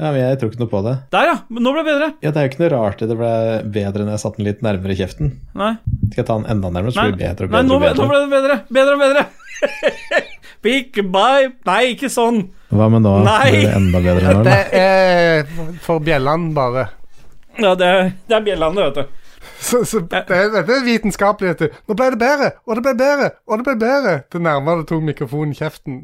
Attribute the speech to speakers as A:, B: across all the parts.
A: Ja, men jeg tror ikke noe på det.
B: Der, ja! Men nå ble det bedre.
A: Ja, Det er jo ikke noe rart det ble bedre når jeg satte den litt nærmere kjeften.
B: Nei,
A: Skal jeg ta den enda nærmere, så
B: nei,
A: blir det bedre og
B: nei
A: bedre.
B: nå,
A: og
B: ble, nå
A: bedre.
B: ble det bedre. Bedre og bedre. Big bye Nei, ikke sånn.
A: Hva med nå?
B: Nei!
A: Blir det enda bedre nå?
C: Dette
A: eller?
C: er for bjellene, bare.
B: Ja, det er, det er bjellene, vet du.
C: Så, så det, Dette er vitenskapelig. Vet du. Nå ble det bedre, og det ble bedre, og det ble bedre. Det nærmere det tok mikrofonen kjeften.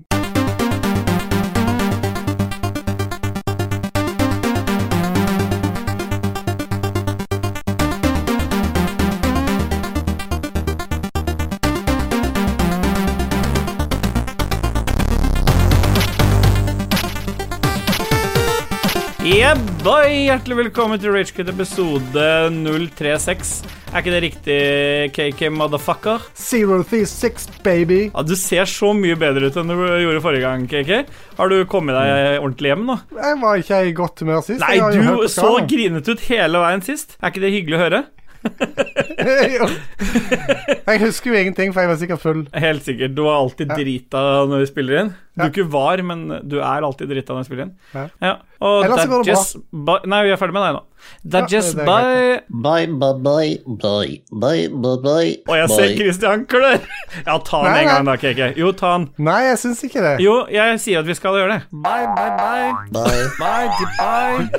B: Yeah, boy! Hjertelig velkommen til Ragequit episode 036. Er ikke det riktig, KK motherfucker?
C: Zero three six, baby.
B: Ja, Du ser så mye bedre ut enn du gjorde forrige gang, KK. Har du kommet deg ordentlig hjem nå?
C: Jeg var ikke i godt humør sist.
B: Nei,
C: jeg har jo hørt
B: du
C: på
B: så
C: kranen.
B: grinete ut hele veien sist. Er ikke det hyggelig å høre?
C: Jeg husker jo ingenting, for jeg var sikkert full.
B: Helt sikkert. Du er alltid
C: Ja.
B: drita når vi spiller inn. Du
C: Ja.
B: ikke var, men du er alltid drita når vi spiller inn.
C: Ja.
B: Og
C: Ellers så går det bra.
B: Dajess ba- Nei, vi er ferdig med deg nå. Dajess
C: det er
B: bye.
D: Bye, bye, bye, bye, bye, bye, bye.
B: Og jeg ser Christian klør. Ja, ta den
C: Nei,
B: en
C: nei.
B: gang da, KK. Jo, ta den.
C: Nei, jeg syns ikke det.
B: Jo, jeg sier at vi skal gjøre det. Bye, bye, bye.
D: Bye,
B: Bye, bye.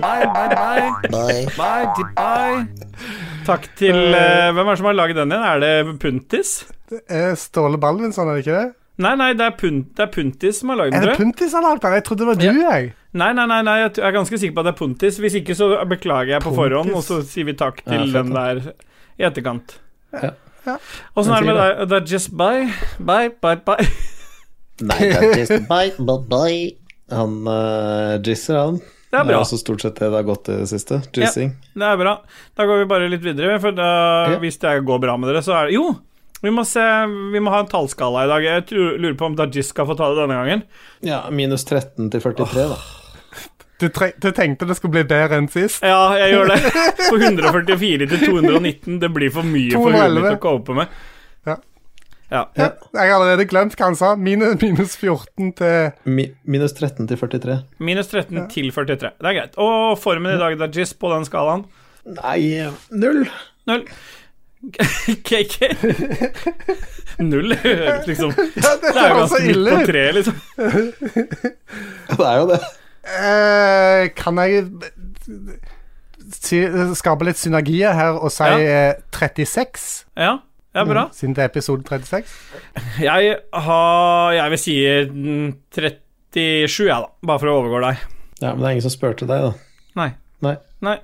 B: Bye, bye, bye.
D: bye.
B: Bye, bye. Takk til eh, Hvem er det som har laget den igjen? Er det Puntis?
C: Eh, Ståle Balvinson, er det ikke det?
B: Nei, nei, det er, Punt, det er Puntis som har lagd den.
C: Er
B: tror
C: det
B: jeg.
C: Puntis han har lagt der? Jeg trodde det var du, jeg.
B: Nei, nei, nei, nei, jeg t- jeg er ganske sikker på at det er Pontis. Hvis ikke, så beklager jeg på
C: Pontis.
B: forhånd, og så sier vi takk til
A: Ja, fett,
B: den der i etterkant.
A: Ja.
C: Ja.
B: Åssen er det
A: Men
B: med deg? Det er just bye, bye, bye, bye.
D: Nei, det er trist. Bye, bye, bye.
A: Han uh, jizzer, han.
B: Det er bra.
A: også stort sett det det har gått til det siste. Jizzing.
B: Det er bra. Da går vi bare litt videre, for da,
A: Ja.
B: hvis det går bra med dere, så er det Jo! Vi må, se, vi må ha en tallskala i dag. Jeg tror, lurer på om Dajis skal få ta det denne gangen.
A: Ja, minus 13 til 43, da.
C: Du, tre du tenkte det skulle bli bedre enn sist?
B: Ja, jeg gjør det. På 144 til 219. Det blir for mye for huet
C: 211.
B: mitt å cope med.
C: Ja.
B: ja.
C: Ja. Jeg har allerede glemt hva han sa. Minus, minus 14 til
A: Mi minus 13 til 43.
B: Minus 13 til 43. Det er greit. Og formen i dag, Dajis, på den skalaen?
A: Nei, null.
B: Null. KK Null høres liksom
C: ja,
B: Det
C: Det
B: er jo
C: var så
B: ganske midt
C: ille
B: på
C: ut.
B: treet, liksom.
A: Det er jo det.
C: Eh, kan jeg si, skape litt synergier her og si
B: Ja.
C: eh, 36?
B: Ja, det er bra.
C: Mm, Siden det er episode 36.
B: Jeg har Jeg vil si mm, 37, jeg, da. Bare for å overgå deg.
A: Ja, Men det er ingen som spurte deg, da.
B: Nei.
A: Nei.
B: Nei.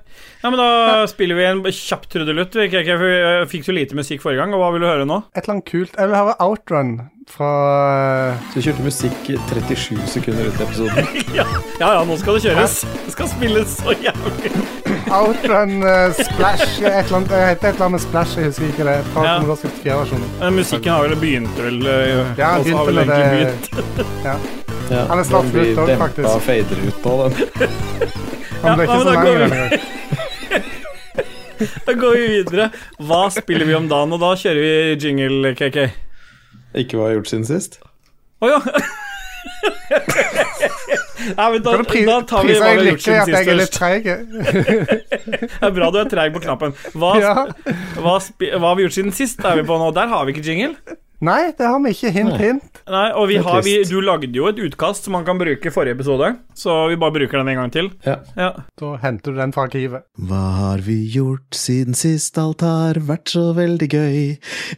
B: Ja, men da spiller vi en kjapp trudelutt. vi, KK, for Jeg fikk så lite musikk forrige gang, og hva vil du høre nå?
C: Et eller annet kult Jeg vil høre Outrun fra eh,
A: Så vi kjørte musikk 37 sekunder ut i episoden.
B: Ja, ja, ja nå skal det kjøres. Det skal spilles så jævlig.
C: Outrun eh, Splash Et eller annet, det heter et eller annet med Splash, jeg husker ikke det. Fra
B: Ja.
C: 274-versjonen.
B: Men musikken har vel begynt, vel? eh,
C: Ja,
B: og så har vel
C: begynte med
B: egentlig
C: det-
B: begynt.
A: Ja,
C: Han er snart
A: den blir
C: slutt, da,
A: dempa
C: faktisk.
A: og fader ut nå, den.
C: Han
B: Ja,
C: ble
B: men
C: ikke så
B: da
C: lang
B: går vi-
C: denne gangen.
B: Da går vi videre. Hva spiller vi om dagen? Og da kjører vi jingle, KK.
A: Ikke hva jeg har gjort siden sist.
B: Å ja. Nei, men da,
C: Kan du pri
B: da tar vi
C: priser
B: hva vi
C: jeg
B: har gjort
C: lykkelig
B: siden
C: at jeg er litt
B: sist først.
C: treig?
B: Det er bra du er treig på knappen. Hva,
C: ja.
B: hva, spi- hva har vi gjort siden sist? Er vi på nå? Der har vi ikke jingle.
C: Nei, det har vi ikke. Hint,
A: Nei.
C: hint.
B: Nei, og vi
A: Det er
B: har, vi,
A: trist.
B: du lagde jo et utkast som man kan bruke i forrige episode, så vi bare bruker den en gang til.
A: Ja.
B: Ja.
C: Da henter du den fra arkivet.
A: Hva har vi gjort siden sist, alt har vært så veldig gøy.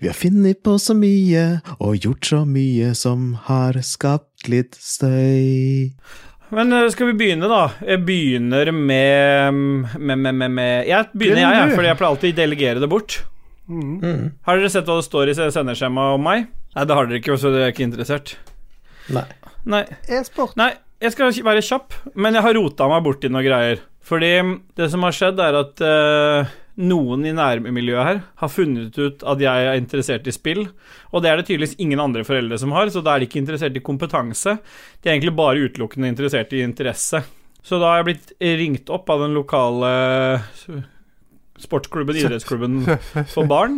A: Vi har funnet på så mye, og gjort så mye som har skapt litt støy.
B: Men eh, skal vi begynne, da? Jeg begynner med med, med, med, med. Jeg begynner, jeg, jeg,
C: du.
B: fordi jeg pleier alltid å delegere det bort. Har dere sett hva det står i sendeskjemaet om meg? Mm. Nei, det har dere ikke, så dere er ikke interessert.
A: Nei.
B: Nei,
C: E-sport.
B: nei jeg skal være kjapp, men jeg har rota meg borti noen greier. Fordi det som har skjedd, er at eh, noen i nærmiljøet her har funnet ut at jeg er interessert i spill, og det er det tydeligvis ingen andre foreldre som har, så da er de ikke interessert i kompetanse. De er egentlig bare utelukkende interessert i interesse. Så da har jeg blitt ringt opp av den lokale s- sportsklubben, idrettsklubben for barn.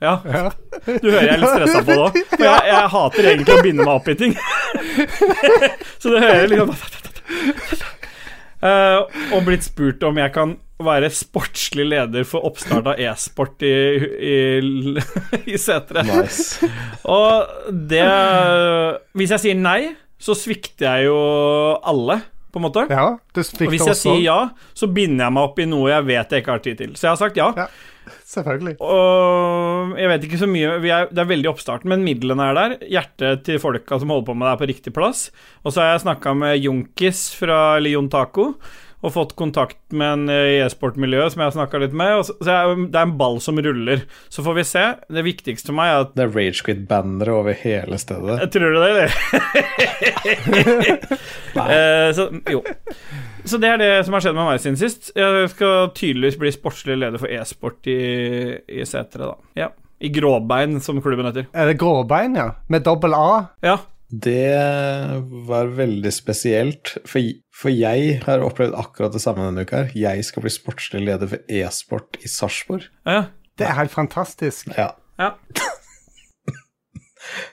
B: Ja,
C: Ja.
B: du hører jeg er litt stressa på det òg. For jeg, jeg hater egentlig å binde meg opp i ting. Så det hører jeg liksom eh, og blitt spurt om jeg kan være sportslig leder for oppstart av e-sport i, i, i Setre.
A: Nice.
B: Og det Hvis jeg sier nei, så svikter jeg jo alle, på en måte.
C: Ja, du
B: Og
C: fikk
B: hvis
C: det
B: jeg
C: også.
B: sier ja, så binder jeg meg opp i noe jeg vet jeg ikke har tid til. Så jeg har sagt ja.
C: Ja. Selvfølgelig.
B: Og jeg vet ikke så mye vi er, Det er veldig i oppstarten, men midlene er der. Hjertet til folka som holder på med det, er på riktig plass. Og så har jeg snakka med Junkis fra Lion Taco og fått kontakt med en eh, i e-sportmiljø som jeg har snakka litt med. Og så, så jeg, det er en ball som ruller. Så får vi se. Det viktigste for meg er at
A: Det er Ragequit-bannere over hele stedet.
B: jeg tror du det, eller? Eh, så, jo. Så det er det som har skjedd med meg siden sist. Jeg skal tydeligvis bli sportslig leder for e-sport i, i Setre, da. Ja. I Gråbein, som klubben heter.
C: Er det gråbein, ja? Med dobbel A?
B: Ja.
A: Det var veldig spesielt, for, for jeg har opplevd akkurat det samme denne uka. her. Jeg skal bli sportslig leder for e-sport i Sarpsborg.
B: ja.
C: Det er helt fantastisk.
A: Ja.
B: ja. Eh,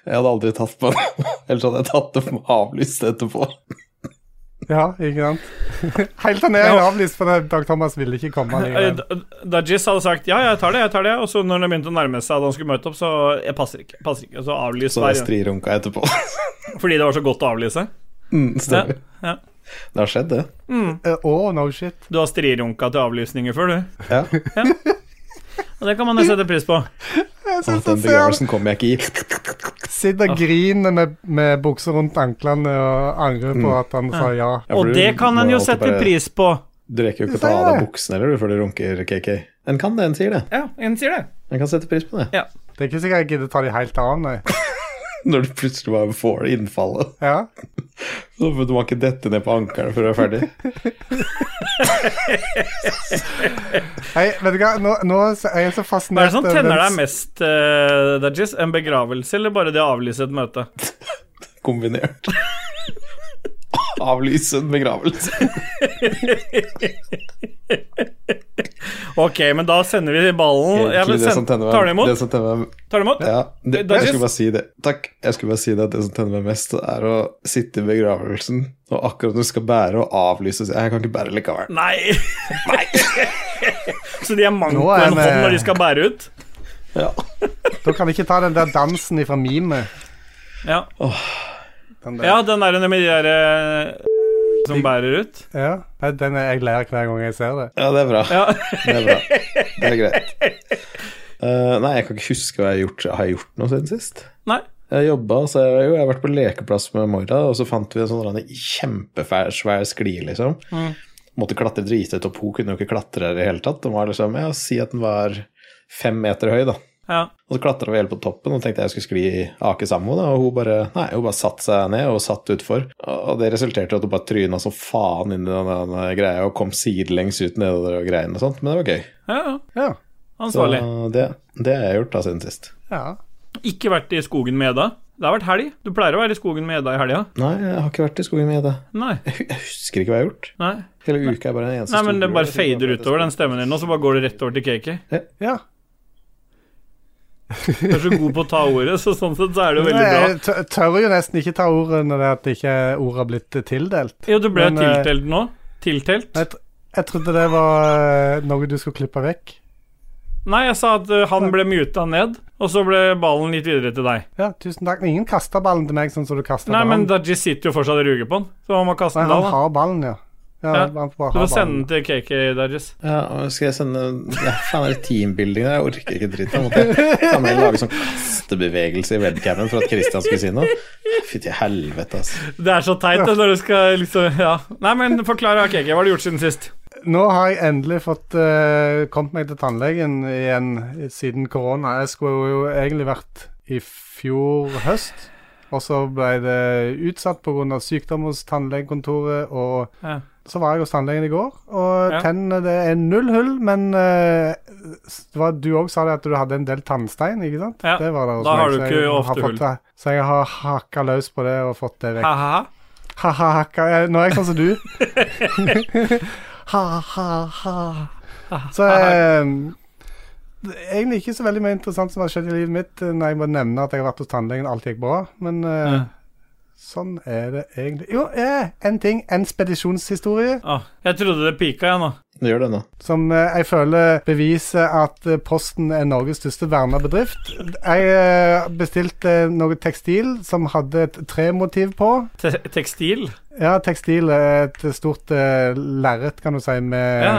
A: Jeg hadde aldri tatt på det, ellers hadde jeg tatt det for avlyst etterpå.
C: Ja, ikke sant? Helt til jeg er avlyst, for det- Dag Thomas ville ikke komme.
B: Eh,
C: likevel.
B: Da- Dajis hadde sagt ja, jeg tar det, jeg tar det. Og så når det begynte å nærme seg at han skulle møte opp, så jeg passer ikke. passer ikke Så avlyste
A: Så var jeg
B: hver
A: strirunka etterpå.
B: Fordi det var så godt å avlyse.
A: Mm, stemmer.
B: Ja, ja.
A: Det har skjedd, det.
C: Eh, Å, no shit.
B: Du har strirunka til avlysninger før, du.
A: Ja.
B: Og det kan man jo sette pris på.
C: Jeg
A: Og
C: synes
A: den
C: det ser
A: begravelsen kom jeg ikke i.
C: Sitter
B: Ah.
C: og griner med, med bukser rundt anklene og angrer på at han sa ja.
A: Ja, for
B: Og
A: du
B: det kan
A: må
B: en jo
A: alltid
B: sette
A: bare-
B: pris på.
A: Du rekker jo ikke å ta av deg buksene heller, du, før du runker, KK. En kan det, en sier det.
B: Ja, en sier det.
A: En kan sette pris på det.
B: Ja.
C: Det er ikke sikkert jeg gidder ta de helt av, nei.
A: Når du plutselig bare får det innfallet.
C: Ja.
A: Så Du må ikke dette ned på ankelen før du er ferdig.
C: Hei, vet du hva, nå, nå er jeg så
B: Hva
C: fascinert
B: er det som
C: over
B: tenner
C: den-
B: deg mest, uh, Dajis? En begravelse eller bare det å avlyse et møte?
A: Kombinert. Avlyse en begravelse.
B: Ok, men da sender vi ballen. Ja, men
A: Egentlig det som
B: send,
A: tenner meg
B: tar du imot?
A: Det som tenner meg
B: Tar du imot?
A: Ja. Det,
B: Det er
A: jeg
B: just-
A: skulle bare si det. Takk. Jeg skulle bare si det at det som tenner meg mest, er å sitte i begravelsen, og akkurat når du skal bære og avlyse så Jeg kan ikke bære likevel.
B: Nei. Så de er manko
C: Nå er
B: en
C: det-
B: hånd
A: eh,
B: når de skal bære ut?
A: Ja.
C: Da kan jeg ikke ta den der dansen ifra memet.
B: Ja,
C: Den der.
B: ja den der med de der eh, som bærer ut?
C: Ja. Nei, Den er jeg ler hver gang jeg ser det.
A: Ja, det er bra.
B: Ja.
A: Det er bra. Det er greit. Eh, nei, jeg kan ikke huske hva jeg har gjort. Har jeg gjort noe siden sist?
B: Nei.
A: Jeg jobba, så jeg, jo, jeg har vært på lekeplass med Moira, og så fant vi en sånn der en kjempefær, svær skli, liksom. Måtte klatre dritete opp, hun kunne jo ikke klatre i det hele tatt. Den var liksom, ja, Si at den var fem meter høy, da.
B: Ja.
A: Og så klatra vi hele på toppen og tenkte jeg skulle skli ake sammen med henne. Og hun bare nei, hun bare satte seg ned og satt utfor. Og det resulterte i at hun bare tryna som faen inn i den, der greia og kom sidelengs ut nedover og greiene og sånt. Men det var gøy.
B: ja, ja.
C: Ja.
A: Så
B: Ansvarlig.
A: det, det har jeg gjort da siden sist.
C: ja.
B: Ikke vært i skogen med Edda. Det har vært helg. Du pleier å være i skogen med Edda i helga.
A: Nei, jeg har ikke vært i skogen med Ida.
B: Nei.
A: Jeg hu- jeg husker ikke hva jeg har gjort.
B: Nei.
A: Hele uka er bare en eneste
B: Nei, men
A: stor
B: det
A: grå.
B: bare fader utover den stemmen din, og så bare går det rett over til Kiki.
C: ja.
B: Du er så god på å ta ordet, så sånn sett så er det jo veldig bra.
C: Jeg tør- tør jo nesten ikke ta ordet når det er at ikke ordet har blitt tildelt.
B: Jo, du ble
C: Men, eh,
B: tiltelt nå. Tiltelt?
C: Jeg, tr jeg trodde det var eh, noe du skulle klippe vekk.
B: Nei, jeg sa at eh, han ble muta ned, og så ble ballen litt videre til deg.
C: Ja, tusen takk. Ingen kaster ballen til meg sånn som du kaster
B: Nei, men
C: ballen.
B: Dajis sitter jo fortsatt og ruger på den, så han må kaste
C: Nei,
B: den
C: han
B: da. da.
C: har ballen, ja. Ja,
B: Ja,
C: han får bare
B: Du
C: ha
B: må sende
C: ballen.
B: den til KK, Dajis.
A: Ja, og skal jeg sende ja, Faen, er det teambuilding der? Jeg orker ikke dritt. Da måtte jeg ta med lage sånn kastebevegelse i webcamen for at Christian skulle si noe. Fy til helvete, altså.
B: Det er så teit det, når du skal liksom Ja. Nei, men forklar da, KK. Hva har du gjort siden sist?
C: Nå har jeg endelig fått eh, kommet meg til tannlegen igjen siden korona. Jeg skulle jo egentlig vært i fjor høst, og så ble det utsatt pga. sykdom hos tannlegekontoret. Og
B: Ja.
C: så var jeg hos tannlegen i går, og
B: Ja.
C: tennene det er null hull, men eh, s- det var- du òg sa det at du hadde en del tannstein, ikke sant?
B: Ja,
C: Det var det hos
B: da
C: meg,
B: har du
C: så
B: ikke
C: jeg
B: ofte
C: fått
B: hull.
C: det- Så jeg har hakka løs på det og fått det vekk.
B: Ha-ha.
C: Ha-ha-hakka Nå er jeg sånn som du. Ha-ha-ha. Så eh, det er egentlig ikke så veldig mye interessant som har skjedd i livet mitt eh, når jeg må nevne at jeg har vært hos tannlegen, alt gikk bra. Men eh, Sånn er det egentlig Jo, eh, en ting. En spedisjonshistorie
B: Ah, jeg trodde det pika, jeg nå.
A: Det gjør det nå.
C: som eh, jeg føler beviser at eh, Posten er Norges største verna bedrift. Jeg eh, bestilte noe tekstil som hadde et tremotiv på.
B: Te tekstil?
C: Ja, tekstil er et stort eh, lerret, kan du si, med,
B: Ja.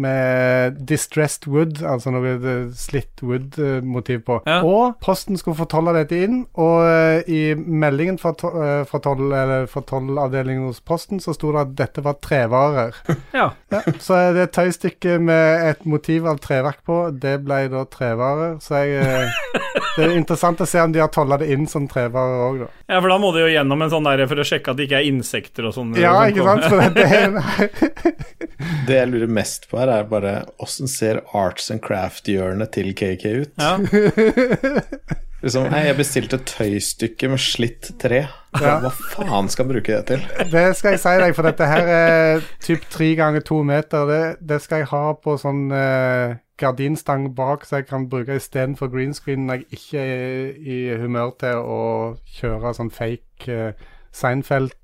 C: med distressed wood, altså noe eh, slitt wood-motiv på.
B: Ja.
C: Og posten skulle fortolle dette inn, og eh, i meldingen fra, to eh, fra, toll, eller fra tollavdelingen hos posten så sto det at dette var trevarer.
B: Ja.
C: Ja, så er det et tøystykke med et motiv av treverk på, det ble da trevarer, så jeg eh, Det er interessant å se om de har tolla det inn som trevarer òg, da.
B: ja, for da må du jo gjennom en sånn der for å sjekke at det ikke er insekter og sånn.
C: Ja,
B: som
C: ikke
B: kommer.
C: sant? For det er
A: Det jeg lurer mest på her, er bare åssen ser arts and craft-hjørnet til KK ut?
B: Ja.
A: Liksom, nei, jeg bestilte et tøystykke med slitt tre.
C: Ja.
A: Hva faen skal jeg bruke det til?
C: Det skal jeg si deg, for dette her er typ tre ganger to meter. Det, det skal jeg ha på sånn eh, gardinstang bak, så jeg kan bruke istedenfor green screen når jeg ikke er i humør til å kjøre sånn fake eh,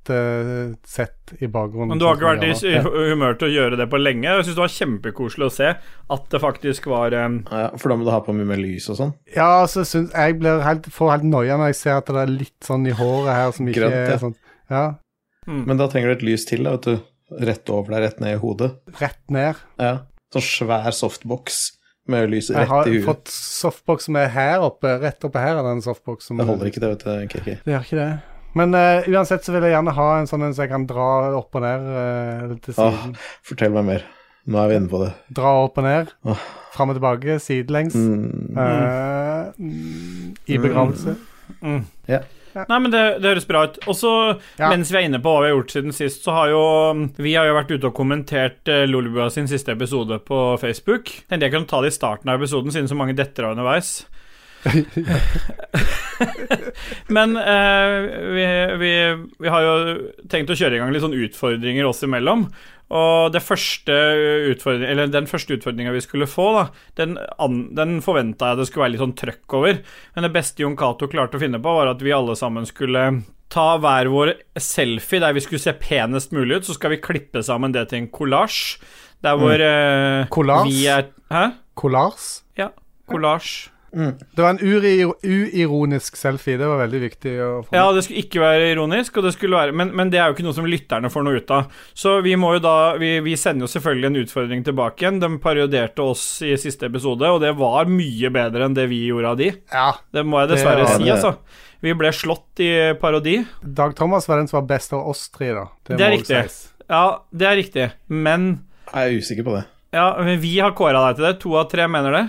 C: Seinfeld-sett i bakgrunnen.
B: Men du har ikke
C: sånn
B: vært i
C: som jeg har.
B: hu- humør til å gjøre det på lenge. Jeg syns det var kjempekoselig å se at det faktisk var eh, em,
A: Ja, for da må du ha på mye mer lys og sånn.
C: Ja, så syns jeg blir helt, får helt noia når jeg ser at det er litt sånn i håret her som ikke
A: Grønt, ja.
C: er sånn Ja,
A: Men da trenger du et lys til, da, vet du. Rett over deg, rett ned i hodet.
C: rett ned.
A: Ja. Sånn svær softbox med lys
C: Jeg
A: rett
C: har
A: i huet.
C: fått softbox som er her oppe. Rett oppe her er det en softbox som
A: Det holder ikke, det, vet du, Kiki.
C: Det gjør ikke det. Men eh, uansett så vil jeg gjerne ha en sånn en som jeg kan dra opp og ned eh, til
A: Åh,
C: siden.
A: fortell meg mer. Nå er vi inne på det.
C: Dra opp og ned.
A: Åh.
C: Fram og tilbake, sidelengs.
A: Mm.
C: eh, I begravelse.
B: Nei, men det, det høres bra ut. Og så,
C: Ja.
B: mens vi er inne på hva vi har gjort siden sist, så har jo Vi har jo vært ute og kommentert eh, Lolebua sin siste episode på Facebook. Tenkte jeg kunne ta det i starten av episoden, siden så mange detter av underveis. men eh, vi, vi, vi har jo tenkt å kjøre i gang litt sånn utfordringer oss imellom. Og det første utfordring- eller den første utfordringa vi skulle få, da, den, an- den forventa jeg det skulle være litt sånn trøkk over. Men det beste Jon Cato klarte å finne på, var at vi alle sammen skulle ta hver vår selfie der vi skulle se penest mulig ut. Så skal vi klippe sammen det til en kollasj. Der hvor eh,
C: Kollasj?
B: vi er Hæ?
C: Kollars.
B: Ja. Kollasj.
C: Det var en uri- uironisk selfie. Det var veldig viktig å få
B: Ja, det skulle ikke være ironisk, og det skulle være, men, men det er jo ikke noe som lytterne får noe ut av. Så vi må jo da Vi, vi sender jo selvfølgelig en utfordring tilbake igjen. De parodierte oss i siste episode, og det var mye bedre enn det vi gjorde av de.
C: ja.
B: Det må jeg
C: Det
B: dessverre
C: var
B: si,
A: det.
B: altså. Vi ble slått i parodi.
C: Dag Thomas var den som var best av oss tre, da.
B: Det er
C: må
B: riktig.
C: sies.
B: Ja, det er riktig, men
A: Jeg er usikker på det.
B: Ja, men vi har kåra deg til det. To av tre mener det.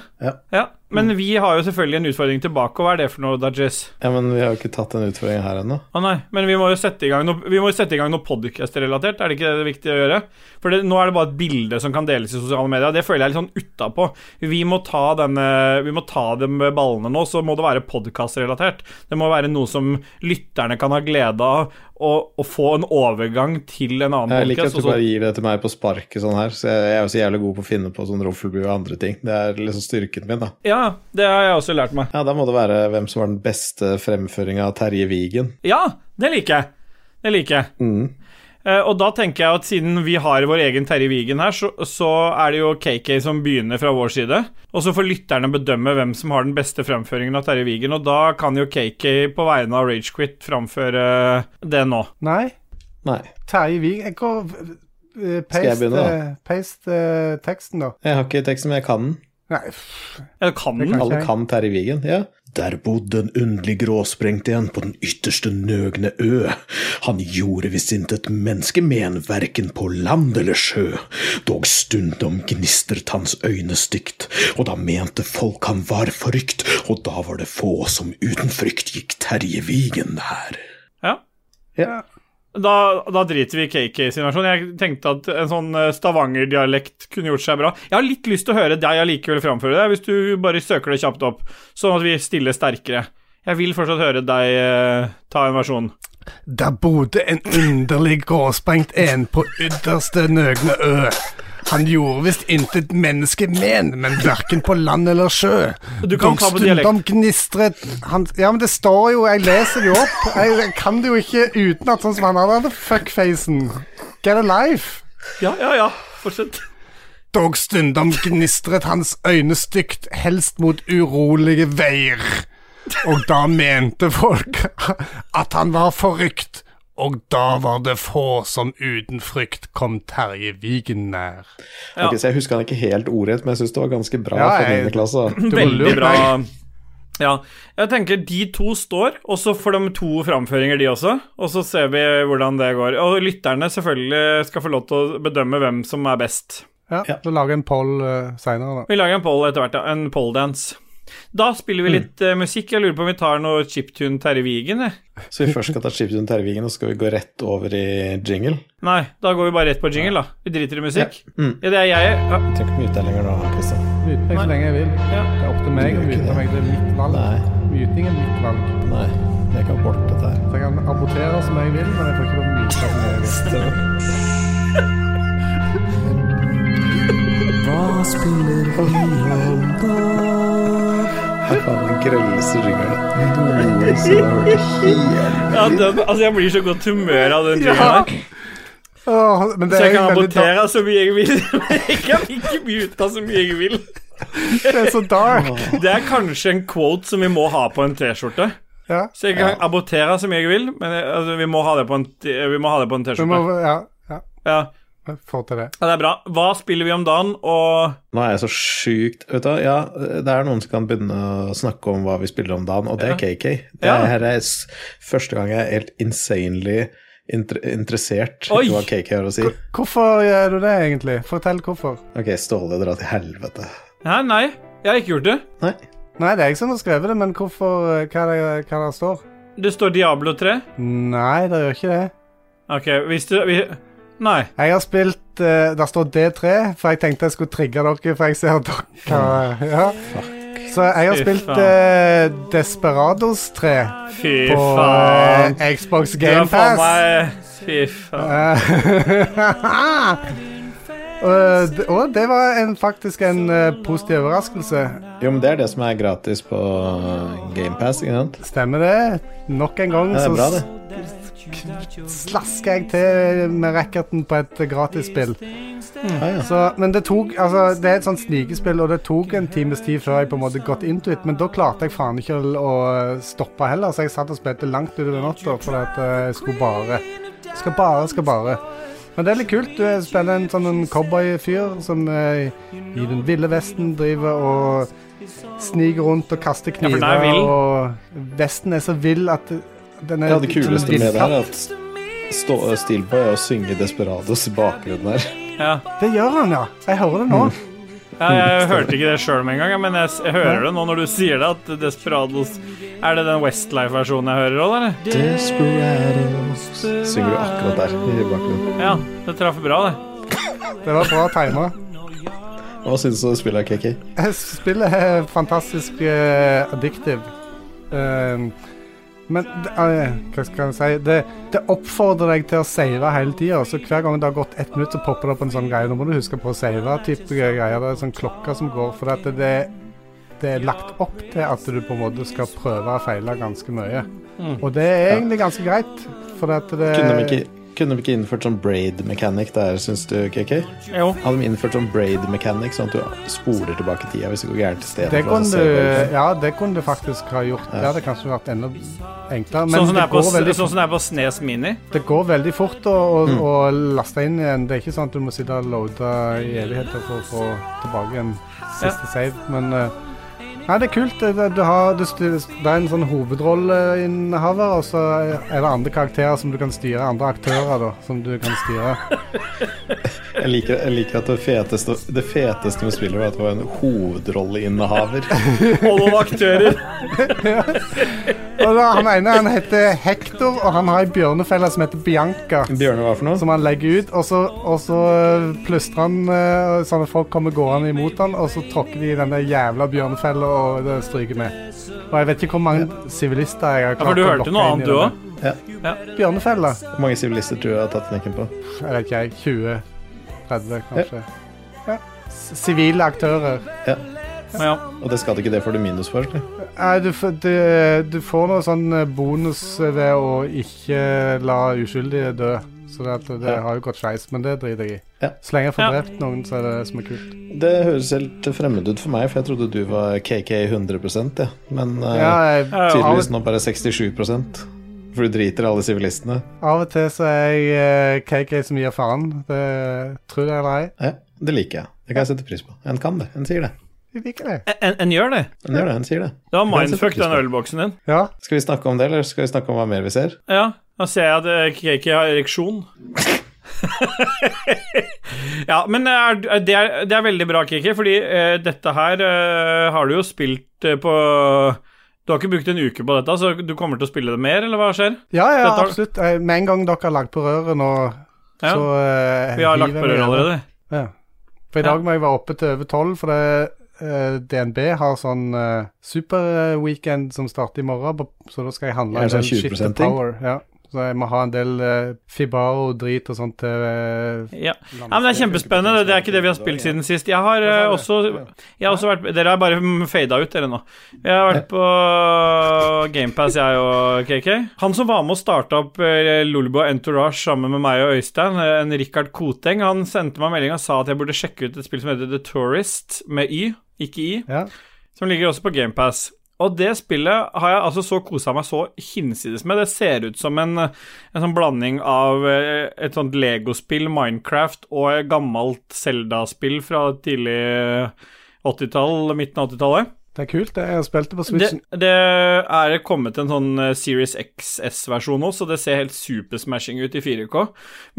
A: Ja.
B: Men vi har jo selvfølgelig en utfordring tilbake, og hva er det for noe, Dajis?
A: Ja, Men vi har jo ikke tatt den utfordringen her ennå.
B: Å nei, men vi må jo sette i gang noe, vi må jo sette i gang noe podcast-relatert, er det ikke det viktige å gjøre? For det, nå er det bare et bilde som kan deles i sosiale medier, og det føler jeg er litt sånn utapå. Vi må ta, denne, vi må ta de ballene nå, så må det være podcast-relatert. Det må være noe som lytterne kan ha glede av, og, og få en overgang til en annen
A: Jeg liker at
B: podcast.
A: du
B: og så-
A: bare gir det til meg på sparket sånn her. Så jeg, jeg er jo så jævlig god på å finne på sånn roffelbue og andre ting. Det er liksom styrken min, da.
B: Ja, det har jeg også lært meg.
A: Ja, da må det være hvem som var den beste fremføringa av Terje Vigen.
B: Ja, det liker jeg. Det liker jeg.
A: Mm.
B: Eh, og da tenker jeg at siden vi har vår egen Terje Vigen her, så, så er det jo KK som begynner fra vår side. Og så får lytterne bedømme hvem som har den beste fremføringen av Terje Vigen, og da kan jo KK på vegne av Ragequit framføre det nå.
C: Nei.
A: Nei,
C: Terje Vig jeg går, eh,
A: Skal jeg
C: Paste,
A: begynne, da?
C: eh, paste eh, teksten, da.
A: jeg har ikke teksten, men jeg kan den.
C: Nei, pff,
B: Jeg kan den.
A: Alle
C: Ok.
A: kan Terje Vigen. Ja. Der bodde en underlig gråsprengt en på den ytterste nøgne ø. Han gjorde visst intet menneske men, verken på land eller sjø. Dog stundom gnistret hans øyne stygt, og da mente folk han var forrykt, og da var det få som uten frykt gikk Terje Vigen nær.
B: Ja.
A: Ja.
B: Da, da driter vi i KK sin versjon. Jeg tenkte at en sånn eh, Stavanger-dialekt kunne gjort seg bra. Jeg har litt lyst til å høre deg allikevel framføre det, hvis du bare søker det kjapt opp, sånn at vi stiller sterkere. Jeg vil fortsatt høre deg eh, ta en versjon.
C: Der bodde en underlig gråsprengt en på ytterste nøgne ø. Han gjorde visst intet menneske men, men hverken på land eller sjø.
B: Du kan
C: Dog
B: ta på dialekt.
C: Stundom gnistret han Ja, men det står jo, jeg leser det jo opp. Jeg, jeg kan det jo ikke utenat, sånn som han hadde hadde fuckfacen. Get a life.
B: Ja, ja, ja. Fortsett.
C: Dog stundom gnistret hans øyne stygt, helst mot urolige veier. Og da mente folk at han var forrykt, og da var det få som uten frykt kom Terje Vigen nær.
B: Ja.
A: Ok, så jeg husker han ikke helt ordrett, men jeg syns det var ganske bra
C: Ja,
A: for
C: jeg-
A: niende klasse.
C: Du var
B: Veldig
C: lurt,
B: bra.
C: Berg.
B: Ja. Jeg tenker de to står, og så får de to framføringer, de også. Og så ser vi hvordan det går. Og lytterne selvfølgelig skal få lov til å bedømme hvem som er best.
C: Ja,
A: Ja.
C: da lager jeg en poll uh, seinere, da.
B: Vi lager en poll etter hvert, da. En polldance. Da spiller vi litt eh, musikk. Jeg lurer på om vi tar noe chiptune Terje Vigen, jeg.
A: Så vi først skal ta Chips under Tervigen, og så skal vi gå rett over i jingle.
B: Nei, da går vi bare rett på jingle, da. Vi driter i musikk. Ja,
A: Mm.
B: det er jeg. Ja.
A: Jeg trenger ikke mye uttellinger nå, Kristian.
C: Myte meg så lenge jeg vil.
B: Ja.
C: Det er opp til meg å
A: gjør ikke
C: myte
A: det.
C: meg. Det er mitt valg.
A: Nei.
C: Myting er mitt valg.
A: Nei, jeg kan bort dette her.
C: Så jeg kan abortere som jeg vil, men jeg får ikke lov til å myte som jeg vil.
A: Hva spiller vi om da? Her faen den grelleste jingelen.
B: Ja, den, altså, jeg blir så godt humør av den jinglen
C: Ja.
B: der.
C: Åh, men det
B: Så jeg
C: er,
B: kan
C: veldig dark.
B: abortere så mye jeg vil. Men jeg kan ikke mute så mye jeg vil.
C: det er så dark.
B: Det er kanskje en quote som vi må ha på en T-skjorte.
C: Ja.
B: Så jeg kan abortere så mye jeg vil, men jeg, altså, vi må ha det på en t- vi må ha det på en
C: Du må,
B: T-skjorte.
C: ja, ja.
B: Ja.
C: Jeg får til det.
B: ja, det er bra. Hva spiller vi om dagen, og
A: Nå er jeg så sjukt Vet du, hva, ja, det er noen som kan begynne å snakke om hva vi spiller om dagen, og det er KK. Det
B: Ja.
A: her er s- første gang jeg er helt insanely inter interessert
B: Oi!
A: i hva KK har å si.
C: Hvorfor gjør du det, egentlig? Fortell hvorfor.
A: Ok, Ståle dra til helvete.
B: Hæ, nei, jeg har ikke gjort det.
A: Nei.
C: Nei, det er jeg som har skrevet det, men hvorfor eh, Hva det, hva det står?
B: Det står Diablo 3.
C: Nei, det gjør ikke det.
B: Ok, hvis du vi, Nei.
C: Jeg har spilt eh, Der står D3, for jeg tenkte jeg skulle trigge dere, for jeg ser dere ja. Så jeg har
B: Fy
C: spilt
B: faen.
C: eh, Desperados 3
B: Fy
C: på
B: faen.
C: eh, Xbox
B: Du har
C: Game
B: faen
C: Pass.
B: meg Fy faen.
C: Eh, og, det- eh, og det var en, faktisk en eh, positiv overraskelse.
A: Jo, men det er det som er gratis på GamePass, ikke sant?
C: Stemmer det. Nok en gang
A: Ja, det
C: så
A: er bra, det.
C: s- slasker jeg til med racketen på et gratisspill.
A: Ja, ja.
C: Så, men det tok Altså, det er et sånt snikespill, og det tok en times tid før jeg på en måte got into it, men da klarte jeg faen ikke å, å stoppe heller, så jeg satt og spilte langt utover natta fordi at eh, jeg skulle bare Skal bare, skal bare. Men det er litt kult. Du eh, spiller en sånn en cowboyfyr som eh, i den ville vesten driver og sniker rundt og kaster
B: for den
C: kniver,
B: er vill.
C: og vesten er så vill at den er
A: Ja, det kuleste med det her er
C: villkatt.
A: at stå stille på er å synge Desperados i bakgrunnen her.
B: Ja.
C: Det gjør han, ja. Jeg hører det nå.
B: Ja, jeg hørte ikke det sjøl med en gang, men jeg, s- jeg hører det nå når du sier det. At Desperados Er det den Westlife-versjonen jeg hører òg, eller?
A: Desperados Synger du akkurat der i bakgrunnen.
B: Ja, det traff bra, det.
C: Det var bra tima.
A: Hva syns du om spillet, KK?
C: Eh, Spillet er fantastisk uh, addictive. Ehm, men det- eh, hva skal jeg si det, det oppfordrer deg til å save hele tida. Så hver gang det har gått ett minutt, så popper det opp en sånn greie. Nå må du huske på å save. Type greier. Det er sånn klokker som går. For at det, det er lagt opp til at du på en måte skal prøve og feile ganske mye.
B: Mm.
C: Og det er egentlig ganske greit. For at det
A: Kunne de ikke,
C: Eh.
A: kunne de ikke innført sånn braid mechanic der, syns du, KK?
B: Jo.
A: Hadde de innført sånn braid mechanic, sånn at du spoler tilbake tida hvis det går gærent i stedet?
C: det
A: for å
C: kunne,
A: se
C: du,
A: det?
C: ja, det kunne du faktisk ha gjort. Det
A: Ja.
C: hadde kanskje vært enda enklere. Men
B: Sånn som det er på,
C: går veldig
B: s- sånn som det er på Snes Mini.
C: Det går veldig fort å, å, å laste inn igjen. Det er ikke sånn at du må sitte og loade i evigheter for å få tilbake en siste save, men eh, Nei, det er kult. Det, det- du har, du styr, det er en sånn hovedrolleinnehaver, og så er det andre karakterer som du kan styre. Andre aktører, da, som du kan styre.
A: Jeg liker, jeg liker at det feteste, det feteste med spillet var at det var en hovedrolleinnehaver.
B: Og noen aktører.
C: Og da, Han ene han heter Hector, og han har ei bjørnefelle som heter Bianca.
A: Bjørne, hva for noe?
C: Som han legger ut, og så, og så plystrer han eh, sånn at folk kommer gående imot han, og så tråkker de i den der jævla bjørnefella og det stryker med. Og jeg vet ikke hvor mange sivilister jeg har
B: Ja, for
C: klart
B: du
C: å
B: hørte
C: lokke
B: noe
C: inn i
B: annet, du
C: denne
B: òg.
C: Bjørnefella?
A: Hvor mange sivilister tror du jeg har tatt knekken på?
C: Jeg vet ikke, jeg. 20-30, kanskje. S- Sivile aktører.
B: Ja.
A: Og det skal det ikke, det får du minus for. eller?
C: Nei, du, f- det- du får noe sånn eh, bonus ved å ikke eh, la uskyldige dø. Så det, at det
A: Ja.
C: har jo gått skeis, men det driter jeg i.
A: Ja.
C: Så lenge jeg får
B: Ja.
C: drept noen, så er det det som er kult.
A: Det høres helt fremmed ut for meg, for jeg trodde du var KK 100 ja. Men eh,
C: Ja, jeg,
B: Ja, ja.
A: tydeligvis nå bare 67 For du driter i alle sivilistene.
C: av og til så er jeg eh, KK som gir faen. Det tror jeg eller ei.
A: Ja, det liker jeg. Det kan jeg sette pris på. En kan det. En sier det.
C: Jeg liker det.
B: En, en gjør det.
A: En gjør det, en sier det.
B: Det var
A: Det er så
B: mindfuck, den
A: faktisk.
B: ølboksen din.
C: Ja.
A: Skal vi snakke om det, eller skal vi snakke om hva mer vi ser?
B: Ja, da ser jeg at eh, Kiki har ereksjon. ja, men eh, er, er- det, er, det er veldig bra, Kiki, fordi eh, dette her eh, har du jo spilt eh, på Du har ikke brukt en uke på dette, så du kommer til å spille det mer, eller hva skjer?
C: ja, ja,
B: Dette har-
C: absolutt. Eh, Med en gang dere har lagt på røret nå,
B: Ja,
C: så eh,
B: Vi har lagt
C: hiver
B: på
C: vi
B: røret
C: gjerne-
B: allerede.
C: Ja. For i dag må jeg være oppe til over tolv, for det, eh, DNB har sånn eh, superweekend som starter i morgen, på- så da skal jeg handle
A: Er det sånn
C: shit
A: 20%
C: til power. Ja. Så jeg må ha en del eh, Fibaro-drit og sånt til eh,
B: Ja. ja, men Det er kjempespennende. Det er ikke det vi har spilt siden sist. Jeg har eh, også, jeg har også vært Dere har bare mm, fada ut, dere nå. Jeg har vært på GamePass, jeg og KK. Han som var med og starta opp eh, Lulebo Entourage sammen med meg og Øystein, eh, en Rikard Koteng, han sendte meg melding og sa at jeg burde sjekke ut et spill som heter The Tourist, med Y, ikke I
C: Ja.
B: som ligger også på GamePass. Og det spillet har jeg altså så kosa meg så hinsides med. Det ser ut som en, en sånn blanding av eh, et sånt Lego-spill, Minecraft, og et gammelt Zelda-spill fra tidlig 80-tall, midten av 80-tallet.
C: Det er kult, det. Jeg har spilt det på
B: Det,
C: Switchen.
B: det er kommet en sånn eh, Series XS-versjon også, så det ser helt supersmashing ut i 4K.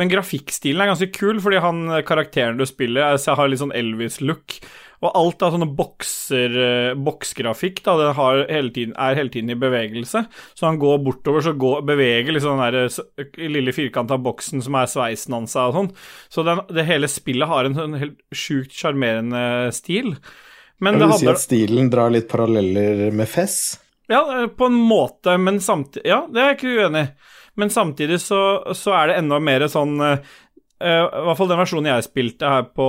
B: Men grafikkstilen er ganske kul, fordi han eh, karakteren du spiller, er- så har litt sånn Elvis-look. Og alt av sånne bokser, eh, boksgrafikk da, det har hele tiden, er hele tiden i bevegelse. Så han går bortover, så går, beveger liksom den der eh, s- lille firkanta boksen som er sveisen hans og sånn. Så den, det hele spillet har en sånn helt sjukt sjarmerende stil. Men
A: Jeg
B: det
A: vil si
B: handler
A: at stilen drar litt paralleller med Fess.
B: ja, eh, på en måte, men samtidig Ja, det er jeg ikke uenig i. Men samtidig så, så er det enda mer sånn eh, eh, I hvert fall den versjonen jeg spilte her på,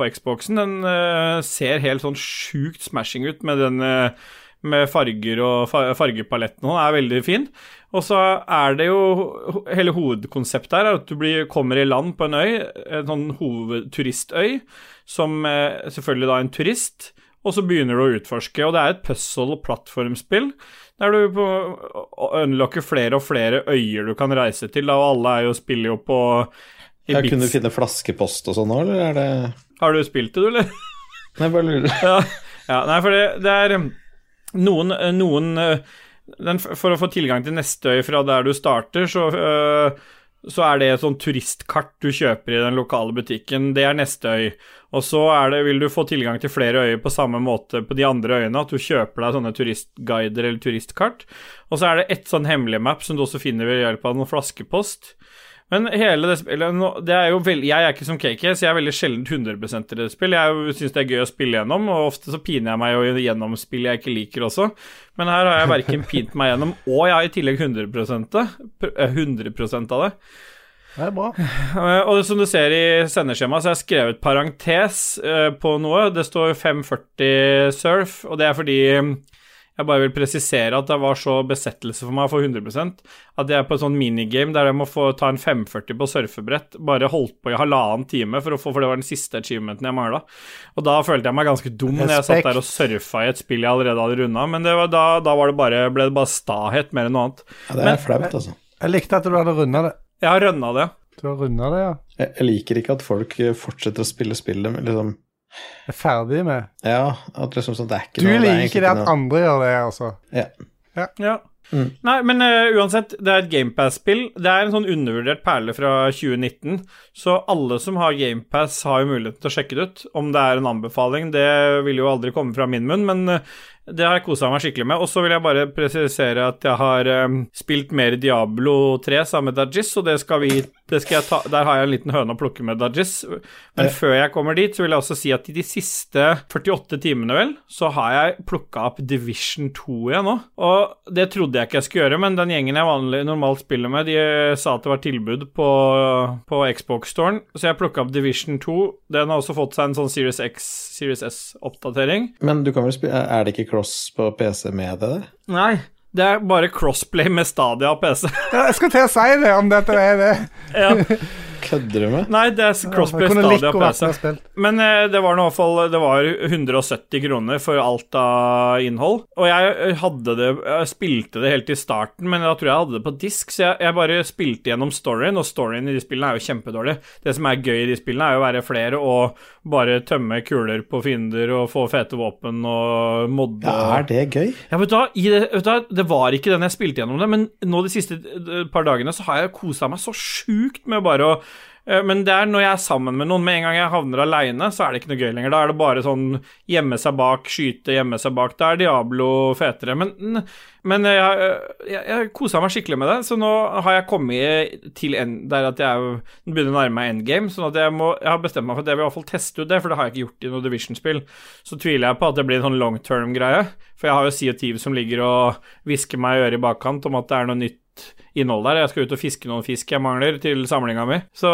B: på Xboxen, den eh, ser helt sånn sjukt smashing ut med den eh, med farger og fa- fargepaletten og den er veldig fin. Og så er det jo ho- Hele hovedkonseptet her er at du blir, kommer i land på en øy, en sånn hovedturistøy, som eh, selvfølgelig da er en turist, og så begynner du å utforske. Og det er et puzzle- og plattformspill der du på, å- unlocker flere og flere øyer du kan reise til, da, og alle er jo spiller jo på i
A: Jeg kunne
B: bits.
A: finne flaskepost og sånn nå, eller er det
B: Har du spilt det, du, eller?
A: Nei, jeg bare lurer.
B: ja, ja, nei, for det, det er um, noen, eh, noen eh, den, f- For å få tilgang til neste øy fra der du starter, så eh, så er det et sånn turistkart du kjøper i den lokale butikken. Det er neste øy. Og så er det, vil du få tilgang til flere øyer på samme måte på de andre øyene, at du kjøper deg sånne turistguider eller turistkart. Og så er det et sånn hemmelig map som du også finner ved hjelp av noen flaskepost. Men hele det spillet nå- det er jo veld, Jeg er ikke som KK, så jeg er veldig sjelden 100 i det spill. Jeg syns det er gøy å spille gjennom, og ofte så piner jeg meg jo gjennom spill jeg ikke liker også. Men her har jeg verken pint meg gjennom, og jeg har i tillegg 100 det. Pr- eh, 100 av det.
C: Det er bra.
B: Eh, Og som du ser i sendeskjemaet, så har jeg skrevet parentes eh, på noe. Det står 540 surf, og det er fordi mm, jeg bare vil presisere at det var så besettelse for meg for 100 at jeg er på et sånt minigame der jeg må få ta en 540 på surfebrett, bare holdt på i halvannen time, for, å få, for det var den siste achievementen jeg mangla. Og da følte jeg meg ganske dum når jeg satt
C: Respekt.
B: der og surfa i et spill jeg allerede hadde runda, men det var da, da var det bare, ble det bare stahet mer enn noe annet.
A: Ja, det er flaut, altså.
C: Jeg likte at du hadde runda det.
B: Jeg har rønna det.
C: Du har runda det, ja.
A: Jeg jeg liker ikke at folk eh, fortsetter å spille spillet, men liksom
C: Jeg er ferdig med
A: Ja, at liksom sånn, det er ikke
C: Du
A: noe er
C: liker
A: egentlig
C: ikke det at
A: noe-
C: andre gjør det, altså.
A: ja.
B: Ja.
A: Mm.
B: Nei, men eh, uansett, det er et GamePass-spill. Det er en sånn undervurdert perle fra 2019, så alle som har GamePass, har jo muligheten til å sjekke det ut. Om det er en anbefaling, det vil jo aldri komme fra min munn, men eh, det har jeg kosa meg skikkelig med. Og så vil jeg bare presisere at jeg har eh, spilt mer Diablo 3 sammen med Dajis, og det skal vi Det skal jeg ta, der har jeg en liten høne å plukke med Dajis. Men før jeg kommer dit, så vil jeg også si at i de siste 48 timene, vel, så har jeg plukka opp Division 2 igjen nå. Og det trodde jeg ikke jeg skulle gjøre, men den gjengen jeg vanlig, normalt spiller med, de eh, sa at det var tilbud på, på Xbox-storen, så jeg plukka opp Division 2. Den har også fått seg en sånn Series X, Series S-oppdatering.
A: Men du kan vel spille Er det ikke cross på PC med det? der?
B: Nei, det er bare crossplay med Stadia og PC.
C: Ja, Jeg skal til å si det, om dette er det.
B: ja.
A: Kødder du med?
B: Nei, det er crossplay,
C: Jeg kunne like
B: Stadia og
C: å vært
B: PC.
C: med og spilt.
B: Men eh, det var nå i hvert fall Det var 170 kroner for alt av innhold. Og jeg eh, hadde det jeg spilte det helt i starten, men da tror jeg jeg hadde det på disk, så jeg, jeg bare spilte gjennom storyen, og storyen i de spillene er jo kjempedårlig. Det som er gøy i de spillene, er jo å være flere og bare tømme kuler på fiender og få fete våpen og modde
A: Ja, er det gøy?
B: ja, vet du hva, i det, vet du hva, det var ikke den jeg spilte gjennom det, men nå de siste eh, par dagene så har jeg kosa meg så sjukt med bare å eh, men det er når jeg er sammen med noen. Med en gang jeg havner aleine, så er det ikke noe gøy lenger. Da er det bare sånn gjemme seg bak, skyte, gjemme seg bak. Da er Diablo fetere. Men, men jeg, eh, jeg, jeg kosa meg skikkelig med det, så nå har jeg kommet til en, der at jeg begynner å nærme meg endgame. Sånn at jeg, må, jeg har bestemt meg for at jeg vil i hvert fall teste ut det, for det har jeg ikke gjort i noe Division-spill. Så tviler jeg på at det blir en sånn long term-greie. For jeg har jo Sea of Thieves som ligger og hvisker meg i øret i bakkant om at det er noe nytt innhold der. Jeg skal ut og fiske noen fisk jeg mangler til samlinga mi. Så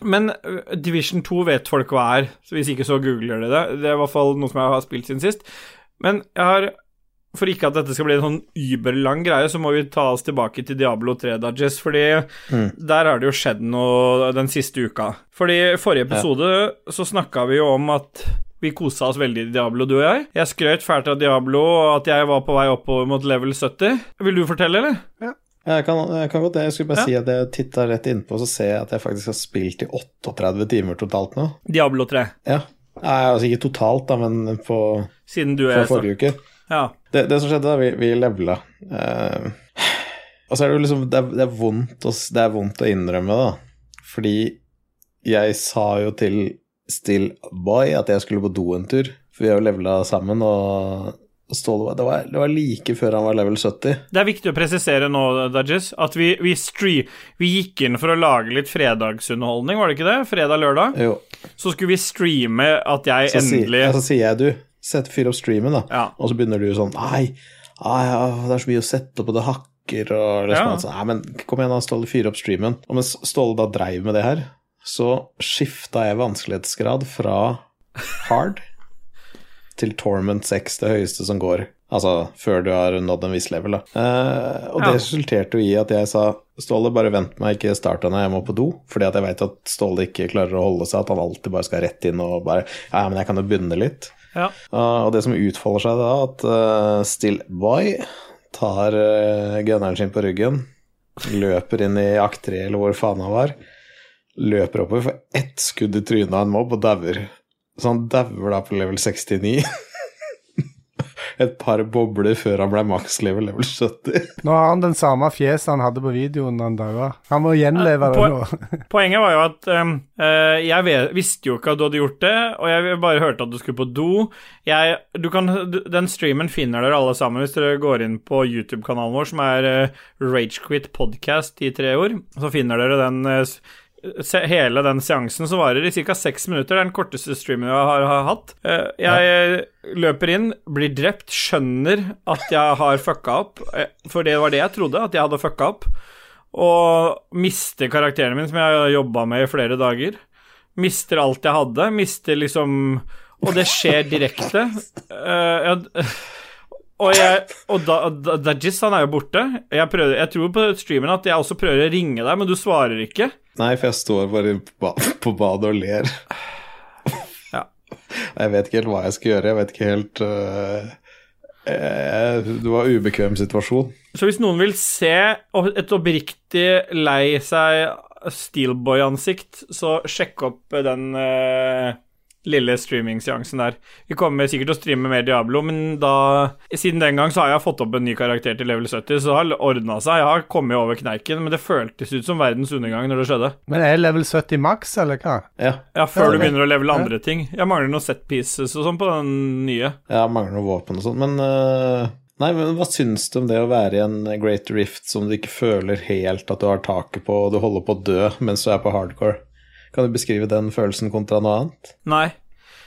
B: Men ø, Division 2 vet folk hva er, så hvis ikke så googler de det. Det er i hvert fall noe som jeg har spilt siden sist. Men jeg har for ikke at dette skal bli en sånn überlang greie, så må vi ta oss tilbake til Diablo 3, Dajess, fordi
A: Mm.
B: der har det jo skjedd noe den siste uka. Fordi i forrige episode så snakka vi jo om at vi kosa oss veldig i Diablo, du og jeg. Jeg skrøt fælt av Diablo og at jeg var på vei oppover mot level 70. Vil du fortelle, eller?
A: Jeg kan, jeg kan godt det. Jeg skulle bare si at jeg titta rett innpå, så ser jeg at jeg faktisk har spilt i 38 timer totalt nå.
B: Diablo 3,
A: Ja. Nei, altså ikke totalt, da, men på,
B: siden du
A: fra
B: og jeg snakket.
A: forrige uke.
B: Ja.
A: Det, det som skjedde, da, vi, vi levela. Eh, og så er det jo liksom Det er, det er, vondt, å, s- det er vondt å innrømme, da. Fordi jeg sa jo til Still Boy at jeg skulle på do en tur. For vi har jo levela sammen, og Ståle var det, var det var like før han var level 70.
B: Det er viktig å presisere nå, Dajis, at vi, vi, stre- vi gikk inn for å lage litt fredagsunderholdning, var det ikke det? Fredag-lørdag.
A: Jo,
B: Så skulle vi streame at jeg
A: så, si,
B: endelig
A: ja, så sier jeg du, sett fyr opp streamen, da.
B: Ja.
A: Og så begynner du sånn Nei, nei, ja, det er så mye å sette opp, og det hakker og liksom,
B: Ja.
A: altså, Nei, men kom igjen, da, Ståle, fyr opp streamen. Og mens Ståle da dreiv med det her, så skifta jeg vanskelighetsgrad fra hard til torment 6, det høyeste som går. Altså før du har nådd en viss level, da. Eh, og
B: Ja.
A: det resulterte jo i at jeg sa Ståle, bare vent meg, ikke start henne, jeg må på do. Fordi at jeg veit at Ståle ikke klarer å holde seg, at han alltid bare skal rett inn og bare Ja, men jeg kan jo bunne litt.
B: Ja.
A: Uh, og det som utfolder seg da, at uh, Still Boy tar uh, gunneren sin på ryggen, løper inn i akt 3 eller hvor faen han var, løper oppover, får ett skudd i trynet av en mobb og dauer. Så han dauer da på level 69. Et par bobler før han ble makslevel level 70.
C: Nå har han den samme fjeset han hadde på videoen da han daua. Han må gjenleve det
B: På-
C: nå.
B: Poenget var jo at um, eh, jeg ve- visste jo ikke at du hadde gjort det, og jeg bare hørte at du skulle på do. Jeg, du kan, du- den streamen finner dere alle sammen hvis dere går inn på YouTube-kanalen vår, som er eh, Ragequit Podcast i tre ord. Så finner dere den eh, s- se, hele den seansen som varer i ca. seks minutter. Det er den korteste streamen jeg har, har hatt. Eh, jeg eh, løper inn, blir drept, skjønner at jeg har fucka opp, eh, for det var det jeg trodde, at jeg hadde fucka opp. Og mister karakteren min, som jeg har jobba med i flere dager. Mister alt jeg hadde. Mister liksom Og det skjer direkte. Eh, ja, d- og jeg, og da, da, Dajis, han er jo borte. Jeg, prøver, jeg tror på streamen at jeg også prøver å ringe deg, men du svarer ikke.
A: Nei, for jeg står bare på ba- på badet og ler.
B: Ja.
A: Jeg vet ikke helt hva jeg skal gjøre. Jeg vet ikke helt øh, eh, Det var en ubekvem situasjon.
B: Så hvis noen vil se o- et oppriktig lei seg Steelboy-ansikt, så sjekk opp eh, den eh, lille streamingseansen der. Vi kommer sikkert til å streame mer Diablo, men da Siden den gang så har jeg fått opp en ny karakter til level 70, så det har ordna seg. Jeg har kommet over kneiken, men det føltes ut som verdens undergang når det skjedde.
C: Men er level 70 maks, eller hva?
A: Ja.
B: Ja, før
A: det er
B: du
A: det.
B: begynner å levele andre ting. Jeg mangler noen set pieces og sånn på den nye.
A: Jeg mangler noe våpen og sånn, men øh, Nei, men hva syns du om det å være i en Great Rift som du ikke føler helt at du har taket på, og du holder på å dø mens du er på hardcore? Kan du beskrive den følelsen kontra noe annet?
B: Nei.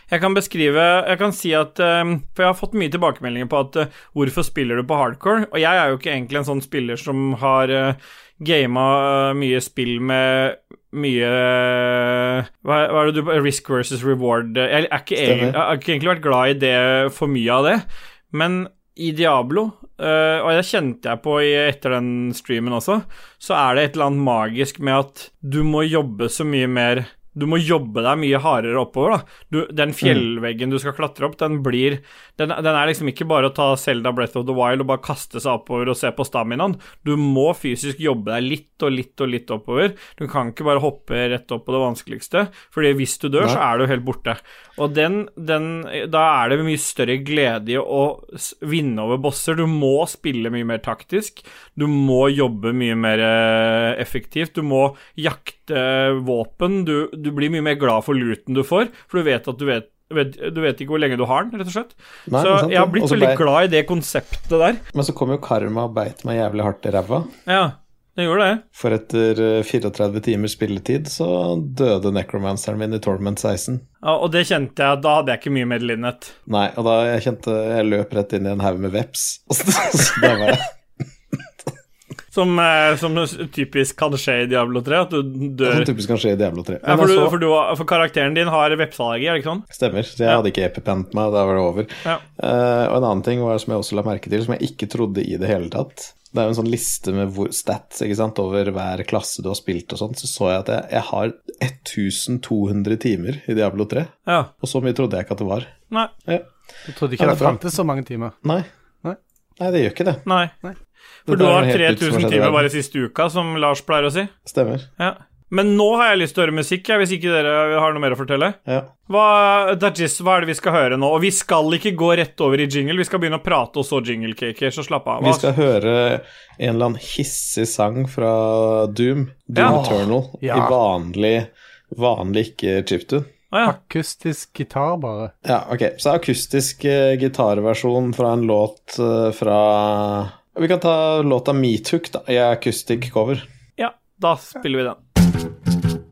B: Jeg kan beskrive Jeg kan si at eh, For jeg har fått mye tilbakemeldinger på at eh, hvorfor spiller du på hardcore? Og jeg er jo ikke egentlig en sånn spiller som har uh, gama eh, mye spill med mye eh, hva, er- hva er det du Risk versus reward eh, Jeg er ikke,
A: Stemmer.
B: egentlig, jeg har ikke egentlig vært glad i det for mye av det, men i Diablo eh, og det kjente jeg på i, etter den streamen også, så er det et eller annet magisk med at du må jobbe så mye mer Du må jobbe deg mye hardere oppover, da. Du, den fjellveggen du skal klatre opp, den blir den, den er liksom ikke bare å ta Selda Breath of the Wild og bare kaste seg oppover og se på staminaen. Du må fysisk jobbe deg litt og litt og litt oppover. Du kan ikke bare hoppe rett opp på det vanskeligste, Fordi hvis du dør,
A: Nei.
B: så er du helt borte. Og den, den Da er det mye større glede i å s- vinne over bosser. Du må spille mye mer taktisk. Du må jobbe mye mer eh, effektivt. Du må jakte eh, våpen. Du, du blir mye mer glad for looten du får, for du vet at du vet, vet Du vet ikke hvor lenge du har den, rett og slett.
A: Nei,
B: så
A: det er sant,
B: jeg har
A: det.
B: blitt
A: Og så
B: veldig
A: ble-
B: glad i det konseptet der.
A: Men så kom jo karma og beit meg jævlig hardt i ræva.
B: Ja, det gjorde det.
A: For etter eh, 34 timers spilletid så døde necromanceren min i Torment 16.
B: Ja, og det kjente jeg. Da hadde jeg ikke mye medlidenhet.
A: Nei, og da jeg kjente jeg løp rett inn i en haug med veps. Så da var jeg
B: Som, eh, som typisk kan skje i Diablo 3, at du
A: Sånn
B: dør
A: typisk kan skje i Diablo 3.
B: ja,
A: Men
B: for, du,
A: altså-
B: for, du, har- for karakteren din har vepseallergi, er det ikke sånn?
A: Stemmer. Så jeg hadde ikke epipent meg, da var det over.
B: Ja.
A: Eh, og en annen ting var, som jeg også la merke til, som jeg ikke trodde i det hele tatt. Det er jo en sånn liste med hvor, stats ikke sant, over hver klasse du har spilt og sånn. Så så jeg at jeg, jeg har 1200 timer i Diablo 3.
B: Ja.
A: Og så mye trodde jeg ikke at det var.
B: Nei.
A: Ja.
C: Du trodde
A: Ja,
C: ikke
A: det er
C: det
A: bra.
C: fantes så mange timer.
A: Nei.
C: Nei.
A: Nei, det gjør ikke det.
B: Nei. For
A: Dette
B: du
A: er
B: har
A: noe helt nytt som har
B: 3000
A: skjedd i
B: timer
A: verden.
B: bare siste uka, som Lars pleier å si.
A: Stemmer.
B: Ja. Men nå har jeg lyst til å høre musikk, jeg, hvis ikke dere har noe mer å fortelle.
A: Ja.
B: Hva, Dajis, hva er det vi skal høre nå? Og vi skal ikke gå rett over i jingle, vi skal begynne å prate og så jinglecaker, så slapp av.
A: Vi skal høre en eller annen hissig sang fra Doom, Doom
B: Ja.
A: Eternal, i
C: Ja.
A: vanlig, vanlig ikke chiptune.
B: Å, ja.
C: Akustisk gitar, bare.
A: Ja, ok. Så akustisk eh, gitarversjon fra en låt eh, fra Vi kan ta låta Meathook, da, i akustisk cover.
B: ja, da spiller vi den.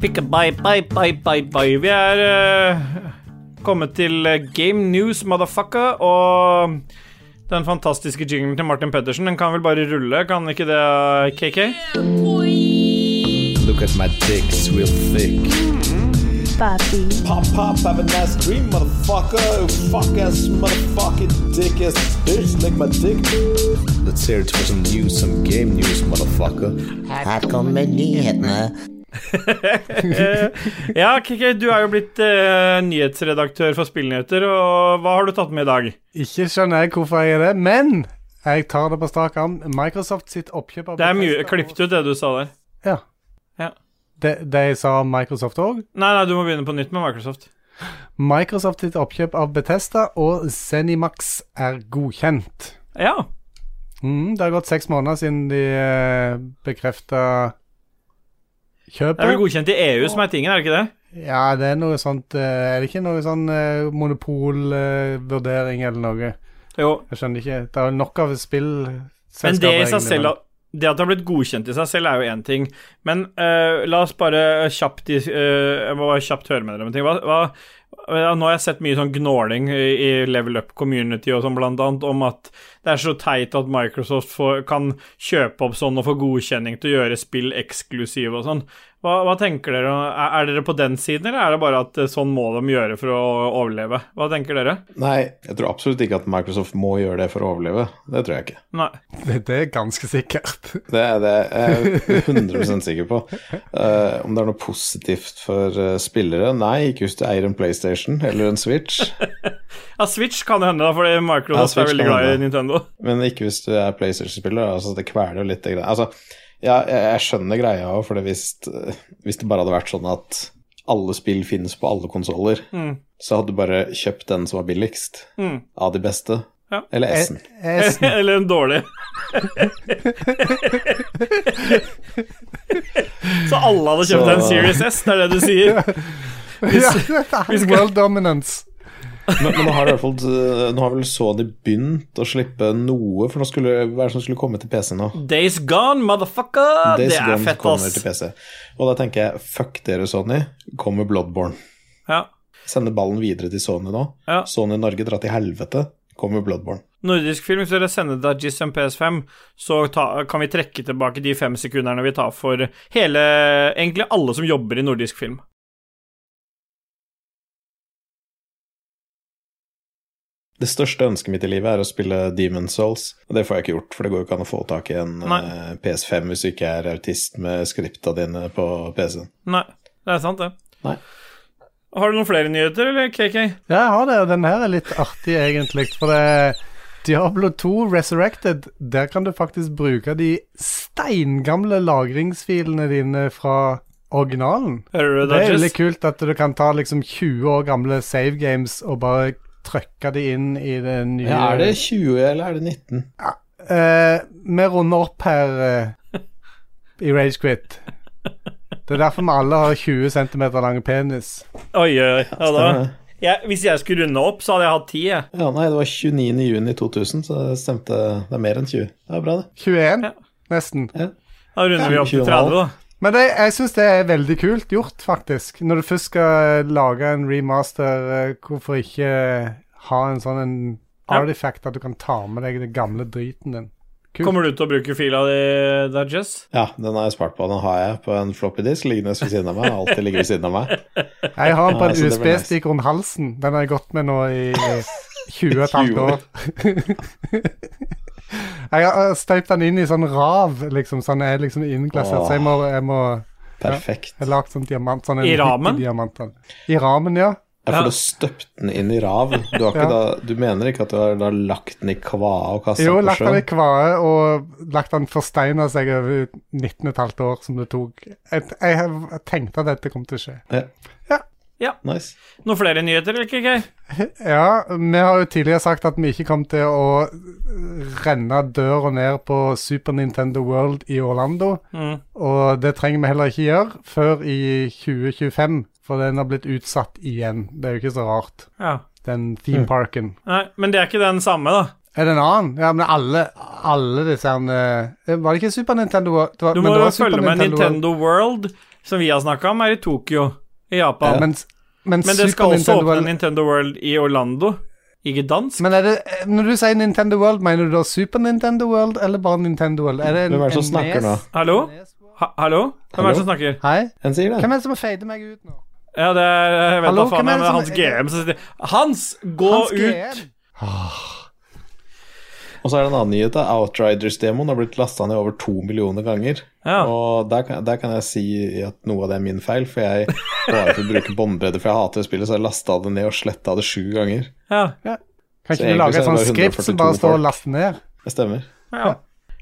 B: Pick a bye, bye, bye, bye, bye. Vi er eh, kommet til eh, Game News, motherfucker, og den fantastiske jinglen til Martin Pettersen, den kan vel bare rulle, kan ikke det, eh, KK?
A: Look at my dick's real thick.
E: Papi,
A: Pop, pop, have a nice dream, motherfucker. Fuck ass, motherfucking dick ass bitch, lick my dick. Let's hear it for some news, some game news, motherfucker.
D: Her kommer nyhetene.
B: Ja, KK, du er jo blitt eh, nyhetsredaktør for Spillnyheter, og hva har du tatt med i dag?
C: Ikke skjønner jeg hvorfor jeg er det, men jeg tar det på strak arm. Microsoft sitt oppkjøp av
B: Det er mye
C: Bethesda-
B: klippet ut, det du sa der.
C: Ja.
B: Ja.
C: De, de sa Microsoft òg.
B: Nei, nei, du må begynne på nytt med Microsoft.
C: Microsoft sitt oppkjøp av Bethesda og Zenimax er godkjent.
B: Ja.
C: Mm, det har gått seks måneder siden de eh, bekrefta
B: Det er vel
C: kjøpet.
B: godkjent i EU som er tingen, er det ikke det?
C: Ja, det er noe sånt eh, Er det ikke noe sånn monopolvurdering eh, eller noe?
B: Jo.
C: Jeg skjønner ikke. Det er jo nok av spill
B: Men det i seg selv det at det har blitt godkjent i seg selv, er jo én ting. Men eh, la oss bare kjapt dis- eh, Jeg må bare kjapt høre med dere om en ting. Hva, hva, ja, nå har jeg sett mye sånn gnåling i, i Level Up Community og sånn, blant annet, om at det er så teit at Microsoft får, kan kjøpe opp sånn og få godkjenning til å gjøre spill eksklusive og sånn. Hva- Hva, hva tenker dere? Er, er dere på den siden, eller er det bare at eh, sånn må de gjøre for å overleve? Hva tenker dere?
A: Nei, jeg tror absolutt ikke at Microsoft må gjøre det for å overleve. Det tror jeg ikke.
B: Nei.
C: Det, det er ganske sikkert.
A: Det er det jeg er 100 sikker på. Eh, om det er noe positivt for eh, spillere? Nei, ikke hvis du eier en PlayStation eller en Switch.
B: Ja, Switch kan det hende, da, fordi
A: Ja,
B: Microsoft
A: Switch
B: er veldig
A: kan
B: glad i
A: hende.
B: Nintendo.
A: Men ikke hvis du er PlayStation-spiller. Altså, det kveler jo litt. det greia. Altså, ja, jeg, jeg skjønner greia òg, for hvis, hvis det bare hadde vært sånn at alle spill finnes på alle konsoller,
B: Mm.
A: så hadde du bare kjøpt den som var billigst
B: Mm.
A: av de beste.
B: Ja.
A: Eller S-en.
C: S-
B: eller en dårlig. Så alle hadde kjøpt
A: Så-
B: en Series S, det er det du sier?
C: ja, dette er World dominance.
A: Men, men nå, har det i hvert fall, eh, nå har vel Sony begynt å slippe noe, for nå skulle, hva er det som skulle komme til PC nå?
B: Days Gone, motherfucker!
A: Days
B: det er
A: Gone
B: fett,
A: kommer til
B: ass.
A: PC. Og da tenker jeg fuck dere, Sony. Kom med Bloodborne.
B: Ja.
A: Sende ballen videre til Sony nå.
B: Ja.
A: Sony Norge dra til helvete. Kom med Bloodborne.
B: Nordisk film, hvis dere sender Dajis en PS5, så ta, kan vi trekke tilbake de fem sekunderne vi tar for hele Egentlig alle som jobber i nordisk film.
A: Det største ønsket mitt i livet er å spille Demon Souls, og det får jeg ikke gjort, for det går jo ikke an å få tak i en
B: Nei.
A: eh, PS5 hvis du ikke er autist med skripta dine på PC-en.
B: Nei, det er sant, det.
A: Nei.
B: Har du noen flere nyheter, eller, KK?
C: Ja, jeg har det, og den her er litt artig, egentlig. For det Diablo 2 Resurrected, der kan du faktisk bruke de steingamle lagringsfilene dine fra originalen.
B: Hører du,
C: Det er
B: Dajis?
C: veldig kult at du kan ta liksom 20 år gamle save games og bare trykke de inn i det nye
A: Ja, er det 20 eller er det 19?
C: Eh, Vi runder opp her eh, i Rage Quit. Det er derfor vi alle har 20 cm lang penis.
B: Oi, oi, oi. Ja, da.
A: Stemmer det?
B: Jeg, hvis jeg skulle runde opp, så hadde jeg hatt ti, jeg.
A: Ja, nei, det var 29. juni 2000, så det stemte Det er mer enn 20. Det er bra, det.
C: 21,
B: Ja.
C: nesten.
B: Da runder vi opp til
A: 20,5.
B: 30, da.
C: Men det, jeg syns det er veldig kult gjort, faktisk. Når du først skal lage en remaster, eh, hvorfor ikke ha en sånn en
B: Ja.
C: artifact at du kan ta med deg den gamle driten din? Kult.
B: Kommer du til å bruke fila di, Dajis?
A: Ja, den har jeg spart på. Den har jeg på en floppy disk liggende ved siden av meg. Den har Alltid ligger ved siden av meg.
C: Jeg har den på
A: Ja, så
C: en
A: det blir nice.
C: USB-stikk rundt halsen. Den har jeg gått med nå i eh, 20 og et
A: 20
C: halvt
A: år.
C: år. jeg har eh, støypt den inn i sånn rav, liksom. Så den er liksom innglassert. Så jeg må, jeg må
A: Perfekt.
C: jeg har lagd sånn diamant. Sånn en
B: I ramen?
C: diamant, den. I ramen, ja.
A: Jeg
B: Ja.
A: får da støpt den inn i rav. Du, har ikke da, du mener ikke at du har da lagt den i kvae og kasta
C: Jo,
A: på
C: lagt den i
A: sjøen?
C: kvae og lagt den forsteina seg over 19 15 år som det tok. Jeg, jeg, jeg tenkte at dette kom til å skje.
A: Ja.
C: Ja.
B: Ja.
A: Nice.
B: Noen flere nyheter, eller, KK?
C: Ja, vi har jo tidligere sagt at vi ikke kom til å renne døra ned på Super Nintendo World i Orlando,
B: Mm.
C: og det trenger vi heller ikke gjøre før i 2025, for den har blitt utsatt igjen. Det er jo ikke så rart,
B: Ja.
C: den
B: Mm.
C: theme parken.
B: Nei, men det er ikke den samme, da.
C: Er det en annen? Ja, men alle, alle disse her eh, Var det ikke Super Nintendo World? Det var-
B: Du
C: men
B: må
C: det
B: jo
C: var Super
B: følge med
C: World.
B: Nintendo World, som vi har snakka om, er i Tokyo i Japan.
C: Men, men,
B: Men det
C: Super
B: skal også
C: Nintendo
B: åpne
C: World
B: Nintendo World i Orlando, i Gdansk.
C: Men er det, eh, når du sier Nintendo World, mener du da Super Nintendo World eller bare Nintendo World? Er det en,
A: Hvem er det som
C: en
A: snakker nå?
C: nes?
B: Hallo? Ha Hallo? Hvem er det som snakker?
C: Hei?
A: En sier det.
C: Hvem er det som fader meg ut nå?
B: Ja, det er Jeg vet da
C: Hallo,
B: faen,
C: hvem er
B: men
C: det
B: det er
C: som-
B: Hans GM som sitter Hans, gå
C: Hans
B: ut!
C: GM.
A: Og så er det en annen nyhet. da. Outriders-demoen har blitt lasta ned over to millioner ganger.
B: Ja.
A: Og der kan, der kan jeg si at noe av det er min feil, for jeg bare for å bruke båndbredde, for jeg hater det spillet, så jeg lasta det ned og sletta det sju ganger.
B: Ja.
C: Kan
A: Så
C: ikke du
A: egentlig
C: lage
A: så
C: et
A: er det
C: sånt
A: bare
C: skript som
A: 142
C: bare står og
A: folk.
C: laster ned?
A: Det stemmer.
B: ja.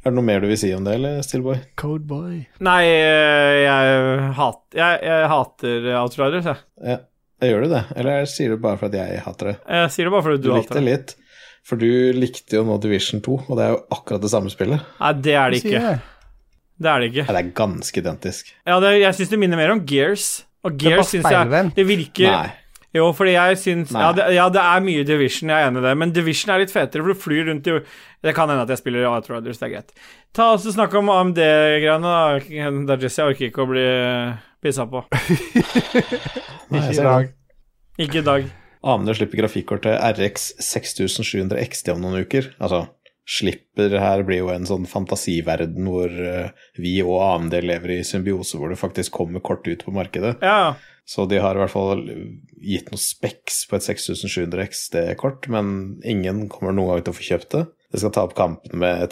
A: Er det noe mer du vil si om det, eller, Stillboy?
C: Codeboy.
B: Nei, eh, jeg, hat, jeg, jeg hater Outriders, jeg.
A: Ja. Gjør du det, eller sier du bare for at jeg hater det?
B: Jeg sier det bare fordi
A: Du
B: du,
A: likte
B: hater det.
A: litt, for du likte jo nå Division 2, og det er jo akkurat det samme spillet.
B: Nei, det er det ikke. Det er
A: Nei,
B: det ikke.
A: det er ganske identisk.
B: Ja, det, jeg syns det minner mer om Gears. Og
C: er
B: Gears
C: bare
B: syns jeg
C: speilvendt.
B: Det virker
A: Nei.
B: Jo, fordi jeg syns
A: Nei.
B: ja det, ja, det er mye Division, jeg er enig i det, men Division er litt fetere, for du flyr rundt i Det kan hende at jeg spiller Outriders, det er greit. Ta oss og Snakk om AMD-greiene, da. Det er Jesse, jeg orker ikke å bli pissa på.
A: Nei,
C: Ikke
A: så-
C: i dag.
B: Ikke i dag.
A: AMD slipper grafikkortet RX 6700 XT om noen uker. Altså, slipper her, blir jo en sånn fantasiverden hvor eh, vi og AMD lever i symbiose, hvor det faktisk kommer kort ut på markedet.
B: Ja,
A: Så de har i hvert fall gitt noe speks på et 6700 XD-kort, men ingen kommer noen gang til å få kjøpt det. Det skal ta opp kampen med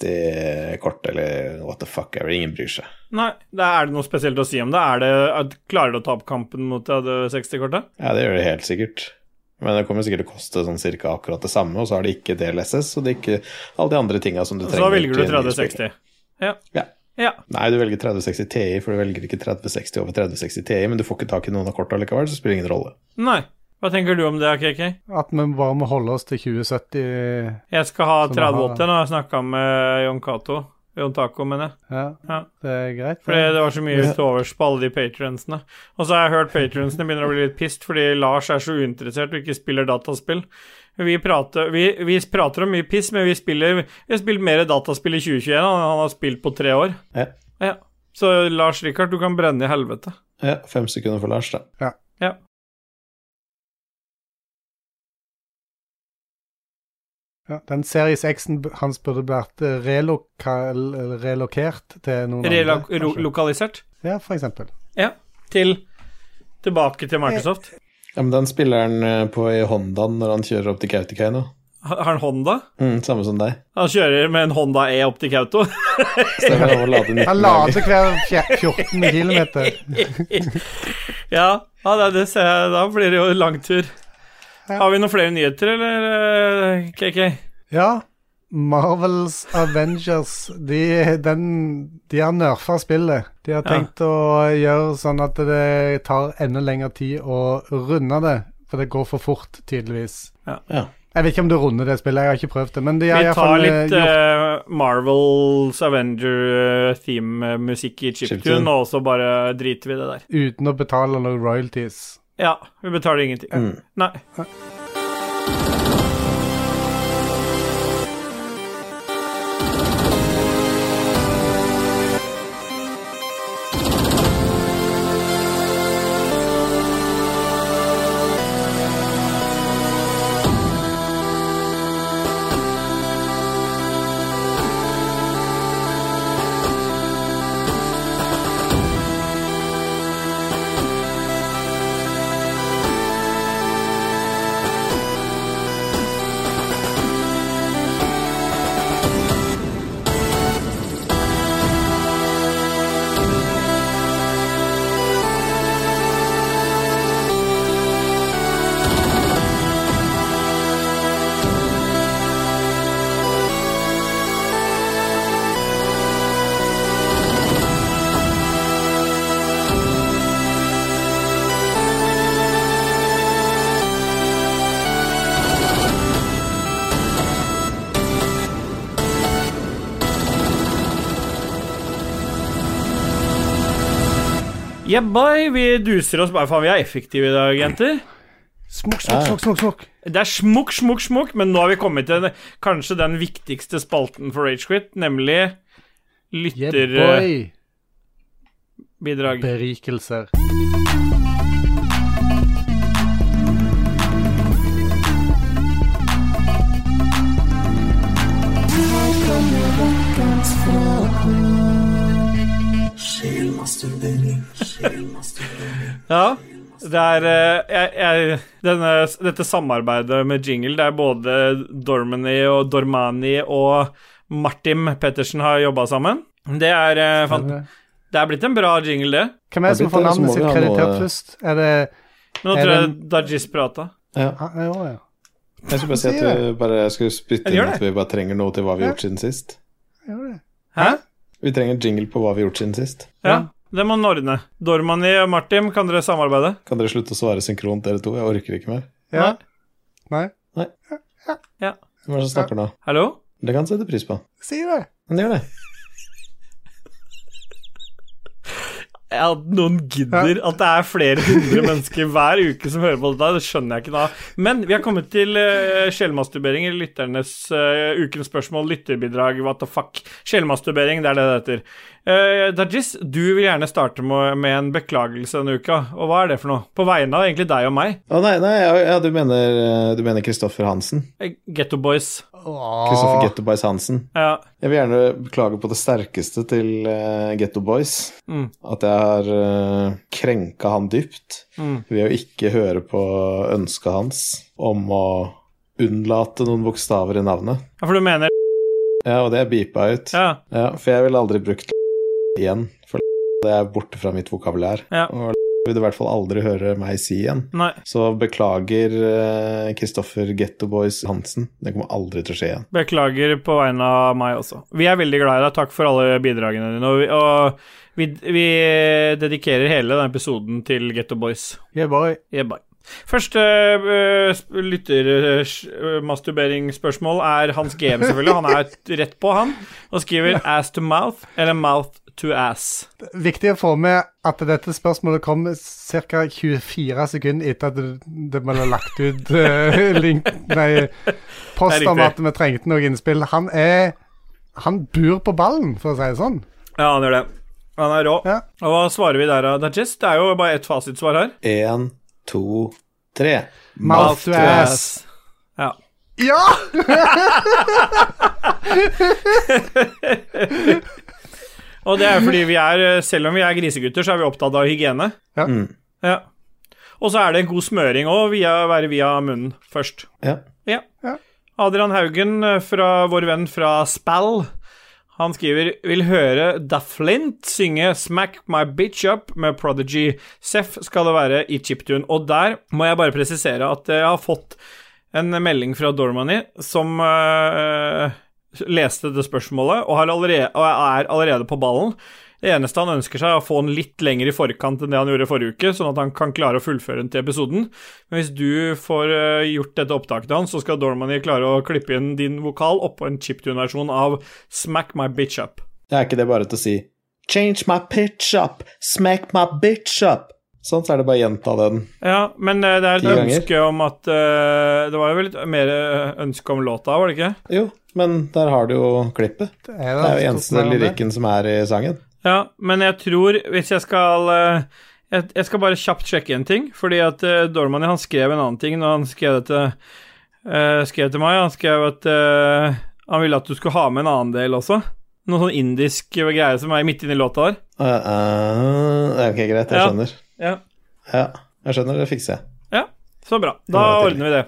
A: 3060-kort eller what the fuck ever. Ingen bryr seg.
B: Nei, da er det noe spesielt å si om det? Er det at Klarer du å ta opp kampen mot det hadde 60-kortet?
A: Ja, det gjør det helt sikkert. Men det kommer sikkert til å koste sånn cirka akkurat det samme, og så har de ikke DLSS, og det er ikke alle de andre tinga som du trenger.
B: Så da velger du
A: til en ny spill.
B: 30-60. Ja.
A: Ja.
B: ja.
A: Nei, du velger 3060 Ti, for du velger ikke 3060 over 3060 Ti, men du får ikke tak i noen av korta likevel, så spiller det ingen rolle.
B: Nei. Hva tenker du om det, KK?
C: At vi bare må holde oss til eh, 2070.
B: Jeg skal ha
C: Som jeg har-
B: 3080 når jeg snakka med Jon Cato. Jon Taco, mener jeg.
C: Ja,
B: Ja.
C: det er greit.
B: Fordi det var så mye til overs på alle de patronsene. Og så har jeg hørt patronsene begynner å bli litt pissed fordi Lars er så uinteressert og ikke spiller dataspill. Vi prater, vi, vi prater om mye piss, men vi spiller Vi har spilt mer dataspill i 2021 enn han har spilt på tre år.
A: Ja.
B: Ja. Så Lars Rikard, du kan brenne i helvete.
A: Ja, fem sekunder for Lars, da.
C: Ja, den Series X-en b- hans burde vært eh, relokal, eller relokert til noen
B: Relok
C: andre. kanskje.
B: lokalisert
C: Ja, for eksempel.
B: til Tilbake til Microsoft.
A: Ja, men den spilleren eh, på i Hondaen når han kjører opp til Kautokeino.
B: Har har han Honda?
A: Mm, samme som deg.
B: Han kjører med en Honda E opp til Kauto.
A: Stemmer, han må lade 19
C: Han
A: ganger.
C: lader hver fje- 14 km.
B: Ja, ja det, det ser jeg. Da blir det jo lang tur.
C: Ja.
B: Har vi noen flere nyheter, eller eh, KK?
C: Ja, Marvels Avengers, de, den, de har nerfa spillet. De har
B: Ja.
C: tenkt å gjøre sånn at det tar enda lengre tid å runde det. For det går for fort, tydeligvis.
A: Ja.
C: Jeg vet ikke om du runder det spillet, jeg har ikke prøvd det. Men de har
B: Vi tar
C: iallfall
B: litt
C: gjort
B: eh, Marvels Avenger-theme-musikk i chiptune,
A: Chiptune.
B: og så bare driter vi i det der.
C: uten å betale noen royalties.
B: Ja, vi betaler ingenting.
C: Mm.
B: Nei. Yeah, boy, vi duser oss bare faen. Vi er effektive i dag, jenter.
C: Smokk, smokk, smokk, smokk, smokk.
B: Det er smukk, smukk, smukk, men nå har vi kommet til den- kanskje den viktigste spalten for Ragequit, nemlig
C: Yeah, boy.
B: lytterbidrag.
C: Berikelser.
B: Ja, det er eh, jeg, jeg, denne, Dette samarbeidet med Jingle, der både Dormany og Dormani og Martin Pettersen har jobba sammen, det er, eh, fant,
C: Hvem
B: det er blitt en bra jingle, det.
A: Ja,
C: er det som
A: blitt det, så må
C: får navnet sitt
A: vi ha
C: kreditert
A: noe-
C: først? Er det
B: Men nå
C: Er
B: tror jeg
C: det-
B: Dajis prata.
A: ja.
C: ah, ja, ja.
A: Jeg skulle bare si at vi bare, jeg skulle spytte
B: Jeg gjør
A: inn at vi bare trenger noe til hva vi har gjort siden sist.
C: ja, det.
B: Hæ?
A: Vi trenger jingle på hva vi har gjort siden sist.
B: Ja, det må han ordne. Dormani og Martin, kan dere samarbeide?
A: Kan dere slutte å svare synkront, dere to? Jeg orker ikke mer.
C: Ja. Nei.
A: Hvem er det som snakker nå?
B: Hallo?
A: Det kan jeg sette pris på.
C: Si det.
A: Men det gjør det.
B: Ja, At noen gidder at det er flere hundre mennesker hver uke som hører på dette, det skjønner jeg ikke da. Men vi har kommet til uh, sjelmasturbering, eller lytternes eh, ukens spørsmål, lytterbidrag, what the fuck. Sjelmasturbering, det er det det heter. Uh, Dajis, du vil gjerne starte med, med en beklagelse denne uka, og hva er det for noe? På vegne av egentlig deg og meg,
A: Å nei, nei, ja, ja, du mener eh, Du mener Kristoffer Hansen.
B: eh, Getto Boys.
C: Å,
A: Kristoffer Getto Boys Hansen.
B: Ja.
A: Jeg vil gjerne beklage på det sterkeste til uh, Getto Boys.
B: Mm.
A: At jeg har eh, krenka han dypt
B: Mm.
A: ved å ikke høre på ønsket hans om å unnlate noen bokstaver i navnet.
B: ja, for du mener
A: Ja, og det er beepa ut.
B: Ja.
A: Ja, for jeg ville aldri brukt igjen, for det er borte fra mitt vokabulær.
B: Ja.
A: Og vil du i hvert fall aldri høre meg si igjen.
B: Nei.
A: Så beklager eh, Kristoffer Getto Boys Hansen. Det kommer aldri til å skje igjen.
B: Beklager på vegne av meg også. Vi er veldig glad i deg. Takk for alle bidragene dine. Og vi, og vi, vi dedikerer hele denne episoden til Getto Boys.
C: Yeah, boy.
B: Yeah, bye. Første uh, lyttermasturberingsspørsmål er Hans GM, selvfølgelig. Han er rett på, han. Og skriver 'ass to mouth' eller 'mouth to ass'.
C: Viktig å få med at dette spørsmålet kom ca. 24 sekunder etter at det- det ble lagt ut eh, link, nei, post
B: Det er
C: om
B: riktig.
C: at vi trengte noe innspill. Han er Han bor på ballen, for å si det sånn.
B: Ja, han gjør det. Han er rå.
C: Ja.
B: Og hva svarer vi der, da, Dajis? Det er jo bare ett fasitsvar her.
A: Én, to, tre.
C: Mouth to ass.
B: Ja.
C: Ja!
B: Og det er fordi vi er, eh, selv om vi er grisegutter, så er vi opptatt av hygiene.
C: Ja.
A: Mm.
B: Ja. Og så er det en god smøring òg, via, være via munnen først.
A: Ja.
B: Ja.
C: Ja.
B: Adrian Haugen, eh, fra vår venn fra Spall, han skriver Vil høre Da Flint synge Smack My Bitch Up med Prodigy. Seff skal det være i chiptune. Og der må jeg bare presisere at jeg har fått en melding fra Dormany som eh, leste det spørsmålet og, har allerede, og er allerede på ballen. Det eneste han ønsker seg, er å få den litt lenger i forkant enn det han gjorde forrige uke, sånn at han kan klare å fullføre den til episoden. Men hvis du får eh, gjort dette opptaket hans, så skal Dormany klare å klippe inn din vokal oppå en chiptune-versjon av Smack My Bitch Up.
A: Det er ikke det bare til å si Change my pitch up, smack my bitch up. Sånn, så er det bare å gjenta den.
B: Ja, men eh, det er
A: Ti
B: et
A: ganger.
B: ønske om at eh, Det var jo vel litt mer eh, ønske om låta, var det ikke?
A: Jo, men der har du jo klippet.
C: Det
A: Det er jo
C: stort
A: eneste
C: mer om det.
A: lyrikken som er i sangen.
B: Ja, men jeg tror Hvis jeg skal eh, jeg, jeg skal bare kjapt sjekke en ting, fordi at eh, Dormany han skrev en annen ting når han skrev dette eh, skrev til meg. Han skrev at eh, han ville at du skulle ha med en annen del også. Noe sånn indisk greie som er midt inni låta der.
A: Uh, uh, det er ok, greit, jeg
B: Ja.
A: skjønner.
B: Ja.
A: Ja, jeg skjønner, det fikser jeg.
B: Så bra. Da
A: Ja, det er
B: ordner vi det.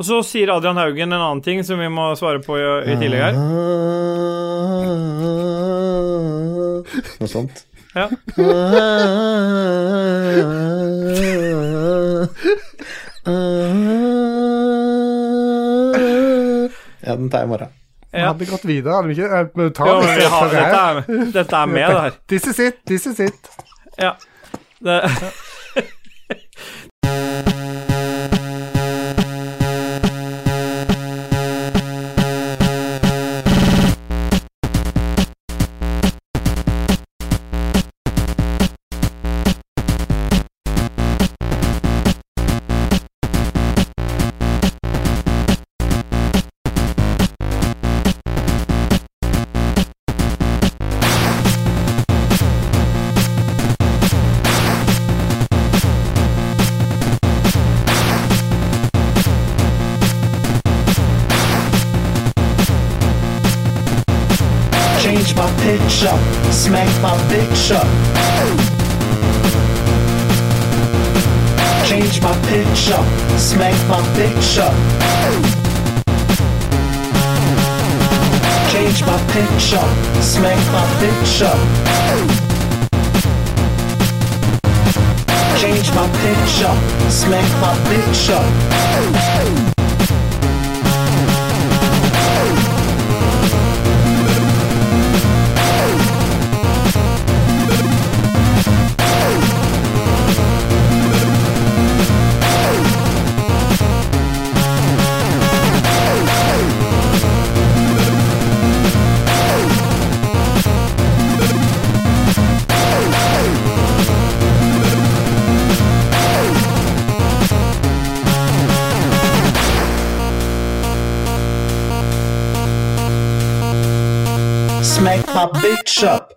B: Og så sier Adrian Haugen en annen ting som vi må svare på i, i tillegg her.
A: Noe sånt.
B: Ja.
A: Ja, den tar jeg i morgen.
C: Vi
B: Ja.
C: hadde gått videre, hadde vi ikke? Eh, men ta
B: Ja,
C: det
B: men vi har,
C: for det
B: dette,
C: her.
B: er med, dette er med, det her.
C: This is it, this is it.
B: Ja. Det,
D: Change my pitch up, smack my bitch up. Change my pitch up, smack my bitch up. Change my pitch up, smack my bitch up. Change my pitch up, smack my bitch up. Smack my bitch up.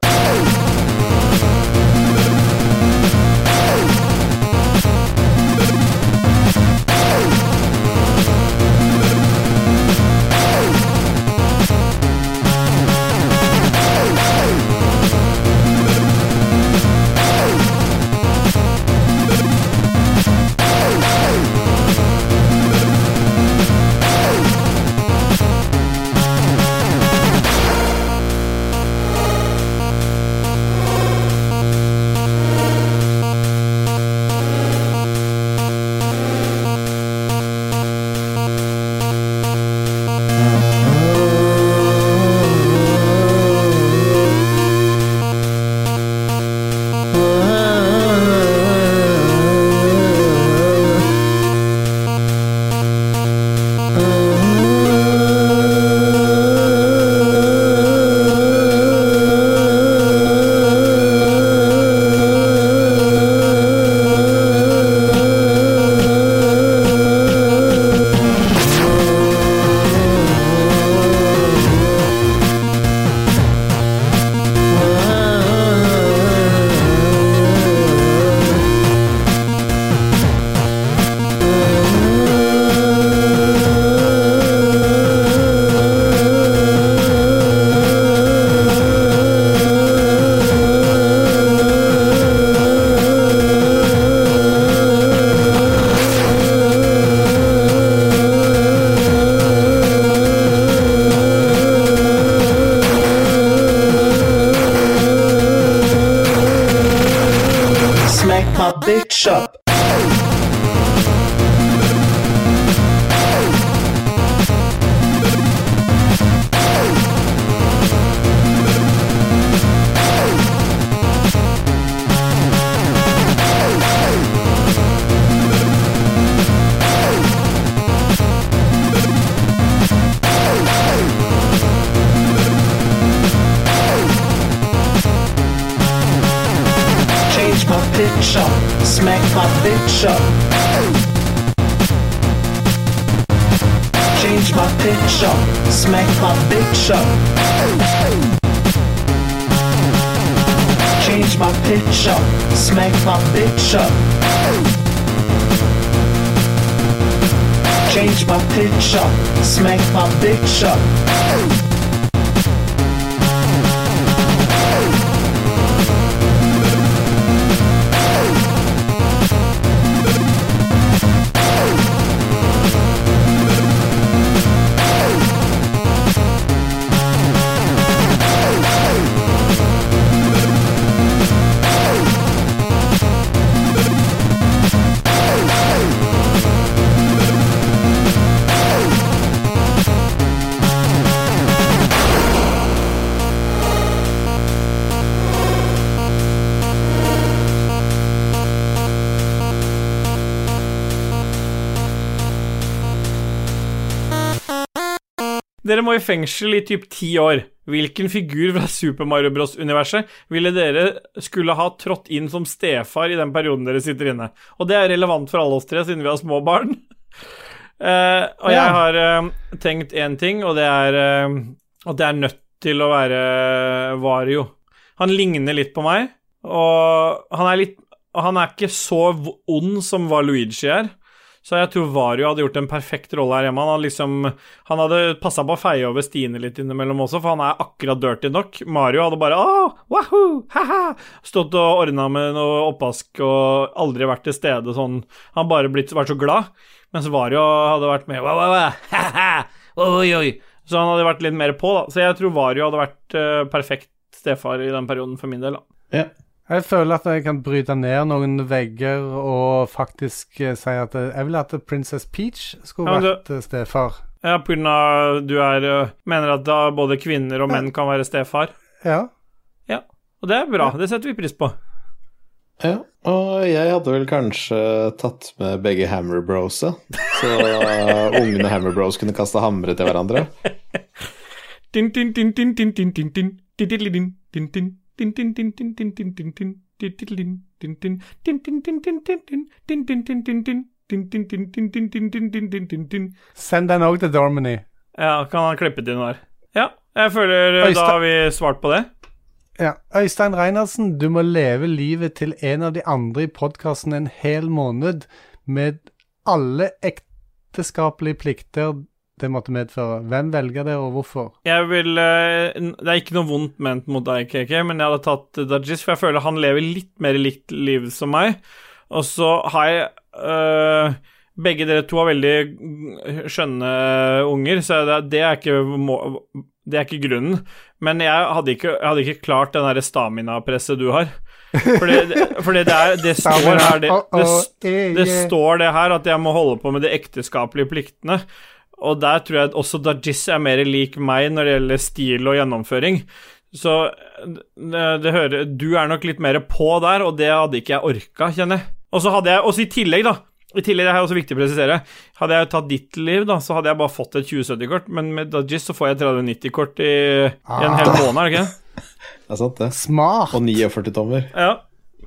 D: bitch up. Change my pitch up. Smack my bitch up. Change my pitch up. Smack my bitch up. Change my pitch up. Smack my bitch up. Change my pitch up. Smack my bitch up.
B: Dere må i fengsel i typ ti år. Hvilken figur fra Super Mario Bros.-universet ville dere skulle ha trådt inn som stefar i den perioden dere sitter inne? Og det er relevant for alle oss tre, siden vi har små barn. Eh, og jeg har eh, tenkt én ting, og det er eh, at jeg er nødt til å være Vario. Han ligner litt på meg, og han er, litt, og han er ikke så v- ond som hva Luigi er. Så jeg tror Vario hadde gjort en perfekt rolle her hjemme. Han hadde, liksom, han hadde passa på å feie over Stine litt innimellom også, for han er akkurat dirty nok. Mario hadde bare åh, wahoo, haha, stått og ordna med noe oppvask og aldri vært til stede sånn. Han hadde bare blitt, vært så glad. Mens Vario hadde vært mer wah, wah, wah, haha, oi, oi. Så han hadde vært litt mer på, da. Så jeg tror Vario hadde vært eh, perfekt stefar i den perioden for min del, da.
A: Ja.
C: Jeg føler at jeg kan bryte ned noen vegger og faktisk eh, si at eh, jeg ville at Princess Peach skulle
B: Ja, men
C: vært eh, stefar.
B: Ja, på grunn av du er eh, Mener at da både kvinner og menn kan være stefar?
C: Ja.
B: Ja, og det er bra. Det setter vi pris på.
A: ja. Og jeg hadde vel kanskje tatt med begge Hammer Bros, ja. så eh, ungene Hammer Bros kunne kaste hamre til hverandre.
B: Din, din, din, din, din, din, din, din. Diddididin, din, din. Din, din, din, din, din, din, din, din. Diddididin, din, din. Din, din, din, din, din, din. Din, din, din, din, din. Din, din, din, din, din, din, din, din, din, din, din.
C: Send den òg til Dormany.
B: Ja, kan han klippe til den der. Ja, jeg føler eh,
C: Øystein-
B: da har vi svart på det.
C: Ja. Øystein Reinersen, du må leve livet til en av de andre i podkasten en hel måned med alle ekteskapelige plikter det måtte medføre. Hvem velger det, og hvorfor?
B: Jeg vil eh, n- Det er ikke noe vondt ment mot deg, KK, men jeg hadde tatt eh, Dajis, for jeg føler han lever litt mer likt liv som meg. Og så har jeg eh, Begge dere to har veldig mm, skjønne unger, så det, det er ikke må- det er ikke grunnen, men jeg hadde ikke, jeg hadde ikke klart den derre stamina-presset du har. Fordi, fordi det, er, det står her det, det, s- det står det her at jeg må holde på med de ekteskapelige pliktene. Og der tror jeg at også Dajis er mer lik meg når det gjelder stil og gjennomføring. Så det, det hører Du er nok litt mer på der, og det hadde ikke jeg orka, kjenner jeg. Og så hadde jeg også i tillegg, da I tillegg, det er også viktig å presisere, hadde jeg tatt ditt liv, da, så hadde jeg bare fått et 2070-kort, men med Dajis så får jeg 3090-kort i, i en hel måned, er det ikke? det?
A: Det er sant, det.
C: Smart!
A: Og 49 tommer.
B: Ja.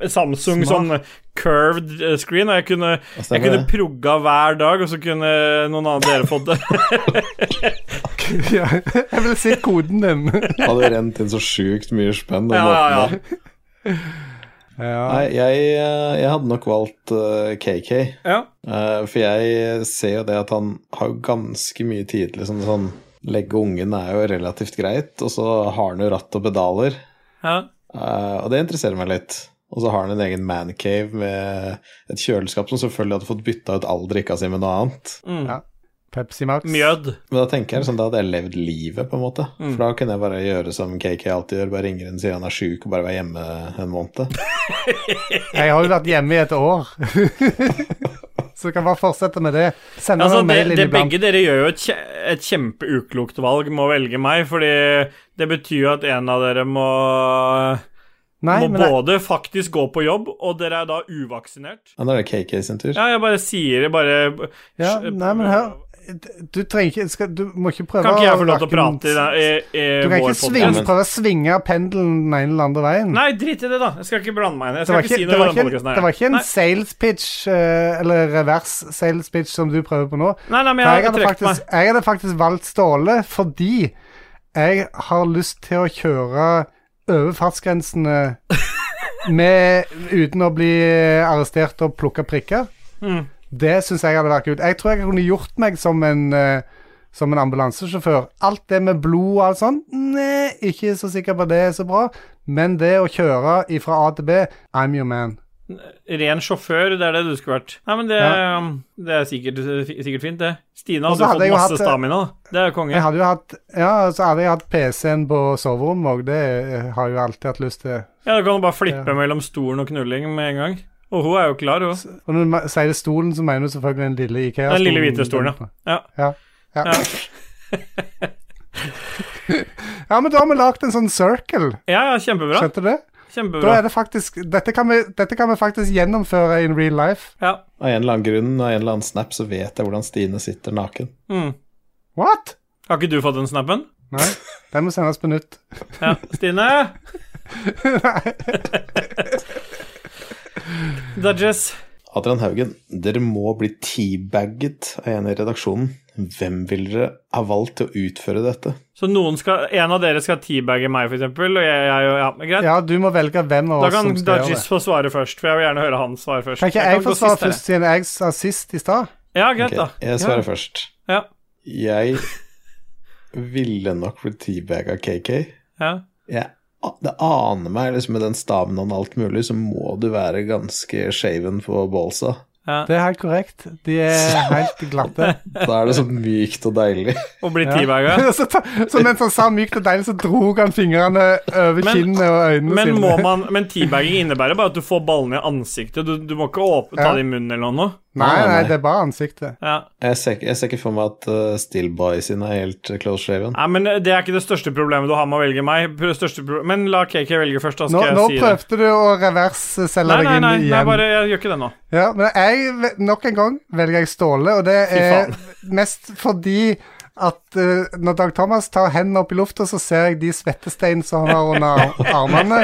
B: Samsung
C: Smart.
B: sånn curved eh, screen, og jeg kunne, jeg
A: stemmer
B: kunne
A: det.
B: progga hver dag, og så kunne noen av dere fått det.
C: Ja, jeg vil se koden din.
A: Hadde rent inn så sjukt mye spenn den
B: Ja, ja, ja.
A: måten der.
C: ja.
A: Nei, jeg, eh, jeg hadde nok valgt eh, KK.
B: Ja.
A: Eh, for jeg ser jo det at han har jo ganske mye tid til liksom, sånn Legge ungen er jo relativt greit, og så har han jo ratt og pedaler.
B: ja.
A: Eh, og det interesserer meg litt. Og så har han en egen mancave med et kjøleskap som selvfølgelig hadde fått bytta ut all drikka si med noe annet.
B: Mm.
C: Ja. Pepsi Max.
B: Mjød.
A: Men da tenker jeg sånn, da hadde jeg levd livet, på en måte.
B: Mm.
A: For da kunne jeg bare gjøre som KK alltid gjør, bare ringer en sier han er sjuk, og bare være hjemme en måned.
C: Jeg har jo vært hjemme i et år. Så du kan bare fortsette med det. Send
B: Altså,
C: meg noen
B: det,
C: sånn mail
B: det,
C: inniblant.
B: begge dere gjør jo et, kje, et kjempeuklokt valg med å velge meg, fordi det betyr jo at en av dere må,
C: Nei,
B: må
C: men jeg,
B: både faktisk gå på jobb, og dere er da uvaksinert.
A: Ja, nå er det KK sin tur.
B: Ja, jeg bare sier det, bare
C: ja, nei, men hør Du trenger ikke skal, Du må ikke prøve
B: eh, Kan ikke jeg få lov til å
C: hverken-
B: prate i, den- i, i
C: Du kan
B: vår
C: ikke
B: podcast?
C: svinge, prøve å svinge pendelen den ene eller andre veien.
B: Nei, drit i det, da. Jeg skal ikke blande meg inn. Jeg
C: det
B: skal
C: var
B: ikke,
C: ikke,
B: si
C: det
B: noe
C: var
B: i denne
C: ikke,
B: podcasten her.
C: det var ikke en
B: Nei.
C: sales pitch, eh, eller revers sales pitch, som du prøver på nå.
B: Nei, nei, men
C: For
B: jeg,
C: jeg, hadde
B: trekker
C: faktisk, jeg hadde faktisk valgt Ståle fordi jeg har lyst til å kjøre over fartsgrensene med, uten å bli arrestert og plukke prikker.
B: Mm.
C: Det syns jeg hadde vært kult. Jeg tror jeg kunne gjort meg som en, eh, som en ambulansesjåfør. Alt det med blod og alt sånn, nei, ikke så sikker på det er så bra. Men det å kjøre fra A til B, I'm your man.
B: meg. Ren sjåfør, det er det du skulle vært. Nei, men det, um, det er sikkert, sikkert fint, det. Stina
C: Og så
B: hadde jo fått
C: hadde jeg jo
B: masse
C: hatt-
B: stamina, da. Det er konge.
C: Jeg hadde jo hatt, ja, så hadde jeg hatt PC-en på soverommet òg, det eh, har jeg jo alltid hatt lyst til.
B: Ja, da kan du bare flippe mellom stolen og knulling med en gang. Og hun er jo klar, hun.
C: Og når man sier det stolen, så mener du selvfølgelig den lille Ikea-stolen.
B: Den lille hvite stolen, ja. ja.
C: Ja, ja.
B: Ja.
C: ja, men da har vi lagd en sånn circle.
B: Ja, ja, kjempebra.
C: Skjønte du det? Da
B: Kjempebra.
C: er det faktisk Dette kan vi, dette kan vi faktisk gjennomføre in real life.
B: Ja.
A: Av en eller annen grunn og en eller annen snap så vet jeg hvordan Stine sitter naken.
B: Mm.
C: What?
B: Har ikke du fått den snappen?
C: Nei, den må sendes på nytt.
B: Ja. Stine? Dodges.
A: Adrian Haugen, dere må bli teabagget av en i redaksjonen. Hvem ville dere ha valgt til å utføre dette?
B: Så noen skal, en av dere skal teabagge meg, for eksempel, og jeg, jeg ja, men greit.
C: Ja, du må velge hvem av
B: Da
C: oss
B: kan
C: som skal gjøre
B: Dodges
C: det.
B: få svare først, for jeg vil gjerne høre han svare først.
C: Kan ikke
B: kan
C: jeg få
B: gå
C: svare
B: sist, dere.
C: først, siden jeg sa sist i stad?
B: Ja, greit,
A: Ok,
B: da.
A: jeg svarer først.
B: Ja,
A: Jeg ville nok blitt teabagga KK.
B: ja.
A: Jeg, det aner meg, liksom med den stammen og alt mulig, så må du være ganske shaven på ballsa.
C: Det er helt korrekt. De er helt glatte.
A: Da er det så mykt og deilig.
B: Og bli teabagga.
C: så, ta, så mens han sa mykt og deilig, så dro han fingrene over
B: Men-
C: kinnene og øynene
B: Men,
C: sine.
B: må man, men teabagging innebærer bare at du får ballene i ansiktet. Du, du må ikke åpne, ta
C: Ja.
B: det i munnen eller noe.
C: Nei,
A: Nei,
C: nei,
A: nei.
C: det er bare ansiktet.
B: Ja.
A: Jeg ser, ikke- jeg ser ikke for meg at uh, Steelboy sin er helt close shaven.
B: Nei, men eh, Det er ikke det største problemet du har med å velge meg. Pro- Største pro men la KK velge først, da
C: Nå,
B: skal
C: nå
B: jeg si det.
C: prøvde du å reversselge
B: Nei,
C: deg
B: nei,
C: inn
B: nei, nei,
C: igjen.
B: bare jeg gjør ikke det nå.
C: Ja, men jeg, ve- nok en gang velger jeg Ståle, og det er
B: faen.
C: mest fordi at eh, når Dag Thomas tar hendene opp i lufta, så ser jeg de svettestein som han har under ar- armene.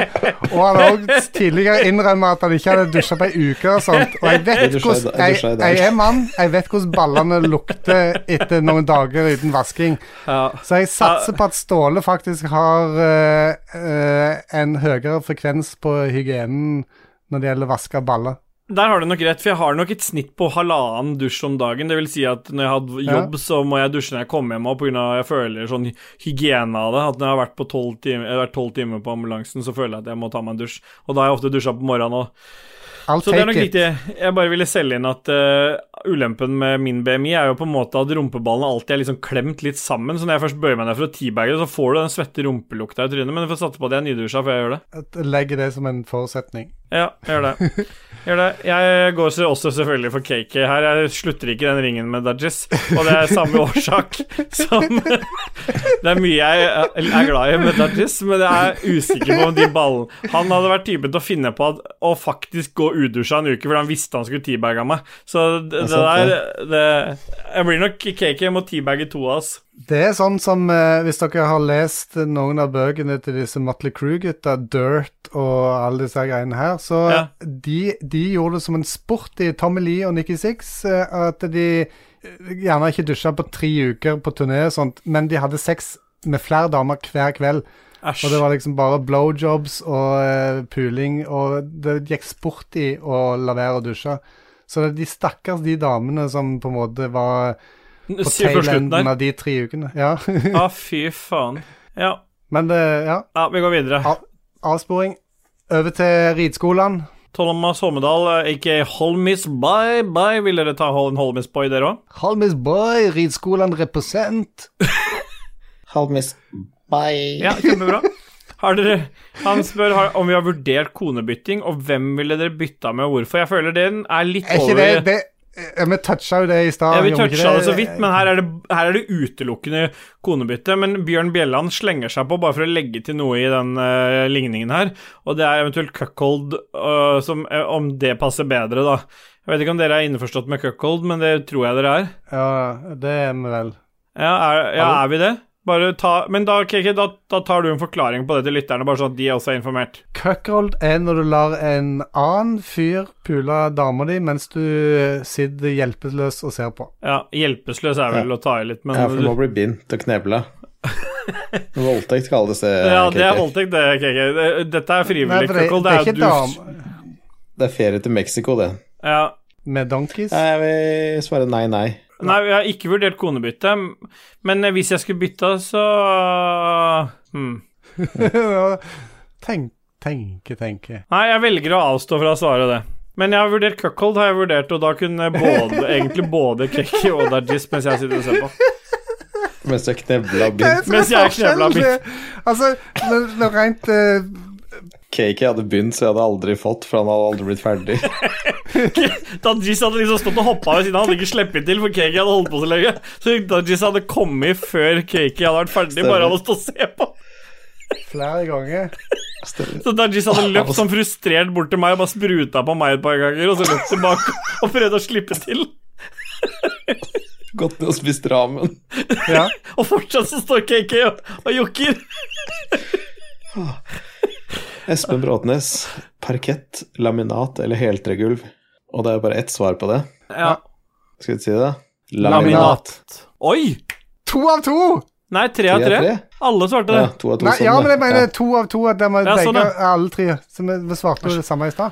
C: Og han har også tidligere innrømmet at han ikke hadde dusja på ei uke og sånt. Og jeg
A: Jeg
C: vet
A: dusja i
C: hvordan
A: dag- jeg
C: jeg,
A: dusja i dag.
C: jeg er mann, jeg vet hvordan ballene lukter etter noen dager uten vasking.
B: Ja.
C: Så jeg satser på at Ståle faktisk har eh, eh, en høyere frekvens på hygienen når det gjelder vaske av baller.
B: Der har du nok rett, for jeg har nok et snitt på halvannen dusj om dagen. Det vil si at når jeg har jobb, så må jeg dusje når jeg kommer hjem, og pga. at jeg føler sånn hygiene av det. At når jeg har vært på 12 timer, jeg har vært 12 timer på ambulansen, så føler jeg at jeg må ta meg en dusj. Og da har jeg ofte dusja på morgenen òg.
C: I'll
B: Så det er nok
C: take it.
B: riktig. Jeg bare ville selge inn at eh, ulempen med min BMI er jo på en måte at rumpeballene alltid er liksom klemt litt sammen. Så når jeg først bøyer meg ned for å teabage, så får du den svette rumpelukta i trynet. Men du får satse på at jeg er nydusja før jeg gjør det.
C: Legge det som en forutsetning.
B: Ja, gjør det. Gjør det. Jeg går så- også selvfølgelig for KK her. Jeg slutter ikke den ringen med Dudges, og det er samme årsak som Det er mye jeg er glad i med Dudges, men jeg er usikker på om de ballene Han hadde vært typen til å finne på at, å faktisk gå udusja en uke fordi han visste han skulle teabagge meg. Så det, det
A: Det er
B: der det, Jeg blir nok KK mot teabagge to av oss.
C: Det er sånn som eh, hvis dere har lest noen av bøkene til disse Motley Crew-gutta, Dirt og alle disse her greiene her, så
B: Ja.
C: de, de gjorde det som en sport i Tommy Lee og Nikki Six eh, at de eh, gjerne ikke dusja på tre uker på turné og sånt, men de hadde sex med flere damer hver kveld. Og det
B: Æsj.
C: var liksom bare blowjobs og eh, puling, og det gikk sport i å la være å dusje. Så det er de stakkars de damene som på en måte var på
B: Sier for slutten der.
C: tailenden av de tre ukene. Ja.
B: Å, fy faen. Ja.
C: Men det, ja,
B: ja, vi går videre.
C: avsporing. Over til rideskolen.
B: Thomas Holmedal, eh, aka Holmis Bye Bye. Vil dere ta Hol- en Holmis Boy, dere òg?
C: Holmis boy, ridskolen represent.
A: Halvmiss. Bye.
B: Ja, kjempebra. Har dere, han spør har, om vi har vurdert konebytting, og hvem ville dere bytta med, og hvorfor? Jeg føler den er litt
C: Er ikke
B: over
C: det, det eh, Vi toucha jo det i stad.
B: Ja, vi
C: gjorde ikke
B: toucha det så vidt, men her er det, her er det utelukkende konebytte. Men Bjørn Bjelland slenger seg på bare for å legge til noe i den eh, ligningen her. Og det er eventuelt cuckold, eh, som, eh, om det passer bedre, da. Jeg vet ikke om dere er innforstått med cuckold, men det tror jeg dere er.
C: Ja, det er vi vel.
B: Ja, er, ja, er vi det? Bare ta, men da, Kiki, da, da tar du en forklaring på det til lytterne, bare sånn at de også er informert.
C: Cuckold er når du lar en annen fyr pule dama di mens du eh, sitter hjelpeløs og ser på.
B: Ja, hjelpeløs er vel å ta i litt, men
A: Ja, for du må bli bindt og knebla. Voldtekt kalles det.
B: ja, det er
A: Kiki.
B: voldtekt, det, Kiki. Det- Dette er
C: Nei,
B: frivillig
C: for det,
B: cuckold.
C: det er
B: Det
C: ikke
B: er jo du
C: dame
A: Det er ferie til Mexico, det.
B: Ja,
C: med donkeys.
A: Nei, jeg vil svare nei, nei.
B: Nei, jeg har ikke vurdert konebytte, men eh, hvis jeg skulle bytta, så hmm.
C: Tenk, tenke, tenke.
B: Nei, jeg velger å avstå fra å svare det. Men jeg har vurdert cuckold, har jeg vurdert, og da kunne både, egentlig både Kekki og Dajis mens jeg sitter og ser på.
A: Mens jeg knebla og bindt.
B: Mens jeg knebla mitt.
C: Altså, når, når rent eh,
A: Cakey hadde begynt, så jeg hadde aldri fått, for han hadde aldri blitt ferdig.
B: Dajis hadde liksom stått og hoppa ved siden av, han hadde ikke sluppet til, for Kekki hadde holdt på så lenge. Så Dajis hadde kommet før Kekki hadde vært ferdig,
A: Stemmer.
B: bare av å stå og se på.
C: flere ganger
A: Stemmer.
B: Så Dajis hadde løpt sånn frustrert bort til meg og bare spruta på meg et par ganger, og så løpt tilbake og prøvde å slippe til.
A: Gått ned og spist ramen.
C: Ja.
B: Og fortsatt så står KK og, og jokker.
A: Espen Bråtnes. Parkett, laminat eller heltregulv? Og det er jo bare ett svar på det.
B: Ja.
A: Skal vi si det?
B: Oi!
C: To av to!
B: Nei, tre av
A: Tre av
B: tre.
A: tre?
B: Alle svarte
A: Ja,
B: det.
A: to av to
C: Nei,
A: sånn,
C: ja, men jeg
A: ja.
C: mener to av to. At
B: Ja,
C: de begge,
B: sånn, ja.
C: alle tre. Så vi vi svarte jo det samme i stad.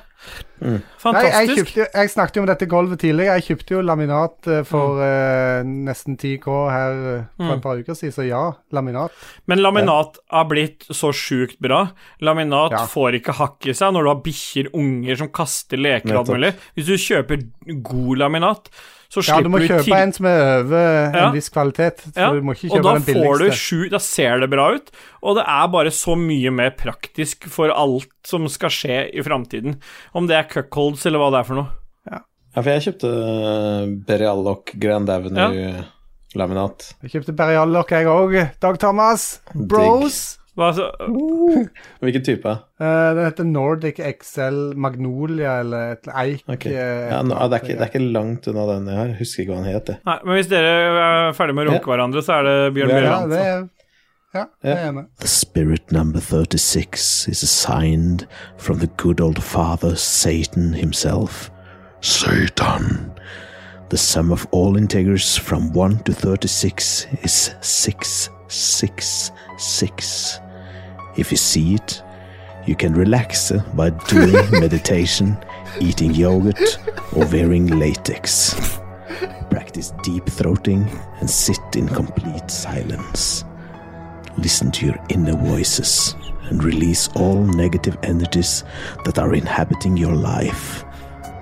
C: Nei, jeg,
B: Fantastisk.
C: kjøpte, jo- jeg snakket jo om dette gulvet tidligere. Jeg kjøpte jo laminat eh,
B: Mm.
C: for eh, nesten 10K her eh, for et par uker siden, så ja, laminat.
B: Men laminat har blitt så sjukt bra. Laminat
C: Ja.
B: får ikke hakk i seg når du har bikkjer, unger som kaster leker og alt
A: Nettopp.
B: mulig. Hvis du kjøper god laminat, så
C: Ja, du
B: slipper
C: må
B: du
C: kjøpe
B: til...
C: en som er over
B: Ja.
C: en viss kvalitet. Så
B: Ja,
C: du må ikke
B: og
C: kjøpe
B: da
C: den
B: får du
C: billigste.
B: sju Da ser det bra ut, og det er bare så mye mer praktisk for alt som skal skje i framtiden. Om det er cuckolds eller hva det er for noe.
A: Ja, for jeg kjøpte Berialloc Grand Avenue-laminat.
C: Jeg kjøpte Beriallock, jeg òg. Dag Thomas. Bros.
B: Hva, så,
A: Hvilken type?
C: Eh, den heter Nordic XL Magnolia eller et eik.
A: Ok.
C: eh,
A: Ja, nå, det, er ikke, det er ikke langt unna den jeg har. Jeg Husker ikke hva den het. jeg.
B: Nei, men hvis dere er ferdig med å runke hverandre, så er det Bjørn
A: Ja,
C: ja,
B: Bjørland.
C: det er, ja, det er jeg med.
F: The spirit number 36 is assigned from the good old father Satan himself. Satan! The sum of all integers from 1 to 36 is 666. If you see it, you can relax uh, by doing meditation, eating yogurt, or wearing latex. Practice deep throating and sit in complete silence. Listen to your inner voices and release all negative energies that are inhabiting your life.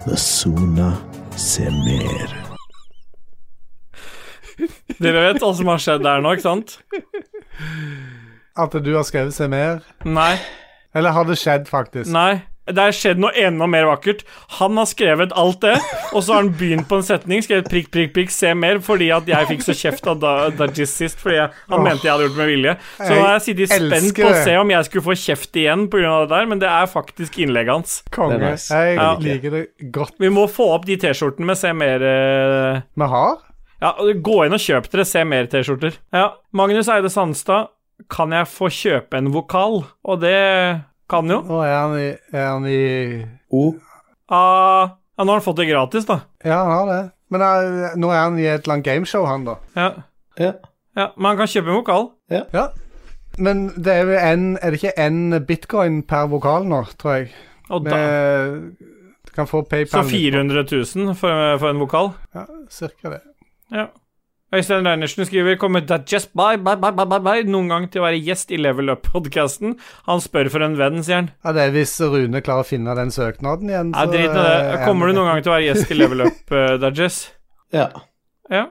F: The sooner, semer.
B: Dere vet alt som har skjedd der nå, ikke sant?
C: At du har skrevet seg mer?
B: Nei.
C: Eller har det skjedd, faktisk?
B: Nei. Det har skjedd noe enda mer vakkert. Han har skrevet alt det, og så har han begynt på en setning, skrevet prikk, prikk, prikk, se mer, fordi at jeg fikk så kjeft av Da- Dajis sist, fordi jeg, han mente jeg hadde gjort det med vilje. Så
C: Jeg
B: har jeg sittet spent
C: elsker
B: på å
C: det.
B: se om jeg skulle få kjeft igjen pga. det der, men det er faktisk innlegget hans.
C: Konge.
A: Det er nice.
C: Jeg
B: Ja.
C: liker det godt.
B: Vi må få opp de T-skjortene med se mer eh,
C: Vi har
B: Ja, gå inn og kjøp dere, se mer T-skjorter. Ja, Magnus Eide Sandstad, kan jeg få kjøpe en vokal? Og det kan jo.
C: Nå er han i, er han i
A: O.
B: Ah, ja, nå har han fått det gratis, da.
C: Ja, han har det. Men eh, nå er han i et eller annet gameshow, han, da.
B: Ja,
A: Ja.
B: ja men han kan kjøpe en vokal.
C: Ja. Men det er jo en Er det ikke én bitcoin per vokal nå, tror jeg?
B: Og da,
C: Vi kan få PayPal
B: så 400 000 for, for en vokal.
C: Ja, cirka det.
B: Ja. Øystein Reinersen skriver kommer da just bye, bye, bye, bye, bye, bye, noen gang til å være gjest i Level Up-podkasten. Han spør for en venn, sier han.
C: Ja, det er Hvis Rune klarer å finne den søknaden igjen, eh,
B: Nei, drit i det. Kommer du noen gang til å være gjest i Level Up, uh, Dodges?
A: Ja.
B: Ja.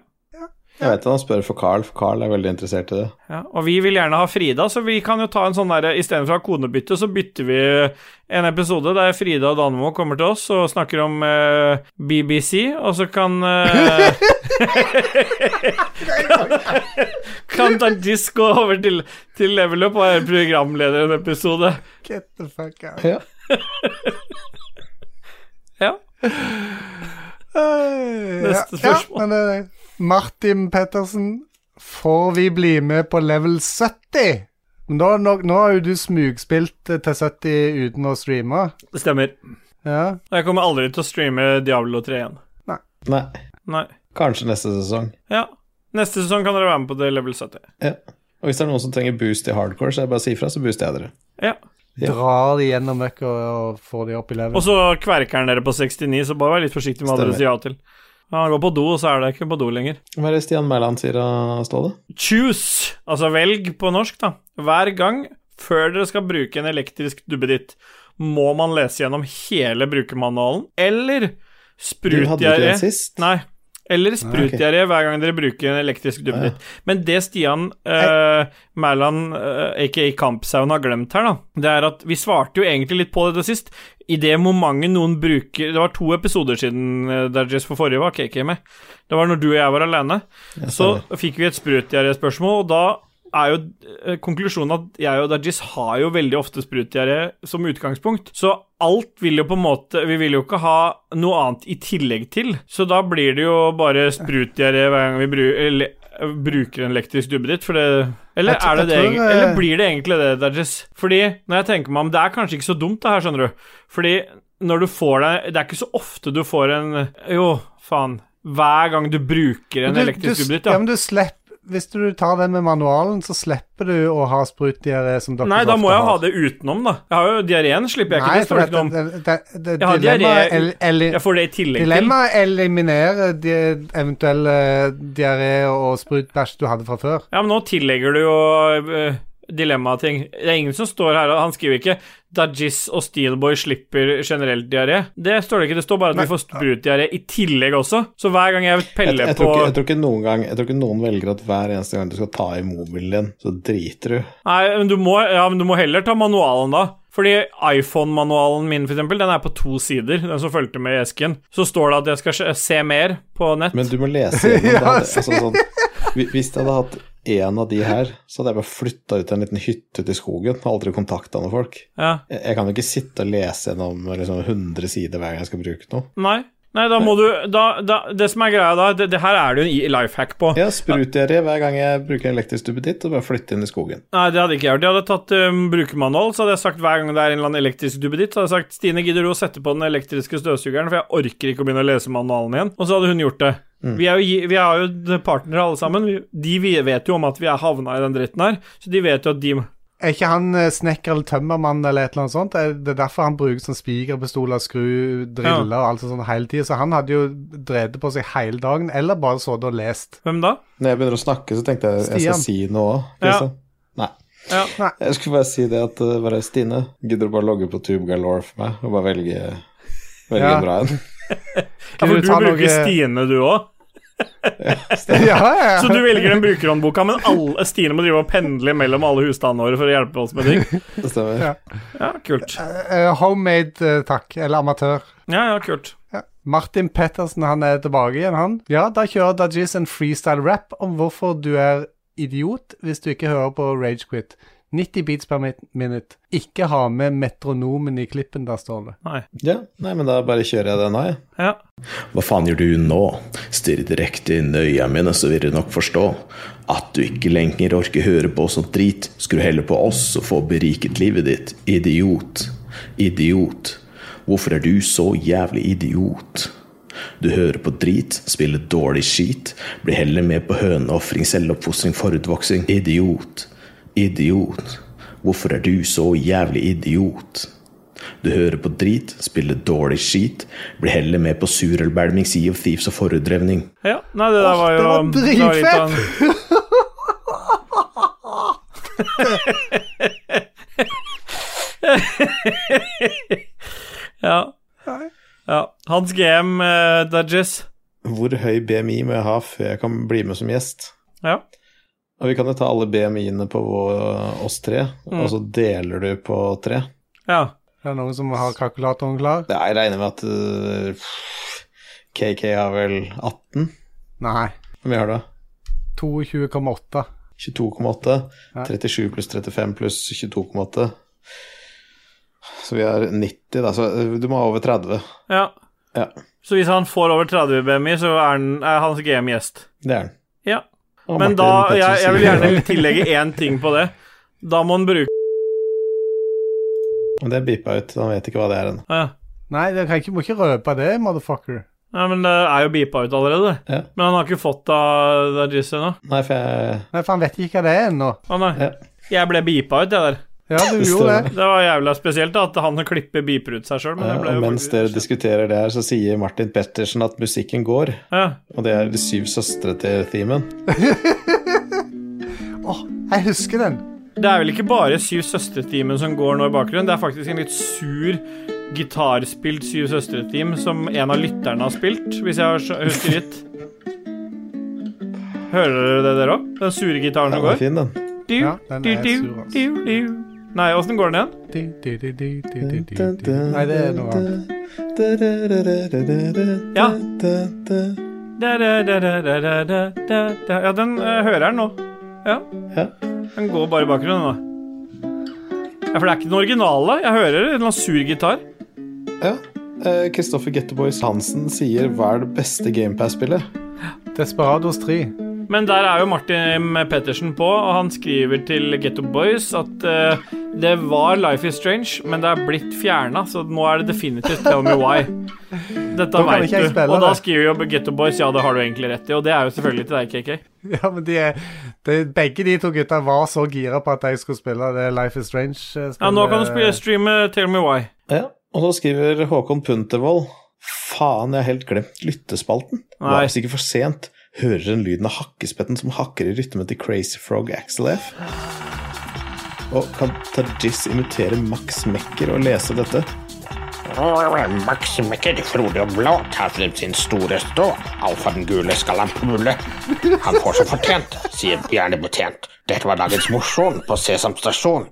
A: Jeg vet at han spør for Carl, for Carl er veldig interessert i det.
B: ja. Og vi vil gjerne ha Frida, så vi kan jo ta en sånn derre Istedenfor å ha konebytte, så bytter vi en episode der Frida og Danmo kommer til oss og snakker om eh, BBC, og så kan eh, Kan Dodges gå over til, til Level Up og være programleder i en episode?
C: Get the fuck out.
A: Ja.
B: Ja. Neste spørsmål.
C: Ja, men det er det. Martin Pettersen, får vi bli med på level 70? Men da, nå, nå har jo du smugspilt eh, til 70 uten å streame.
B: Det stemmer.
C: Ja.
B: Jeg kommer aldri til å streame Diablo 3 igjen.
A: Nei,
B: Nei.
A: kanskje neste sesong.
B: Ja. Neste sesong kan dere være med på det level 70.
A: Ja. Og hvis det er noen som trenger boost i hardcore, så er det bare å si ifra, så booster jeg dere.
B: Ja.
A: Ja.
C: Drar de gjennom møkka og får de opp i level.
B: Og så kverker han dere på 69, så bare vær litt forsiktig med hva dere
A: Stemmer.
B: sier ja til. Han går på do, og så er det ikke på do lenger.
A: Hva er det Stian Mæland sier av Ståle?
B: Choose, altså velg på norsk, da. Hver gang før dere skal bruke en elektrisk duppeditt, må man lese gjennom hele brukermanualen, eller
A: Du hadde ikke
B: sprutdiaré
A: den sist?
B: Nei. Eller sprutdiaré hver gang dere bruker en elektrisk duppeditt. Men det Stian uh, Mæland, eh, aka Kampsauen, har glemt her, da, det er at vi svarte jo egentlig litt på det sist. I det momentet noen bruker Det var to episoder siden uh, Dajis for forrige var KK med. Det var når du og jeg var alene. Så fikk vi et sprutdiaré-spørsmål, og da er jo eh, konklusjonen at jeg og Dajis har jo veldig ofte sprutdiaré som utgangspunkt. Så alt vil jo på en måte Vi vil jo ikke ha noe annet i tillegg til. Så da blir det jo bare sprutdiaré hver gang vi bru, eller, eh, bruker en elektrisk dubbeditt, for det Eller
C: Jeg tr-
B: er det det
C: jeg tror
B: egentlig?
C: det-
B: Eller blir det egentlig det, Dajis? Fordi når jeg tenker meg om, det er kanskje ikke så dumt, det her, skjønner du. Fordi når du får deg Det er ikke så ofte du får en Jo, faen. Hver gang du bruker en
C: Du-
B: elektrisk
C: du,
B: dubbeditt,
C: ja. men du slipper Hvis du tar den med manualen, så slipper du å ha sprutdiaré som dere
B: Nei,
C: så
B: da
C: ofte
B: må jeg ha
C: har.
B: det utenom, da. Jeg har jo diareen, slipper jeg ikke.
C: Nei,
B: det står ikke noe om.
C: det, det, det, det,
B: Jeg har
C: dilemmaet
B: diaré-
C: el- eller-
B: Jeg får det i tillegg
C: Dilemmaet eliminerer de eventuelle diaré og sprutbæsj du hadde fra før.
B: til. Ja, men nå tillegger du jo eh, dilemmating. Det er ingen som står her og Han skriver ikke 'Dajis og Steelboy slipper generelt diaré'. Det står det ikke. Det står bare at vi får sprutdiaré i tillegg også. Så hver gang jeg
A: Jeg,
B: peller
A: jeg, tror ikke, jeg,
B: på
A: tror ikke noen gang, jeg tror ikke noen velger at hver eneste gang du skal ta i mobilen din, så driter du.
B: Nei, men du må, ja, men du må heller ta manualen da. Fordi iPhone-manualen min, for eksempel, den er på to sider. Den som fulgte med i esken. Så står det at jeg skal se- se mer på nett.
A: Men du må lese gjennom det. hadde- Altså, sånn, hvi- hvis jeg hadde hatt en av de her, så hadde jeg bare flytta ut til en liten hytte ute i skogen og aldri kontakta noen folk.
B: Ja.
A: Jeg, jeg kan jo ikke sitte og lese gjennom liksom, 100 sider hver gang jeg skal bruke noe.
B: Nei. Nei, da må du da, da, Det som er greia da, det, det her er det jo en life hack på.
A: Ja, sprutdiaré hver gang jeg bruker elektrisk duppeditt, og bare flytte inn i skogen.
B: Nei, det hadde ikke jeg gjort. Jeg hadde tatt um, brukermanual, så hadde jeg sagt hver gang det er en eller annen elektrisk duppeditt, så hadde jeg sagt Stine, gidder du å sette på den elektriske støvsugeren, for jeg orker ikke å begynne å lese manualen igjen. Og så hadde hun gjort det.
C: Mm.
B: Vi, er jo, gi- vi er jo partnere alle sammen. Vi, de vi vet jo om at vi er havna i den dritten her, så de vet jo at de
C: Er ikke han eh, snekker eller tømmermann eller et eller annet sånt? Er Det er derfor han bruker sånn spikerpistoler, skru, driller og alt sånt hele tida. Så han hadde jo drevet på seg hele dagen, eller bare sittet og lest.
B: Hvem da?
A: Når jeg begynner å snakke, så tenkte jeg jeg
C: Stian.
A: skal si noe òg. Kristian. Nei.
B: Ja.
C: Nei.
A: Jeg skulle bare si det at eh, bare Stine, gidder du bare logge på Tube Galore for meg, og bare velge, velge
C: Ja.
A: en bra en?
B: Ja, for
C: Vil
B: du
C: du ta
B: bruker
C: noe-
B: Stine, du òg.
C: ja, ja, ja.
B: Så du velger den brukerhåndboka, men alle, Stine må drive og pendle mellom alle husstandene våre for å hjelpe oss med ting.
A: Det stemmer.
C: Ja.
B: Ja, kult.
C: Eh, homemade, eh, takk. Eller amatør.
B: Ja, ja, kult.
C: Ja. Martin Pettersen han er tilbake igjen, han. Ja, da kjører Dajis en freestyle-rap om hvorfor du er idiot hvis du ikke hører på Ragequit. 90 beats per min- minute. Ikke ha med metronomen i klippen, der står det.
B: Nei.
A: Ja, nei, men da bare kjører jeg den av, jeg.
B: Ja.
F: Hva faen gjør du nå? Stirr direkte inn i øya mine, så vil du nok forstå. At du ikke lenger orker høre på sånt drit, skru heller på oss og få beriket livet ditt. Idiot. Idiot. Hvorfor er du så jævlig idiot? Du hører på drit, spiller dårlig skit, blir heller med på høneofring, selvoppfostring, forutvoksing. Idiot. Idiot. Hvorfor er du så jævlig idiot?
A: Du hører på drit, spiller dårlig skit, blir heller med på surølbælming, Sea of Thieves og forhudrevning.
B: Ja, nei, det der
C: Åh,
B: var jo
C: det var
B: litt av en- ja. ja. Hans GM, uh, Dudges.
A: Hvor høy BMI må jeg ha før jeg kan bli med som gjest?
B: Ja.
A: Og vi kan jo ta alle BMI-ene på vår, eh, oss tre,
C: Mm.
A: og så deler du på tre.
B: ja.
C: Er det noen som har kalkulatoren klar?
A: Ja, jeg regner med at øh, KK har vel 18?
C: Nei.
A: Hvor mye har du?
C: 22,8.
A: 22,8.
C: Ja.
A: 37 pluss 35 pluss 22,8. Så vi er 90, da. Så øh, du må ha over 30.
B: ja.
A: Ja,
B: Så hvis han får over 30 BMI, så er, han, er hans GM gjest.
A: det er den.
B: Ja.
A: Og
B: Men
A: Martin
B: da,
A: Pettersen
B: jeg, jeg
A: sier
B: vil
A: det.
B: gjerne tillegge én ting på det. Da må han bruke
A: Men det er beepa ut, han vet ikke hva det er ennå.
B: Ja.
C: Nei, du kan ikke, må ikke røpe det, motherfucker.
B: Nei, men det er jo beepa ut allerede.
A: Ja.
B: Men han har ikke fått av Dajis ennå.
A: Nei, for jeg
C: Nei, for han vet ikke hva det er ennå.
B: Å nei.
A: Ja.
B: Jeg ble beepa ut, jeg der.
C: Ja, du
A: Det
C: gjorde
A: stemmer.
C: det.
B: Det var jævla spesielt da, at han klipper beeper ut seg sjøl. Men
A: ja,
B: jeg ble
A: og
B: jo
A: mens dere diskuterer det her, så sier Martin Pettersen at musikken går.
B: ja.
A: Og det er De syv søstre til themen.
C: Jeg husker den.
B: Det er vel ikke bare Syv søstre-teamen som går nå i bakgrunnen. Det er faktisk en litt sur gitarspilt Syv søstre-team som en av lytterne har spilt, hvis jeg har skjø- husker rett. Hører dere det, dere òg? Den sure gitaren
A: Den
B: som
A: var
B: går?
A: fin, den.
B: Du,
C: Ja, den
B: du,
C: er
B: du,
C: sur, altså. ass.
B: du, du. Nei, åssen går den igjen?
C: Di, di, di, di, di, di, di, di. Nei, det er noe annet.
B: Ja. Da, da, da, da, da, da, da, da. Ja, den eh, hører jeg nå. Ja.
A: Ja.
B: Den går bare i bakgrunnen, da. Ja, for det er ikke den originale. Jeg hører en eller annen sur gitar.
A: Ja. Eh, Kristoffer Getteboys Hansen sier 'Hva er det beste GamePass-spillet?'
C: Desperados 3.
B: Men der er jo Martin Pettersen på, og han skriver til Getto Boys at eh, det var Life is Strange, men det er blitt fjerna, så nå er det definitivt Tell Me Why. Dette
C: Da kan
B: veit
C: ikke jeg
B: du.
C: spille
B: Og da
C: det.
B: skriver jo Getto Boys ja, det har du egentlig rett i, og det er jo selvfølgelig til deg, KK.
C: Ja, men de er, de, begge de to gutta var så gira på at jeg skulle spille det Life is eh, Strange-spillet.
B: Ja, nå kan du spille, streame Tell Me Why.
A: Ja. Og så skriver Håkon Puntervold 'Faen, jeg har helt glemt lyttespalten'. Det
B: Nei.
A: Var visst ikke for sent. Hører en lyden av hakkespetten som hakker i rytmen til Crazy Frog Axel F. Og kan Tajis imitere Max Mekker og lese dette?
G: Max Mekker, Frode og Blå tar frem sin store stå. Alfa den gule skal han pule. Han får som fortjent, sier bjernebetjent. Dette var dagens mosjon på Sesam stasjon.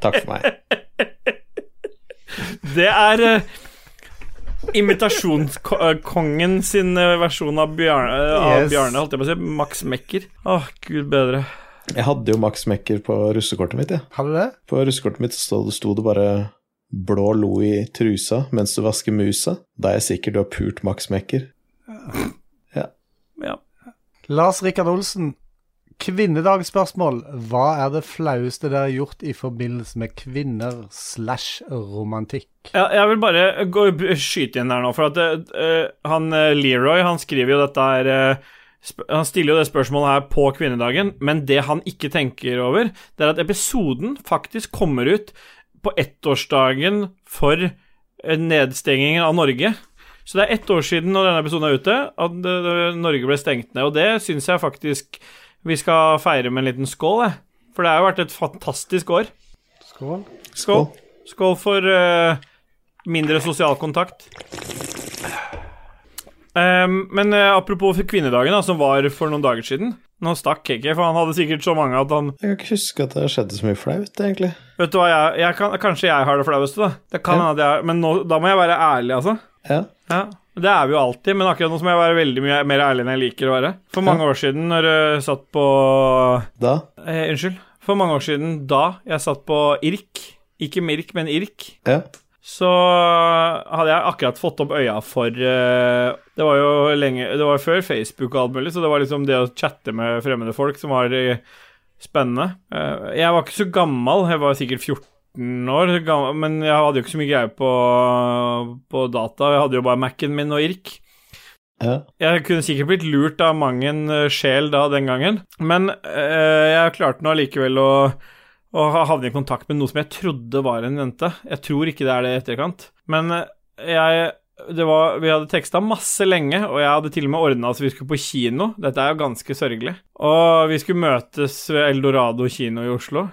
A: Takk for meg.
B: Det er eh, imitasjonskongen sin eh, versjon av Bjarne, eh, av
C: Yes.
B: Bjarne, holdt jeg på å si. Max Mekker. Åh, gud bedre.
A: Jeg hadde jo Max Mekker på russekortet mitt, jeg.
C: Har du det?
A: På russekortet mitt sto det, sto det bare 'Blå lo i trusa mens du vasker musa'. Da er jeg sikker du har pult Max Mekker.
B: Ja.
C: Lars Rikard Olsen. Kvinnedagsspørsmål. Hva er det flaueste dere har gjort i forbindelse med kvinner slash romantikk?
B: Ja, jeg vil bare gå, skyte inn der nå, for at eh, han eh, Leroy, han skriver jo dette her eh, sp- han stiller jo det spørsmålet her på kvinnedagen, men det han ikke tenker over, det er at episoden faktisk kommer ut på ettårsdagen for eh, nedstengingen av Norge. Så det er ett år siden når denne episoden er ute, at eh, Norge ble stengt ned. Og det syns jeg faktisk vi skal feire med en liten skål, jeg. For det har jo vært et fantastisk år.
C: Skål.
B: Skål. Skål for eh, mindre sosial kontakt. Ehm, men eh, apropos for kvinnedagen, da, som var for noen dager siden. Nå stakk KK, for han hadde sikkert så mange at han
A: Jeg kan ikke huske at det skjedde så mye flaut, egentlig.
B: Vet du hva, jeg, jeg kan, kanskje jeg har det flaueste, da. Det kan hende at jeg Men nå, da må jeg være ærlig, altså.
A: Ja.
B: Ja. Det er vi jo alltid, men akkurat nå så må jeg være veldig mye mer ærlig enn jeg liker å være. For mange år siden, når jeg satt på
A: Da
B: eh, Unnskyld. For mange år siden, da jeg satt på IRK, ikke MIRK, men IRK,
A: Ja.
B: så hadde jeg akkurat fått opp øya for eh, Det var jo lenge Det var før Facebook og alt mulig, så det var liksom det å chatte med fremmede folk som var eh, spennende. Eh, jeg var ikke så gammel, jeg var sikkert 14 år, gammel, men jeg hadde jo ikke så mye greie på, på data. Jeg hadde jo bare Mac-en min og IRK.
A: ja.
B: Jeg kunne sikkert blitt lurt av mang en eh, sjel da den gangen, men eh, jeg klarte nå allikevel å og ha- havne i kontakt med noe som jeg trodde var en jente. Jeg tror ikke det er det i etterkant. Men eh, jeg det var, Vi hadde teksta masse lenge, og jeg hadde til og med ordna at vi skulle på kino. Dette er jo ganske sørgelig. Og vi skulle møtes ved Eldorado kino i Oslo.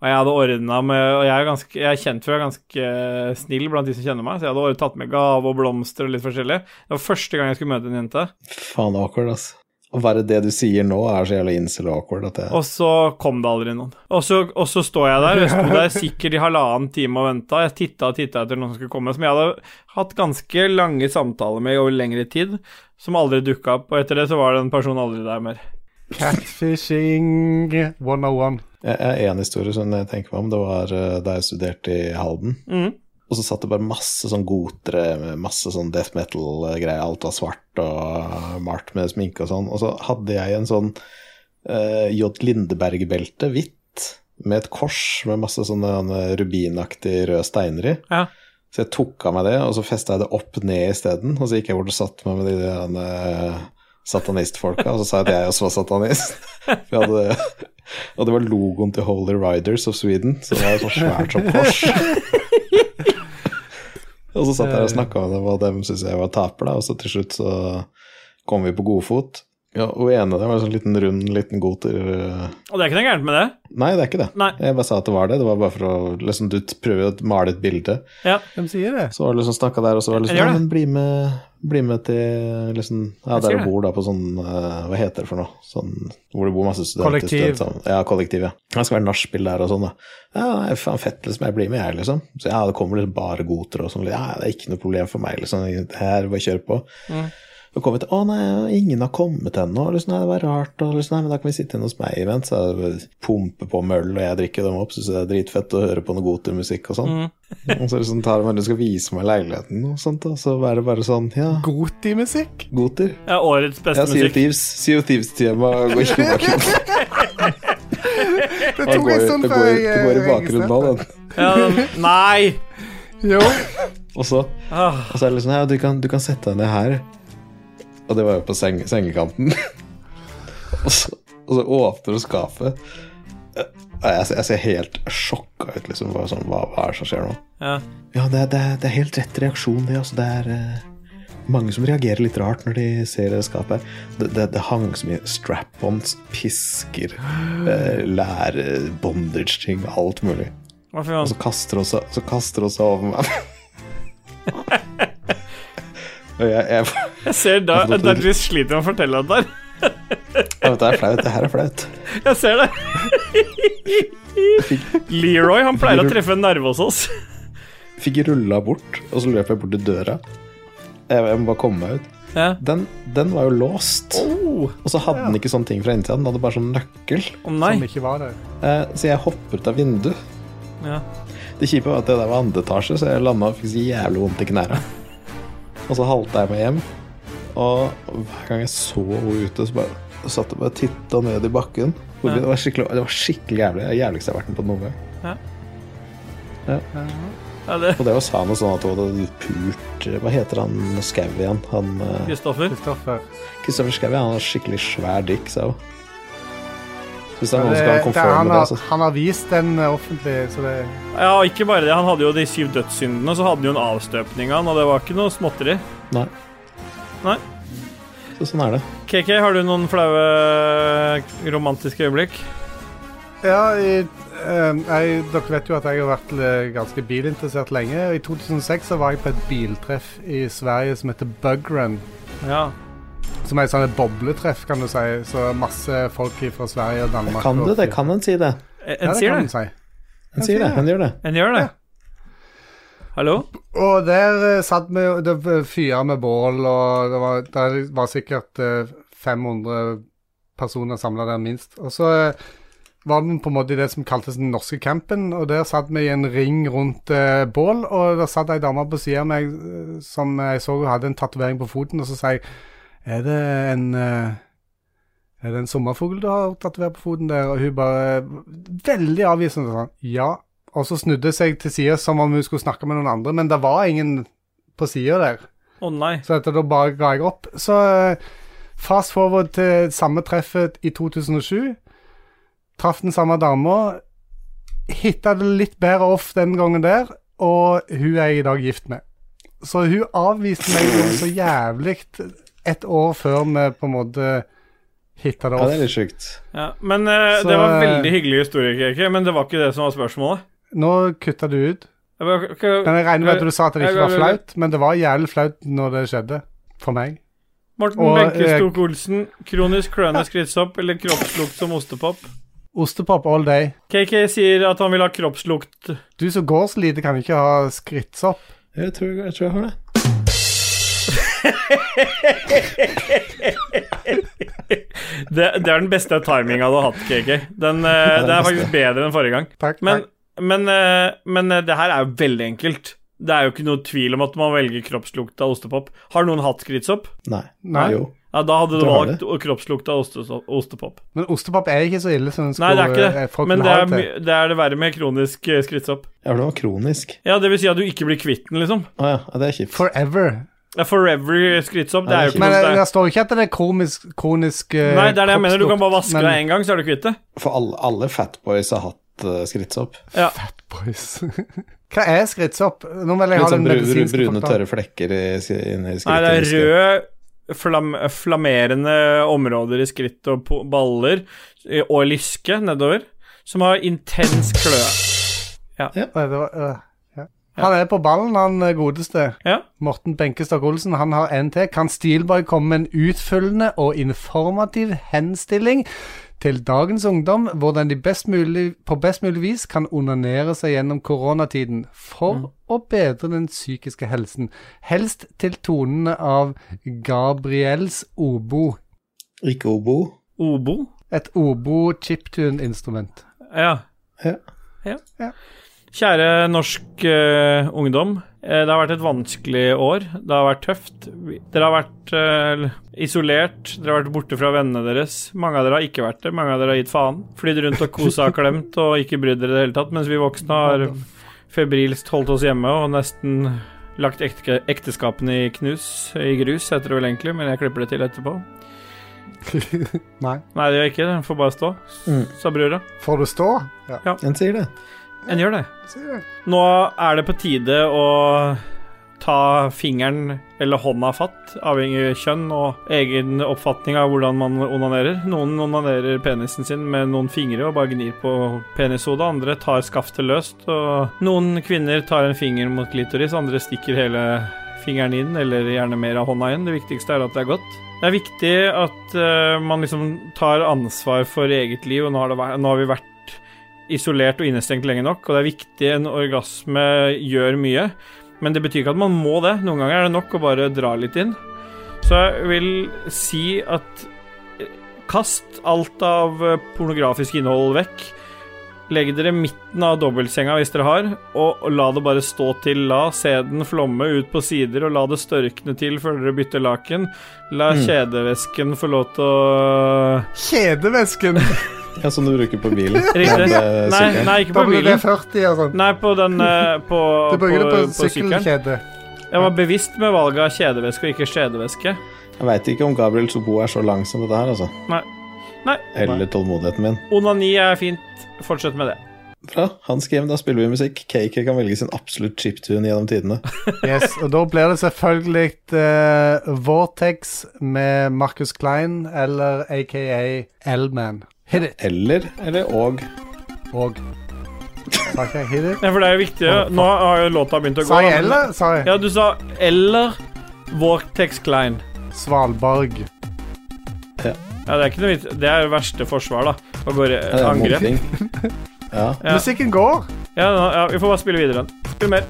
B: Og jeg hadde ordna med Og jeg er, ganske, jeg er kjent for å være ganske eh, snill blant de som kjenner meg, så jeg hadde ordnet- tatt med gave og blomster og litt forskjellig. Det var første gang jeg skulle møte en jente.
A: Faen awkward, ass. Og bare det du sier nå, er så jævla incel og awkward at jeg
B: Og så kom det aldri noen. Og så, og så står jeg der, og jeg sto der sikkert i halvannen time og venta. Jeg titta og titta etter noen som skulle komme, som jeg hadde hatt ganske lange samtaler med over lengre tid, som aldri dukka opp. Og etter det så var den personen aldri der mer.
C: Catfishing 101.
A: Jeg jeg er en historie som jeg tenker meg om. Det var eh, da jeg studerte i Halden. Og så satt det bare masse sånn gotere, med masse sånn death metal-greier. Alt var svart og eh, malt med sminke og sånn. Og så hadde jeg en sånn eh, J. Lindeberg-belte, hvitt, med et kors med masse sånne eh, rubinaktige røde steiner i.
B: Ja.
A: Så jeg tok av meg det, og så festa jeg det opp ned isteden. Og så gikk jeg bort og satte meg med de der eh, satanistfolka, og så sa jeg at jeg også var satanist. For jeg hadde, og det var logoen til Holy Riders of Sweden, så det var så svært som kors. og så satt jeg og snakka med dem, og dem syntes jeg var taper, da. Og så til slutt så kom vi på godfot. Ja, og en av dem var en sånn liten rund, liten goter eh,
B: Og det er ikke noe gærent med det.
A: Nei, det er ikke det.
B: Nei.
A: Jeg bare sa at det var det. Det var bare for å liksom, du prøver å male et bilde.
B: Ja.
C: Hvem sier det?
A: Så var det liksom snakka der, og så var det liksom
B: Jeg gjør
A: Ja,
B: det.
A: men bli med, bli med til liksom Ja,
B: Jeg sier
A: der
B: det.
A: du bor, da, på sånn eh, Hva heter det for noe? Sånn hvor det bor masse studenter.
C: Kollektiv.
A: studenter sammen. ja, kollektiv, ja. Det skal være nachspiel der og sånn, da. Ja, nei, faen fett, liksom. Jeg blir med, jeg, liksom. Så ja, det kommer liksom bare goter og sånn. Ja, det er ikke noe problem for meg, liksom. Det her, bare kjør på.
B: Mm.
A: Så kom vi til Å nei, ingen har kommet ennå. og Liksom, nei, det var rart. Og liksom, nei, men da kan vi sitte inne hos meg imens. Så jeg pumper på med øl, og jeg drikker dem opp. Syns det er dritfett å høre på noe gotermusikk og sånn. og så liksom tar de meg, du skal vise meg leiligheten og sånt, og så er det bare sånn Ja,
C: Goti-musikk?
A: goter.
B: ja årets
A: Ja, Sea
B: beste
A: of
B: musikk.
A: Thieves. Sea of Thieves-tema går ikke tilbake.
C: Det
A: Det
C: tok
A: går,
C: en
A: det
C: stund
A: går,
C: før jeg
A: det går i
C: eh,
A: bakgrunnen nå, den.
B: Ja, den, nei!
C: Jo.
A: Og så,
B: Ah,
A: og så er det liksom Ja, du kan, du kan sette deg ned her. Og det var jo på seng, sengekanten. og, så, og så åpner du skapet. Eh, Jeg, ser- jeg ser helt sjokka ut, liksom. Bare sånn, hva, hva er det som skjer nå?
B: ja.
A: Ja, det, er- det, er- det er helt rett reaksjon, det. Altså, det er eh, mange som reagerer litt rart når de ser det skapet. Det, det, det hang så mye strap-ons, pisker, eh, lær, bondage-ting, alt mulig.
B: Hva for
A: Og
B: faen?
A: så kaster hun seg, så kaster hun seg over meg. Og jeg, jeg,
B: Jeg ser da Dajis sliter med å fortelle det der.
A: dette er flaut. Det her er flaut.
B: Jeg ser det. Leroy, han pleier å treffe en nerve hos oss.
A: Fikk rulla bort, og så løp jeg bort til døra. Jeg, jeg må bare komme meg ut.
B: Ja.
A: Den, den var jo låst.
B: Oh,
A: Og så hadde den ikke sånne ting fra innsiden, den hadde bare sånn nøkkel.
B: å nei.
C: Som ikke var der.
A: Eh, så jeg hopper ut av vinduet.
B: Ja.
A: Det kjipe var at det der var andre etasje, så jeg landa og fikk så jævlig vondt i knærne. Og så halta jeg meg hjem, og hver gang jeg så henne ute, så bare så satt jeg bare og titta ned i bakken. Hodet mitt- Det var skikkelig, det var skikkelig jævlig. Det er det jævligste jeg har vært med på noen gang.
B: Ja, det.
A: Og det var sa noe sånn at hun hadde pult eh, Hva heter han Skau igjen? Han eh,
B: Kristoffer.
C: Kristoffer.
A: Kristoffer Skau, han har skikkelig svær dick, sa hun. Så Hvis det er
C: Det,
A: noen som skal ha altså. en
C: det, han,
A: konform med det,
C: har,
A: så
C: han har vist den eh, offentlig, så det
B: Ja, og ikke bare det. Han hadde jo de syv dødssyndene, så hadde han jo en avstøpning av han, og det var ikke noe småtteri.
A: Nei.
B: Nei.
A: Så sånn er det.
B: KK, har du noen flaue romantiske øyeblikk?
C: Ja, i, eh, jeg, dere vet jo at jeg har vært eh, ganske bilinteressert lenge. og I 2006 så var jeg på et biltreff i Sverige som heter Bugrun.
B: Ja.
C: Som er et sånt bobletreff, kan du si. Så masse folk fra Sverige og Danmark.
A: Kan
C: og-
A: du det? Kan en si det?
B: En,
C: Ja,
B: en
C: det
B: sier
C: kan du
B: det.
C: si.
A: En sier det. En gjør det.
B: En gjør det. Hallo?
C: Og der eh, satt vi og det var fyra med bål, og det var, der var sikkert eh, 500 personer samla der, minst. Og så eh, var den på en måte i det som kaltes den norske campen, og der satt vi i en ring rundt eh, bål, og der satt ei dame på sida av meg eh, som jeg så hun hadde en tatovering på foten, og så sa jeg Er det en eh, er det en sommerfugl du har tatovert på foten der? Og hun bare eh, veldig avvisende sånn. Ja. Og så snudde hun seg til sida som om hun skulle snakke med noen andre, men det var ingen på sida der.
B: Å nei.
C: Så etter da bare ga jeg opp. Så eh, fast forward til samme treffet i 2007. Traff den samme dama. hitta det litt bedre off den gangen der, og hun er jeg i dag gift med. Så hun avviste meg jo så jævlig et år før vi på en måte hitta det
A: Ja, det
C: off.
A: er litt sjukt.
B: Ja, men eh,
C: Så-
B: Det var veldig hyggelig historie, Kiki, men det var ikke det som var spørsmålet.
C: Nå kutta du ut.
B: Jeg bare, ok,
C: Men jeg regner med at du sa at det
B: Jeg-
C: ikke var
B: jeg-
C: flaut, men det var jævlig flaut når det skjedde. For meg.
B: Morten
C: Og,
B: Benkestok Olsen, kronisk kløende krittsopp eller kroppslukt som ostepop?
C: Ostepop all day.
B: KK sier at han vil ha kroppslukt.
C: Du som går så lite, kan ikke ha skrittsopp.
A: Jeg tror jeg, tror jeg har det.
B: Det, det er den beste timinga du har hatt, KK. Den, eh, det er faktisk bedre enn forrige gang.
C: Takk.
B: Men,
C: takk.
B: men, eh, men eh, det her er jo veldig enkelt. Det er jo ikke noe tvil om at man velger kroppslukt av ostepop. Har noen hatt krittsopp?
A: Nei.
C: Nei.
A: Jo.
B: Ja, da hadde du
A: Det har
B: valgt å- kroppslukt av oste- ostepop.
C: Men ostepop er ikke så ille som den
B: Nei, det
C: skulle
B: er ikke
C: eh,
B: det.
C: folk
B: Men
C: vil
B: det
C: ha
B: er,
C: det til.
B: my- det er det verre med kronisk eh, skrittsopp.
A: Ja, for det var kronisk.
B: Ja, det vil si at du ikke blir kvitt den, liksom.
A: Å ja, ja, det er kjipt.
C: Forever.
B: Det er forever skrittsopp. Det
A: Nei,
B: er jo
A: det er
B: ikke
C: Men eh,
B: noe
C: det,
B: det
C: det står ikke at det er komisk, kronisk eh,
B: Nei, det er det jeg mener. Du kan bare
C: kroppslukt,
B: vaske deg én gang, så er du kvitt det.
A: For alle, alle fatboys har hatt uh, skrittsopp.
B: Ja.
C: Boys. Hva er skrittsopp? Nå vil jeg
A: Litt
C: ha
A: sånn
C: den
A: bru, bru,
C: medisinske
A: brune,
C: fakta.
A: tørre flekker i, sk- inni skrittet.
B: Nei, det er
A: husker jeg.
B: rød, flam, flamerende områder i skritt og po- baller eh, og lyske nedover, som har intens kløe.
C: Nei, det var, øh, ja. Han er på ballen, han eh, godeste.
B: Ja.
C: Morten Benkestad Olsen han har en til. Kan Steelboy komme med en utfyllende og informativ henstilling til dagens ungdom hvordan de best mulig, på best mulig vis kan onanere seg gjennom koronatiden for å bedre den psykiske helsen? Helst til tonene av Gabriels obo.
A: Ikke obo.
B: Obo.
C: Et obo-chiptune-instrument.
B: Ja.
A: Ja.
C: Ja.
B: Kjære norsk eh, ungdom. Eh, det har vært et vanskelig år. Det har vært tøft. Vi- Dere har vært eh, isolert. Dere har vært borte fra vennene deres. Mange av dere har ikke vært det. Mange av dere har gitt faen. Flydd rundt og kosa og klemt og ikke brydd dere i det hele tatt, mens vi voksne har febrilsk holdt oss hjemme og nesten lagt ekte, ekteskapene i knus I grus, heter det vel egentlig, men jeg klipper det til etterpå.
C: Nei.
B: Nei, det gjør jeg ikke. Den får bare stå,
A: Mm.
B: sa brura.
C: Får du stå? Ja,
A: En sier det.
B: En gjør det.
C: sier jeg.
B: Nå er det på tide å ta fingeren eller hånda fatt, avhengig av kjønn og egen oppfatning av hvordan man onanerer. Noen onanerer penisen sin med noen fingre og bare gnir på penishodet, andre tar skaftet løst, og noen kvinner tar en finger mot klitoris, andre stikker hele fingeren inn, eller gjerne mer av hånda inn. Det viktigste er at det er godt. Det er viktig at eh, man liksom tar ansvar for eget liv, og nå har, det vært, nå har vi vært isolert og innestengt lenge nok, og det er viktig en orgasme gjør mye. Men det betyr ikke at man må det. Noen ganger er det nok å bare dra litt inn. Så jeg vil si at eh, kast alt av eh, pornografisk innhold vekk. Legg dere midten av dobbeltsenga hvis dere har, og og la det bare stå til. La sæden flomme ut på sider, og la det størkne til før dere bytter laken. La kjedevæsken få lov til å eh,
C: Kjedevæsken!
A: Ja, som du bruker på bilen.
B: Riktig.
A: Men, eh,
B: Nei,
A: sykkelen.
B: nei, ikke på bilen.
C: WD-40 og sånn.
B: Nei, på den eh, på,
C: Du bruker det på
B: sykkelen.
C: sykkelkjede.
B: Jeg var bevisst med valget av kjedeveske og ikke skjedeveske.
A: Jeg veit ikke om Gabriel Sobo er så lang som dette her, altså.
B: Nei. Nei.
A: Eller tålmodigheten min.
B: Onani er fint. Fortsett med det.
A: Bra. Han skrev da spiller vi musikk. Cake kan velge sin absolutt chiptune gjennom tidene.
C: Yes, og da blir det selvfølgelig eh, Vortex med Marcus Klein, eller aka L-Man. Hit it.
A: Eller, eller og
C: Og Sa ikke jeg hit it?
B: Ja, for det er jo viktig. Nå har jo låta begynt å gå.
C: Sa
B: da,
C: jeg
B: men-
C: eller? Sa jeg
B: Ja, du sa eller Vortex Klein.
C: Svalbard.
B: Ja, det er ikke noe vits. Det er jo verste forsvar, da. Å gå i
A: Ja, det er
B: angrep.
A: mobbing. Ja.
B: Ja.
C: Musikken går.
B: Ja, nå- ja, vi får bare spille videre. Spill mer.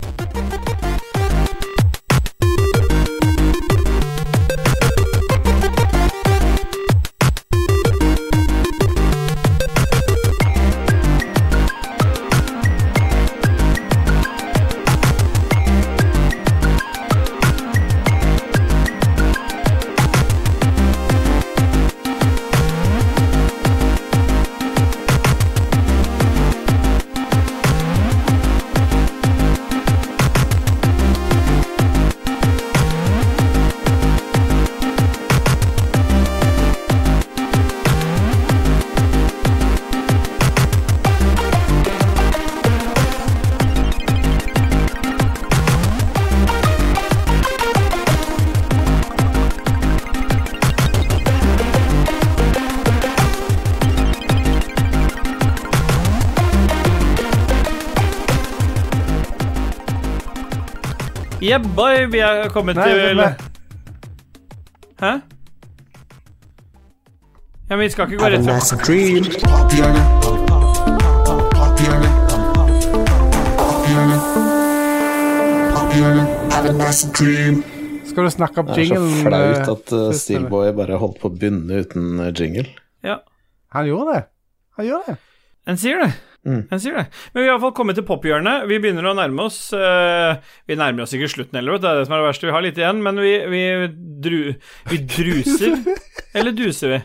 B: Yeah, boy, vi er kommet
C: Nei,
B: til
C: men-
B: Hæ? Ja, men vi skal ikke gå rett frem.
C: skal du snakke opp
A: Det er så
C: jinglen?
A: flaut at eh,
C: eh, først, eller?
A: Steelboy bare holdt på å begynne uten eh, jingle.
B: Ja,
C: Han gjorde det. Han gjorde det.
B: en sier det.
A: Mm.
B: En sier det. Men vi har i hvert fall kommet til pophjørnet. Vi begynner å nærme oss eh, Vi nærmer oss ikke slutten heller, vet du. Det er det som er det verste. Vi har litt igjen, men vi, vi, dru, vi druser. Eller duser vi?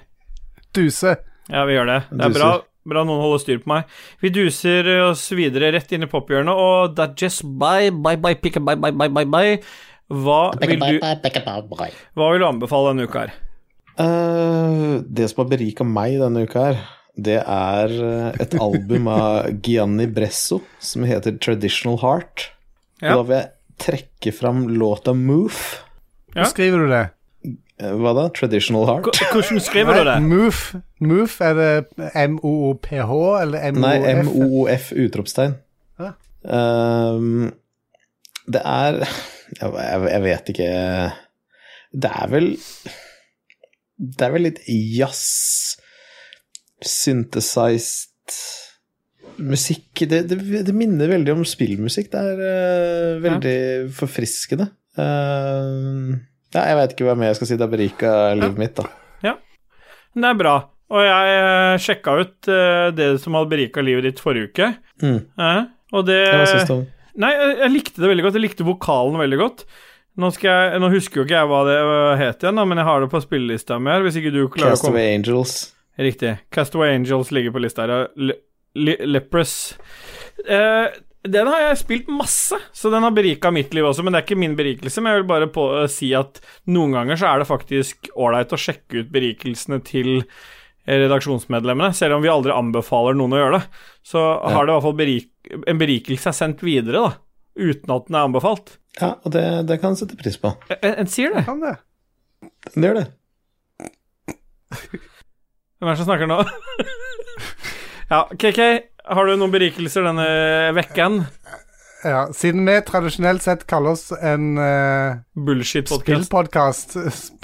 C: Duse.
B: Ja, vi gjør det. Det er
A: Duser.
B: bra, bra noen holder styr på meg. Vi duser oss videre rett inn i pophjørnet, og that just bye, bye, bye, pick a bye, bye, bye, bye, bye. Hva vil du, hva vil du anbefale denne uka her?
A: Eh, det som har berika meg denne uka her, det er eh, et album av Gianni Bresso som heter Traditional Heart.
B: Ja.
A: Og da vil jeg trekke fram låta Move.
B: Ja.
C: Hvor skriver du det?
A: Eh, Hva da? Traditional Heart?
B: K- Hvordan skriver du det?
C: Move. Move, er det M-O-O-P-H eller
A: Nei,
C: M-O-F?
A: MOOF utropstegn.
C: Ja.
A: Ehm, det er jeg, jeg jeg vet ikke Det er vel Det er vel litt jazz, synthesized musikk. Det, det, det minner veldig om spillmusikk. Det er eh, veldig forfriskende. Ehm, ja, jeg veit ikke hva mer jeg skal si. Det har berika livet mitt, da.
B: Det er bra. Og jeg eh, sjekka ut eh, det som hadde berika livet ditt forrige uke.
A: Mm.
B: Eh, og det
A: Hva syns du om
B: Nei, jeg, jeg likte det veldig godt. Jeg likte vokalen veldig godt. Nå, skal jeg, nå husker jo ikke jeg hva det øh, het igjen, da, men jeg har det på spillelista mi her. Hvis ikke du klarer å komme
A: Castaway Angels?
B: Riktig. Castaway Angels ligger på lista her. ja. Le Le Leprous. Eh, den har jeg spilt masse, så den har berika mitt liv også, men det er ikke min berikelse. Men jeg vil bare på eh, si at noen ganger så er det faktisk ålreit å sjekke ut berikelsene til eh, redaksjonsmedlemmene, selv om vi aldri anbefaler noen å gjøre det. Så har det i hvert fall berik en berikelse er sendt videre, da. Uten at den er anbefalt.
A: Ja, og det, det kan jeg sette pris på.
B: En, en sier det.
C: Kan det?
A: Det gjør det.
B: Hvem er det som snakker nå? ja, KK, har du noen berikelser denne vekken?
C: Ja, siden vi tradisjonelt sett kaller oss en eh,
B: Bullshit-podkast.
C: spillpodkast,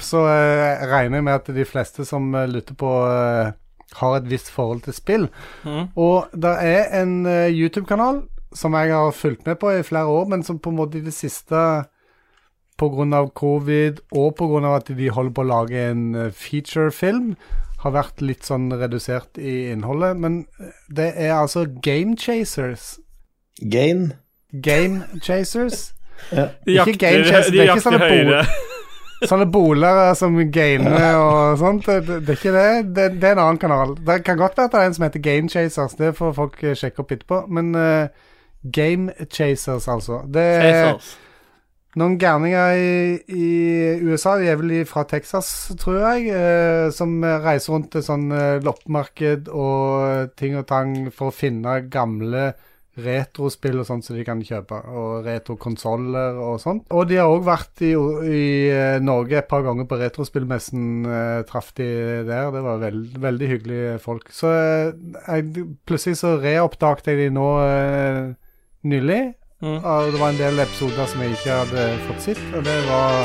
C: så eh, regner jeg med at de fleste som eh, lytter på, eh, har et visst forhold til spill.
B: Mhm.
C: Og det er en eh, YouTube-kanal som jeg har fulgt med på i flere år, men som på en måte i det siste pga. covid og pga. at de holder på å lage en eh, feature-film, har vært litt sånn redusert i innholdet. Men eh, det er altså Game Chasers.
A: Gain.
C: Game Chasers.
B: De
C: Ikke game chess, det
B: de
C: er ikke sånn
B: jakter
C: sånne
B: høyere.
C: Sånne bolere som gainer og sånt. Det, det er ikke det. det. Det er en annen kanal. Det kan godt være at det er en som heter Game Chasers. Det får folk eh, sjekke opp etterpå. Men eh, Game Chasers, altså. Det er noen gærninger i, i USA, de er vel fra Texas, tror jeg, eh, som reiser rundt til sånn eh, loppemarked og eh, ting og tang for å finne gamle retrospill og sånt som de kan kjøpe, og retrokonsoller og sånt. Og de har òg vært i, i eh, Norge et par ganger på retrospillmessen, eh, traff de der. Det var veld, veldig hyggelige folk. Så eh, jeg, plutselig så reoppdaget jeg de nå eh, nylig.
B: Mm.
C: Og det var en del episoder som jeg ikke hadde fått sett, og det var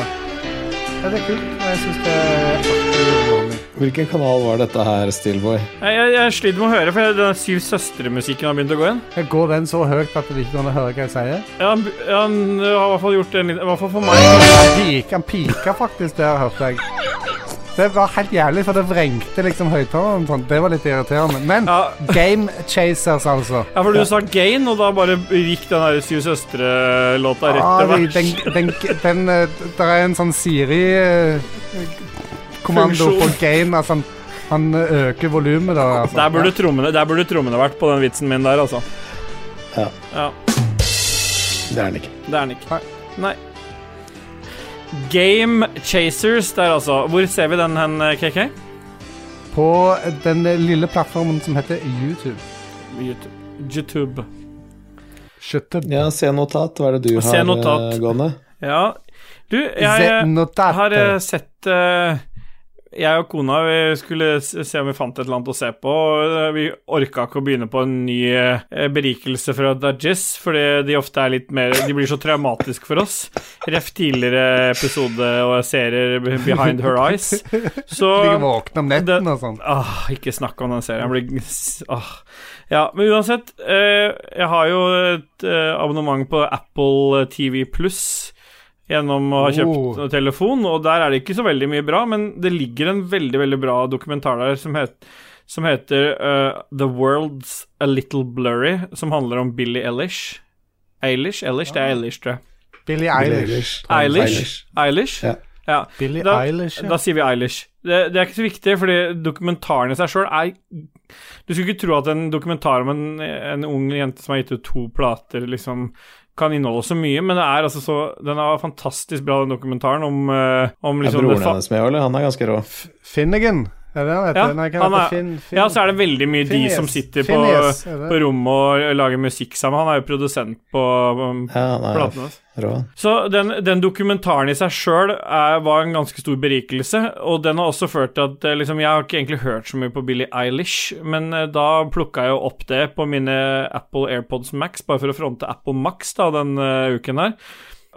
C: ja, det er kult. og Jeg syns det er artig underholdning.
A: Hvilken kanal var dette her, Steelboy?
B: Jeg, jeg, jeg sliter med å høre, for den Syv søstre-musikken har begynt å gå igjen.
C: Jeg Går den så høyt at det ikke går an å høre hva jeg sier?
B: Ja, Han, han øh, har i hvert fall gjort en liten I hvert fall for meg.
C: Han pika, han pika faktisk der, hørte jeg. Det var helt jævlig, for det vrengte liksom høyttaleren sånn. Det var litt irriterende. Men
B: Ja,
C: Game Chasers, altså.
B: ja for du sa Gain, og da bare gikk den der Syv søstre-låta rett
C: Ah,
B: til
C: de-
B: værs.
C: den, den, den, eh, der er en sånn Siri-kommando på
B: Funksjon.
C: Game. Altså, han, han øker volumet da. Altså.
B: Der burde trommene, der burde trommene vært på den vitsen min der, altså.
A: Ja.
B: ja
A: Det er den ikke.
B: det er den ikke. Nei. Game Chasers der, altså. Hvor ser vi den hen, KK?
C: På den lille plattformen som heter YouTube.
B: YouTube. YouTube.
C: Shut up.
A: Ja, se notat. Hva er det du
B: Se
A: har
B: notat.
A: eh, gående?
B: Ja. Du, jeg
C: Zenotate.
B: har eh, sett eh, Jeg og kona vi skulle s- se om vi fant et eller annet å se på. og eh, Vi orka ikke å begynne på en ny eh, berikelse fra Dajis, fordi de ofte er litt mer De blir så traumatiske for oss. Ref tidligere episode og serier be- Behind Her Eyes. Så
C: Ligger våkne om
B: det-
C: netten og sånn.
B: Åh, Ah, ikke snakk om den serien. Jeg blir Åh. Ja, men uansett. Eh, jeg har jo et eh, abonnement på Apple TV pluss gjennom å ha kjøpt
C: Oh.
B: telefon, og der er det ikke så veldig mye bra, men det ligger en veldig, veldig bra dokumentar der som, het, som heter eh, The World's A Little Blurry, som handler om Billie Eilish. Eilish? Eilish?
C: Ah.
B: Det er Eilish, tror jeg.
C: Billie Eilish.
B: Eilish? Eilish?
A: Ja.
B: ja.
C: Billie
B: Da-
C: Eilish, ja.
B: Da sier vi Eilish. Det, det er ikke så viktig, fordi dokumentaren i seg sjøl er Du skulle ikke tro at en dokumentar om en, en ung jente som har gitt ut to plater, liksom kan inneholde så mye, men det er altså så Den er fantastisk bra, den dokumentaren, om, eh, om
A: Er
B: liksom
A: broren
B: det fa-
A: hennes med òg, eller? Han er ganske rå.
C: Finnegan. Er det han heter?
B: Ja,
C: Nei, hva
B: han
C: heter
B: er-
C: Finn, Finn.
B: Ja, så er det veldig mye de
C: Phineas.
B: som sitter på,
C: Phineas, er det?
B: på rommet og lager musikk sammen. Han er jo produsent på um,
A: Ja, han er
B: platene. hans.
A: rå.
B: Så den, den dokumentaren i seg sjøl var en ganske stor berikelse, og den har også ført til at eh, liksom, Jeg har ikke egentlig hørt så mye på Billie Eilish, men eh, da plukka jeg jo opp det på mine Apple AirPods Max, bare for å fronte Apple Max da, den eh, uken her.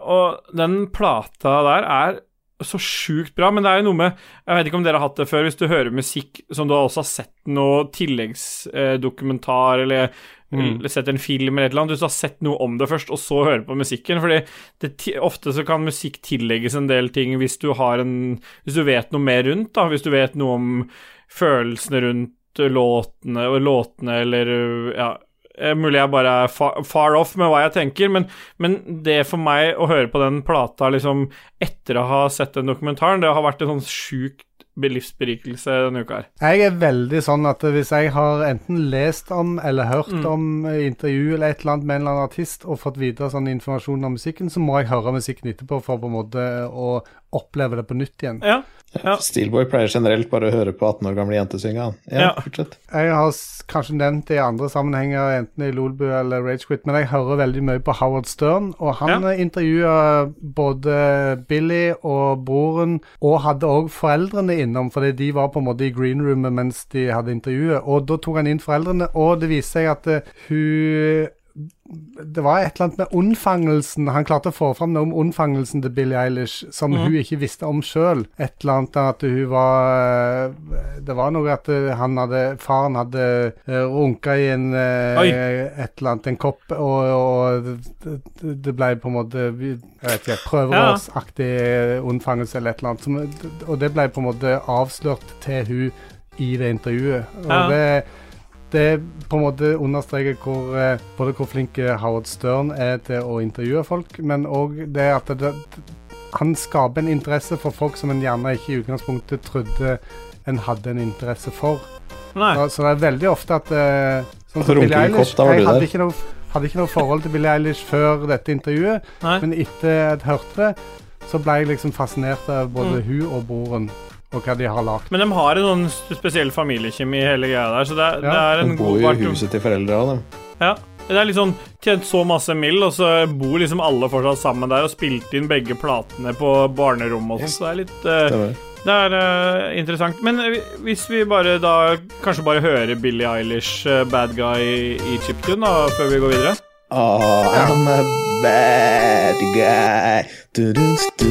B: Og den plata der er så sjukt bra, men det er jo noe med Jeg vet ikke om dere har hatt det før, hvis du hører musikk som du også har sett noe tilleggsdokumentar, eller, eller sett en film eller et eller annet, hvis du har sett noe om det først, og så hører på musikken, fordi det, ti- ofte så kan musikk tillegges en del ting hvis du har en Hvis du vet noe mer rundt, da, hvis du vet noe om følelsene rundt låtene, og låtene eller ja, Eh, Mulig jeg bare er far, far off med hva jeg tenker, men, men det for meg å høre på den plata liksom etter å ha sett den dokumentaren, det har vært en sånn sjukt be- livsberikelse denne uka her.
C: Jeg er veldig sånn at hvis jeg har enten lest om eller hørt
B: Mm.
C: om eh, intervju eller et eller annet med en eller annen artist og fått videre sånn informasjon om musikken, så må jeg høre musikken etterpå for på en måte å oppleve det på nytt igjen.
B: Ja. Ja.
A: Steelboy pleier generelt bare å høre på 18 år gamle jenter synge, han. Ja,
B: Ja.
A: fortsett.
C: Jeg har s- kanskje nevnt det i andre sammenhenger, enten i Lolbu eller Ragequit, men jeg hører veldig mye på Howard Stern, og han
B: Ja.
C: ja. intervjua både Billy og broren, og hadde òg foreldrene innom, fordi de var på en måte i greenroomet mens de hadde intervjuet, og da tok han inn foreldrene, og det viste seg at eh, hun det var et eller annet med unnfangelsen Han klarte å få fram noe om unnfangelsen til Billie Eilish som hun ikke visste om sjøl. Et eller annet at hun var eh, Det var noe at han hadde Faren hadde eh, runka i en eh,
B: Oi.
C: et eller annet, en kopp, og, og det- det- det ble på en måte Jeg vet ikke, prøverørsaktig unnfangelse eller et eller annet. Som, og det ble på en måte avslørt til hun i det intervjuet. Og
B: Ja.
C: det det på en måte understreker hvor, eh, både hvor flink eh, Howard Stern er til å intervjue folk, men òg det at det, han skaper en interesse for folk som en gjerne ikke i utgangspunktet trodde en hadde en interesse for.
B: Nei.
C: Så, så det er veldig ofte at eh, sånn
A: Så
C: som
A: runker du
C: Billie
A: i
C: Eilish
A: kopp, da var
C: Jeg
A: du
C: hadde
A: der.
C: ikke, noe, hadde ikke noe forhold til Billie Eilish før dette intervjuet,
B: Nei.
C: men etter jeg hørte det, så ble jeg liksom fascinert av både hun og broren, og hva de har lagd.
B: Men de har en sånn s- spesiell familiekjemi i hele greia der, så det, er-
C: Ja.
B: det er en
A: De bor
B: god
A: jo
B: part.
A: i huset til foreldra òg, de.
B: Ja. Det er litt sånn tjent så masse mill, og så bor liksom alle fortsatt sammen der og spilte inn begge platene på barnerommet også, så det er litt eh,
A: Stemmer.
B: Det er eh, interessant. Men eh, hvis vi bare da kanskje bare hører Billie Eilish, eh, Bad Guy i Chiptune, da, før vi går videre?
A: Ah, I'm a bad guy.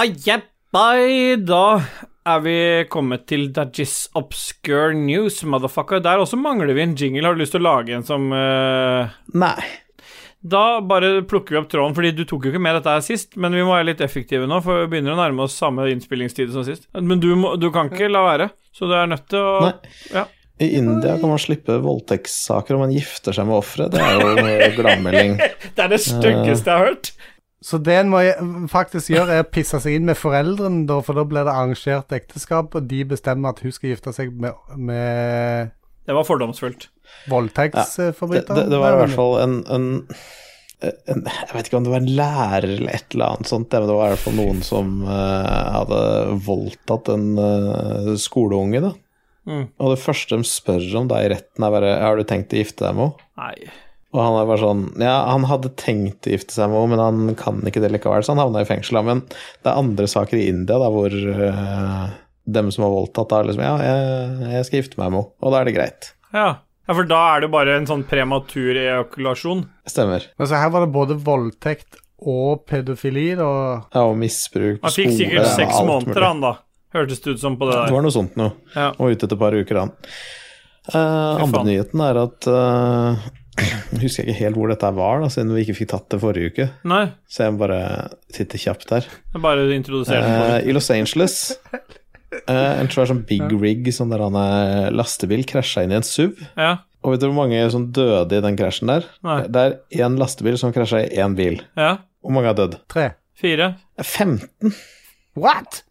B: Ah, yeah, bye, da er vi kommet til Dajis Obscure News, motherfucker. Der også mangler vi en jingle. Har du lyst til å lage en som eh,
A: Nei.
B: Da bare plukker vi opp tråden, fordi du tok jo ikke med dette her sist, men vi må være litt effektive nå, for vi begynner å nærme oss samme innspillingstid som sist. Men du, må, du kan ikke la være, så du er nødt til å
A: Nei.
B: Ja.
A: I India kan man slippe voldtektssaker om man gifter seg med offeret. Det er jo en gladmelding.
B: Det
A: Eh.
B: er det styggeste jeg har hørt.
C: Så det en må gje- faktisk gjøre, er å pisse seg inn med foreldrene, da, for da blir det arrangert ekteskap, og de bestemmer at hun skal gifte seg med, med
B: Det var fordomsfullt.
A: Det,
C: voldtektsforbryteren.
A: det, det var i hvert fall en, en, en Jeg vet ikke om det var en lærer eller et eller annet sånt, men det var i hvert fall noen som eh, hadde voldtatt en eh, skoleunge, da.
B: Mm.
A: Og det første de spør om da i retten, er bare 'Har du tenkt å gifte deg med henne?'
B: Nei.
A: Og han er bare sånn Ja, han hadde tenkt å gifte seg med henne, men han kan ikke det likevel, så han havna i fengsel. da. Men det er andre saker i India da, hvor eh, dem som har voldtatt, da liksom Ja, jeg, jeg skal gifte meg med henne, og da er det greit.
B: Ja. ja, for da er det bare en sånn prematur ejakulasjon.
A: Stemmer.
C: Men så her var det både voldtekt og pedofili, da.
A: Ja, og misbruk på
B: Han fikk
A: skole
B: sikkert
A: ja,
B: seks
A: alt
B: måneder,
A: mulig.
B: han da. Hørtes det ut som på det
A: Det
B: der.
A: var noe sånt noe.
B: Ja.
A: Og ute etter et par uker, han. Eh, andre
B: faen.
A: nyheten er at eh, Jeg husker ikke helt hvor dette var, da, siden vi ikke fikk tatt det forrige uke.
B: Nei,
A: Så jeg må bare titte kjapt her.
B: jeg bare introduserer den. på
A: Eh,
B: nytt.
A: I Los Angeles eh, En svær sånn big rig Sånn der han er lastebil Krasja inn i en SUV
B: Ja.
A: Og vet du hvor mange som døde i den krasjen der?
B: Nei.
A: Det er en lastebil som krasja i en bil
B: ja.
A: Hvor mange har dødd?
C: Tre.
B: 4.
A: 15
C: What?!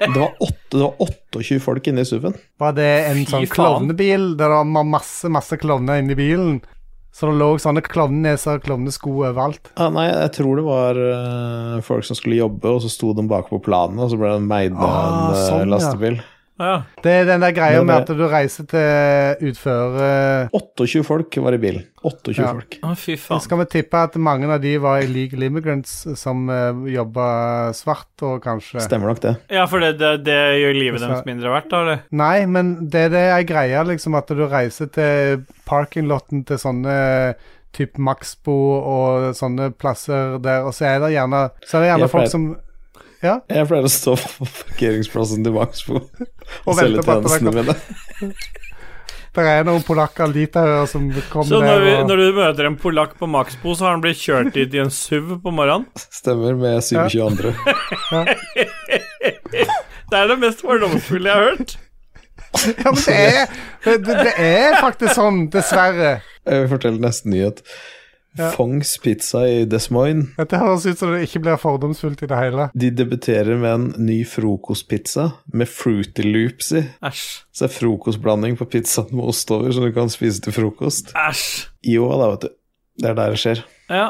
A: Det var, 8, det var 28 folk inne i SUV-en
C: Var det en
B: Fy
C: sånn
B: faen.
C: klovnebil der det var masse, masse klovner inni bilen? Så det lå sånne klovneneser og klovnesko overalt.
A: ah, Nei, jeg tror det var eh, folk som skulle jobbe Og så sto de bak på planen Og så ble de meid av
C: Ah,
A: en eh,
C: sånn, ja.
A: lastebil
B: Ja.
C: Det er den der greia
A: Det er
C: med
A: det-
C: at du reiser til utføre
A: 28 folk var i bilen 28
C: Ja.
A: folk
B: Å, fy
C: Så
B: faen.
C: skal vi tippe at mange av de var illegal immigrants som uh, jobba svart og kanskje
A: Stemmer nok det
B: Ja, for det, det, det gjør livet
C: Så-
B: deres mindre verdt, da, eller?
C: Nei, men det, det er greia, liksom, at du reiser til parkinglotten til sånne typ Maxbo og sånne plasser der, og så er det gjerne, så er det gjerne
A: Jeg
C: folk
A: pleier-
C: som
A: Jeg pleier å stå på parkeringsplassen til Maxbo Og
C: vente
A: selge
C: på at det
A: tjenestene
C: kommer.
A: mine
C: Der er noen polakker litauere som kommer
B: Så når, vi,
C: der og
B: når du møter en polakk på Maxbo, så har han blitt kjørt dit i en SUV på morgenen?
A: Stemmer med 27 andre.
B: Det er det mest fordomsfulle jeg har hørt.
C: Ja, men det er, det, det, det er faktisk sånn, dessverre.
A: Jeg vil fortelle neste nyhet.
C: Ja.
A: Fongs pizza i Des Moines.
C: Dette høres ut som det ikke blir fordomsfullt i det hele.
A: De debuterer med en ny frokostpizza med Fruity Loops i.
B: Æsj.
A: Så det er frokostblanding på pizzaen med ost over, som du kan spise til frokost.
B: Æsj.
A: Iowa, da, vet du. Det er der det skjer.
B: Ja.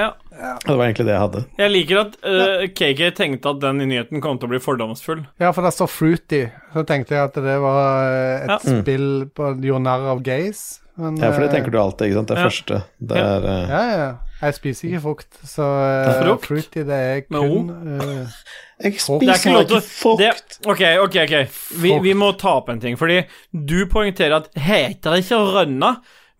B: ja.
A: Det var egentlig det jeg hadde.
B: Jeg liker at eh, KK tenkte at den nyheten kom til å bli fordomsfull.
C: Ja, for det står Fruity. Så tenkte jeg at det var eh, et
A: Ja. Mm.
C: spill på gjorde narr av gays. Men,
A: Ja, for det
C: eh,
A: tenker du alltid, ikke sant. Det er
B: Ja.
A: første. Det
B: Ja.
A: er eh,
C: Ja, ja. Jeg spiser ikke frukt, så eh,
B: Frukt?
C: Fruity det er
B: Med
C: kun
A: Jeg
C: eh,
B: Det er ikke
A: spiser
B: lov til
A: ikke fucked!
B: det- Ok, ok, ok. Vi, vi må ta opp en ting, fordi du poengterer at heter det ikke rønna,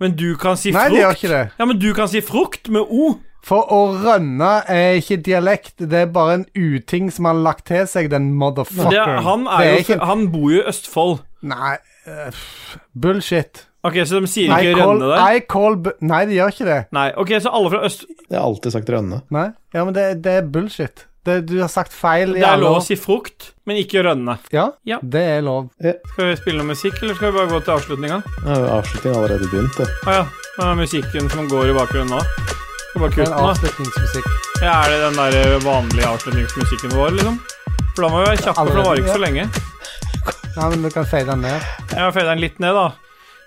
B: men du kan si
C: Nei,
B: frukt.
C: det gjør ikke det.
B: Ja, men du kan si frukt med O.
C: For å rønne er ikke dialekt, det er bare en uting som han har lagt til seg, den
B: Det,
C: motherfuckeren.
B: han,
C: Det
B: er jo,
C: ikke en-
B: han bor jo i Østfold.
C: Nei, eh, pff, bullshit.
B: Ok, så de sier
C: I
B: ikke
C: call,
B: rønne der?
C: I call bu Nei, de gjør ikke det.
B: Nei, ok, så alle fra øst...
A: Jeg har alltid sagt rønne.
C: Nei, ja, men det, det er bullshit. Det, du har sagt feil i
B: Det er
C: alle
B: lov å
C: år.
B: si frukt, men ikke rønne.
C: Ja,
B: Ja.
C: det er lov.
B: Skal vi spille noe musikk, eller skal vi bare gå til avslutninga?
A: Ja, Avslutningen har allerede begynt, det.
B: Å ja. Den er musikken som går i bakgrunnen nå. Skal bare
C: Det er en
B: kutte den, da.
C: avslutningsmusikk.
B: Ja, er det den der eh, vanlige avslutningsmusikken vår, liksom? For da må vi være kjappe, for det varer ikke så lenge.
C: Nei, men du kan fade den ned.
B: Jeg fader den litt ned, da.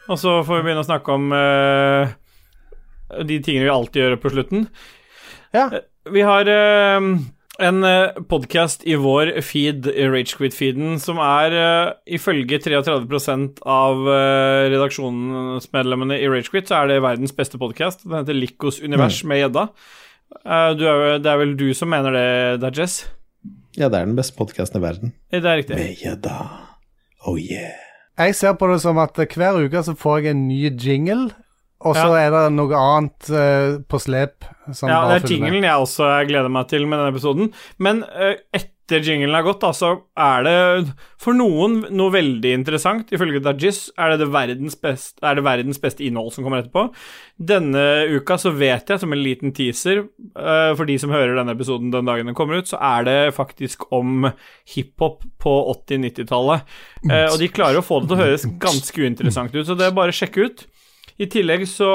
B: Og så får vi begynne å snakke om eh, de tingene vi alltid gjør på slutten.
C: Ja.
B: Vi har eh, en uh, podkast i vår feed, i Ragequit-feeden, som er uh, ifølge 33 av eh, redaksjonsmedlemmene i Ragequit, så er det verdens beste podkast. Den heter Likos univers med gjedda. Eh, du er, vel- det er vel du som mener det, Dajess?
A: Ja, det er den beste podkasten i verden.
B: Det er riktig.
A: Med gjedda. Oh yeah.
C: Jeg ser på det som at hver uke så får jeg en ny jingle, og så er det noe annet eh, på slep. Som
B: Ja, det
C: bare
B: er
C: følger med.
B: jinglen jeg også gleder meg til med denne episoden. Men eh, etter jinglen er gått, da, så er det for noen noe veldig interessant. Ifølge Dajis er det det verdens beste, er det verdens beste innhold som kommer etterpå. Denne uka så vet jeg, som en liten teaser, eh, for de som hører denne episoden den dagen den kommer ut, så er det faktisk om hiphop på 80-90-tallet. Eh, og de klarer å få det til å høres ganske uinteressant ut, så det er bare å sjekke ut. I tillegg så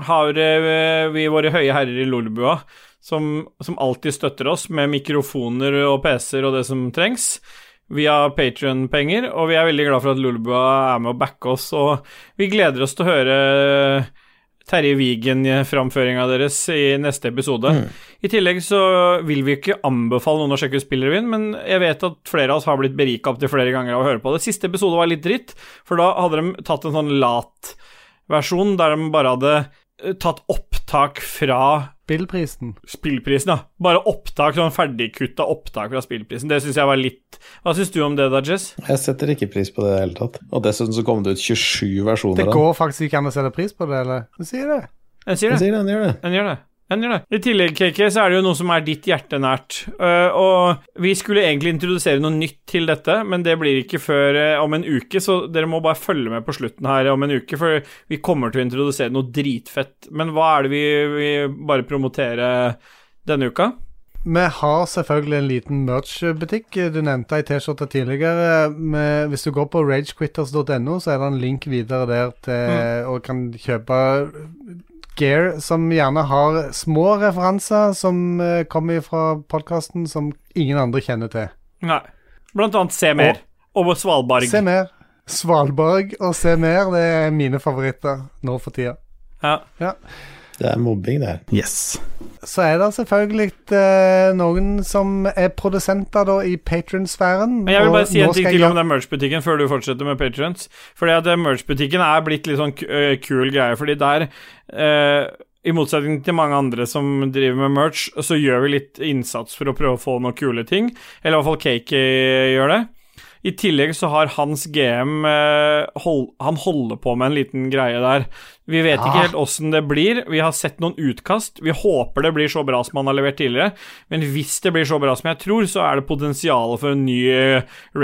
B: har eh, vi våre høye herrer i Lolebua, som, som alltid støtter oss med mikrofoner og PC-er og det som trengs. Vi har Patrion-penger, og vi er veldig glad for at Lolebua er med å backe oss. Og vi gleder oss til å høre eh, Terje Wigen-framføringa deres i neste episode. I tillegg så vil vi ikke anbefale noen å sjekke ut Spillrevyen, men jeg vet at flere av oss har blitt berika opptil flere ganger av å høre på det. Siste episode var litt dritt, for da hadde de tatt en sånn lat versjon der de bare hadde eh, tatt opptak fra
C: Spillprisen.
B: spillprisen, da. Bare opptak, sånn ferdigkutta opptak fra spillprisen. Det syns jeg var litt Hva syns du om det, da, Jess?
A: Jeg setter ikke pris på det i det hele tatt. Og dessuten så kom det ut 27 versjoner
C: Det
A: av den.
C: går faktisk ikke an å sette pris på det, eller? Si det.
B: En sier
A: Jeg
B: det.
A: sier det, den gjør det.
B: En gjør det. En gjør det. I tillegg, KK, så er det jo noe som er ditt hjerte nært. Eh, og vi skulle egentlig introdusere noe nytt til dette, men det blir ikke før eh, om en uke, så dere må bare følge med på slutten her om en uke, for vi kommer til å introdusere noe dritfett. Men hva er det vi, vi bare promoterer denne uka?
C: Vi har selvfølgelig en liten merch-butikk. Du nevnte ei T-skjorte tidligere. Vi- Hvis du går på ragequitters.no, så er det en link videre der
B: Mm.
C: til og kan kjøpe gear som gjerne har små referanser som eh, kommer fra podkasten, som ingen andre kjenner til.
B: Nei. Blant annet Se mer. Og Svalbard.
C: Se mer. Svalbard og Se mer, det er mine favoritter nå for tida.
B: Ja.
A: Det er mobbing, det her.
H: Yes.
C: Så er det selvfølgelig eh, noen som er produsenter da i patronsfæren.
B: Men jeg vil bare si en ting til om
C: det.
B: den merch-butikken før du fortsetter med patrons. Fordi at eh, merch-butikken er blitt litt sånn k- eh, kul greie, fordi der eh, i motsetning til mange andre som driver med merch, så gjør vi litt innsats for å prøve å få noen kule ting. Eller i hvert fall Cakey gjør det. I tillegg så har hans GM eh, hold, Han holder på med en liten greie der. Vi vet ikke helt åssen det blir. Vi har sett noen utkast. Vi håper det blir så bra som han har levert tidligere, men hvis det blir så bra som jeg tror, så er det potensial for en ny eh,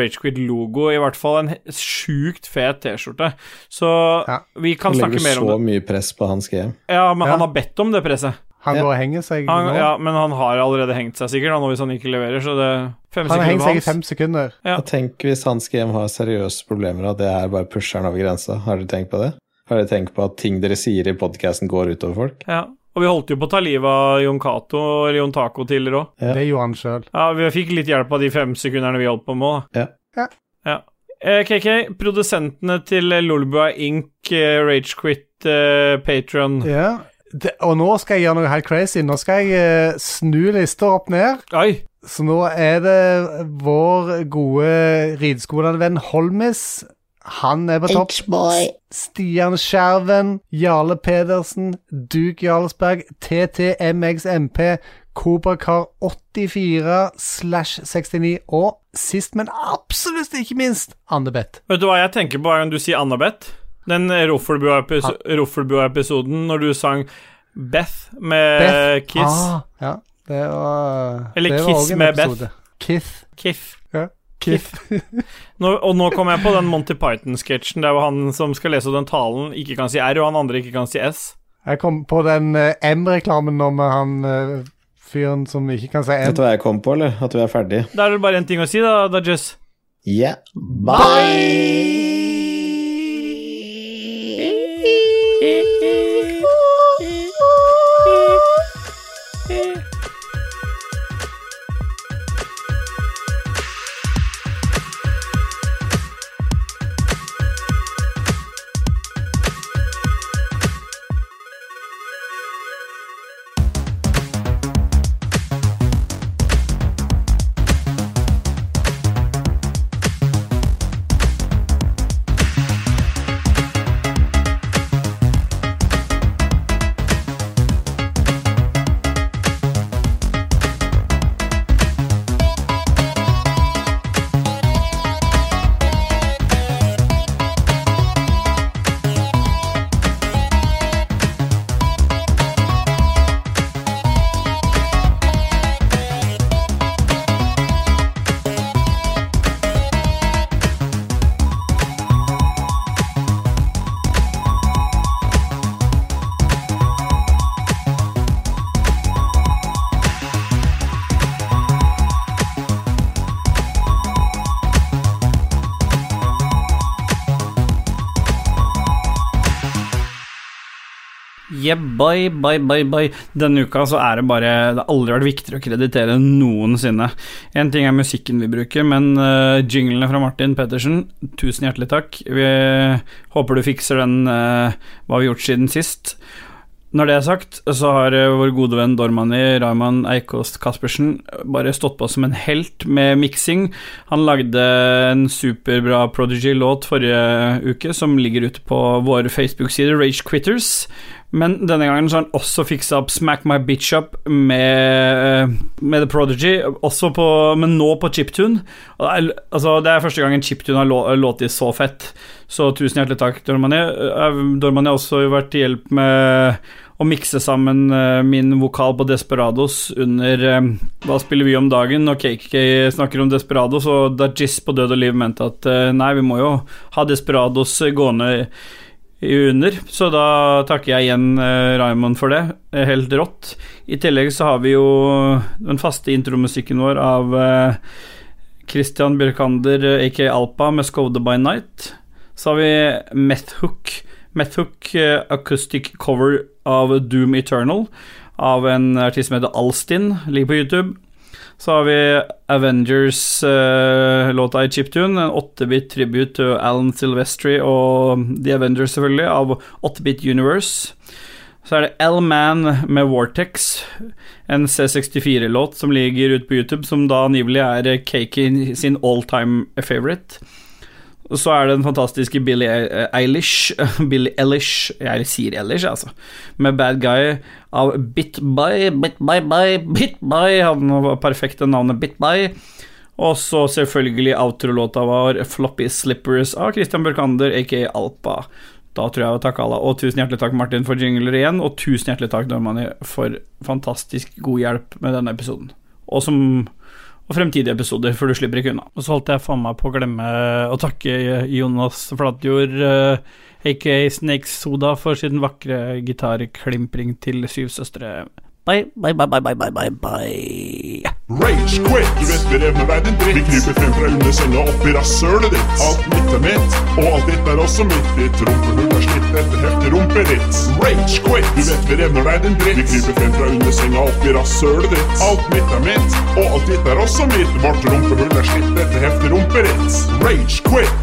B: Ragequid-logo. I hvert fall en he- sjukt fet T-skjorte. Så
C: Ja.
B: vi kan
A: Han
B: snakke
A: legger
B: mer
A: så
B: om det.
A: mye press på hans GM.
B: Ja, men
C: Ja.
B: han har bedt om det presset.
C: Han
A: Ja.
C: går og henger seg
B: Han,
C: nå.
B: ja, men han har allerede hengt seg, sikkert, da, nå hvis han ikke leverer, så det Fem
C: Han har hengt
B: sekunder
C: seg i
B: hans.
C: fem sekunder.
B: Ja.
A: Og tenk hvis hans GM har seriøse problemer, at det her bare pusher han over grensa. Har dere tenkt på det? Har dere tenkt på at ting dere sier i podkasten går utover folk?
B: Ja. Og vi holdt jo på å ta livet av Jon Cato eller Jon Taco tidligere òg.
A: Ja.
C: Det gjorde han sjøl.
B: Ja, vi fikk litt hjelp av de fem sekunderne vi holdt på med. da.
A: Ja.
C: Ja.
B: Ja. Eh, KK, produsentene til Lolbua Inc., eh, Ragequit, eh, Patron
C: Ja. Det- Og nå skal jeg gjøre noe helt crazy. Nå skal jeg eh, snu lista opp ned.
B: Oi!
C: Så nå er det vår gode rideskolevenn Holmis. Han er på topp. Stian Skjerven, Jarle Pedersen, Duke Jarlsberg, TTMXMP, Kobrakar 84 slash 69 og sist, men absolutt ikke minst, Andebeth.
B: Vet du hva jeg tenker på hver gang du sier Annabeth? Den Roffelbua-episoden når du sang Beth med
C: Beth.
B: Eh, Kiss.
C: Ah, ja, det var
B: Eller
C: det var
B: Kiss
C: også en
B: med Beth.
C: episode. Kith.
B: Kiff.
C: Ja. Kith.
B: Nå, og nå kom jeg på den Monty Python-sketsjen der hvor han som skal lese den talen, ikke kan si R, og han andre ikke kan si S.
C: Jeg kom på den eh, M-reklamen nå med han eh, fyren som ikke kan si
A: Vet
C: M.
A: du hva jeg kom på, eller? At vi er ferdige.
B: Da er det bare én ting å si, da, Dajess.
A: Yeah. Bye!
B: Yeah, bye, bye, bye, bye. Denne uka så er det bare Det har aldri vært viktigere å kreditere noensinne. En ting er musikken vi bruker, men eh, jinglene fra Martin Pettersen, tusen hjertelig takk. Vi eh, håper du fikser den eh, Hva har vi gjort siden sist? Når det er sagt, så har eh, vår gode venn Dormani Raymond Eikost Caspersen bare stått på som en helt med miksing. Han lagde en superbra Prodigy-låt forrige uke, som ligger ute på våre Facebook-sider, Rage Quitters. Men denne gangen så har han også fiksa opp Smack My Bitch Up med, eh, med The Prodigy, også på, men nå på chiptune. Og det er, altså, det er første gang en chiptune har lå- låtit så fett, så tusen hjertelig takk, Dormani. Eh, Dormani har også vært til hjelp med å mikse sammen eh, min vokal på Desperados under eh, Hva spiller vi om dagen? Og KK snakker om Desperados, og Dajis på Død og liv mente at eh, nei, vi må jo ha Desperados eh, gående i under, så da takker jeg igjen eh, Raymond for det. Eh, Helt rått. I tillegg så har vi jo den faste intromusikken vår av eh, Christian Bjørkander, eh, aka Alpa, med Skovde by Night. Så har vi Meth Hook. Meth Hook eh, acoustic cover av Doom Eternal av en artist som heter Alstin, ligger på YouTube. Så har vi Avengers-låta i Chiptune, en 8-bit tribute til Alan Silvestri og The Avengers, selvfølgelig, av 8-bit Universe. Så er det L-Man med Vortex, en C64-låt som ligger ute på YouTube, som da angivelig er Cakey sin all-time favorite. Og så er det den fantastiske Billie eh, Eilish Billie Eilish Jeg sier Eilish, altså. Med Bad Guy av Bitby Bitby Bitby Han var perfekt det navnet Bitby. Og så selvfølgelig outrolåta var Floppy Slippers av Christian Børkander, aka Alpa. Da tror jeg jeg har takka alle. Og tusen hjertelig takk, Martin, for jingler igjen. Og tusen hjertelig takk, Normani, for fantastisk god hjelp med denne episoden. Og som og fremtidige episoder, for du slipper ikke unna. Og så holdt jeg faen meg på å glemme å takke Jonas Flatjord, eh, aka Snake Soda, for sin vakre gitarklimpring til Syv søstre. Bye, bye, bye, bye, bye, bye, bye, bye.
H: Rage quit! Du vet vi levner verden dritt. Vi kryper frem fra under cella opp i rasshølet ditt. Alt mitt er mitt, og alt ditt er også mitt. Ditt rumpehull er slitt etter heftig rumpeditt. Rage quit! Du vet vi levner verden dritt. Vi kryper frem fra under senga opp i rasshølet ditt. Alt mitt er mitt, og alt ditt er også mitt. Vårt rumpehull er slitt etter heftig rumpeditt. Rage quit!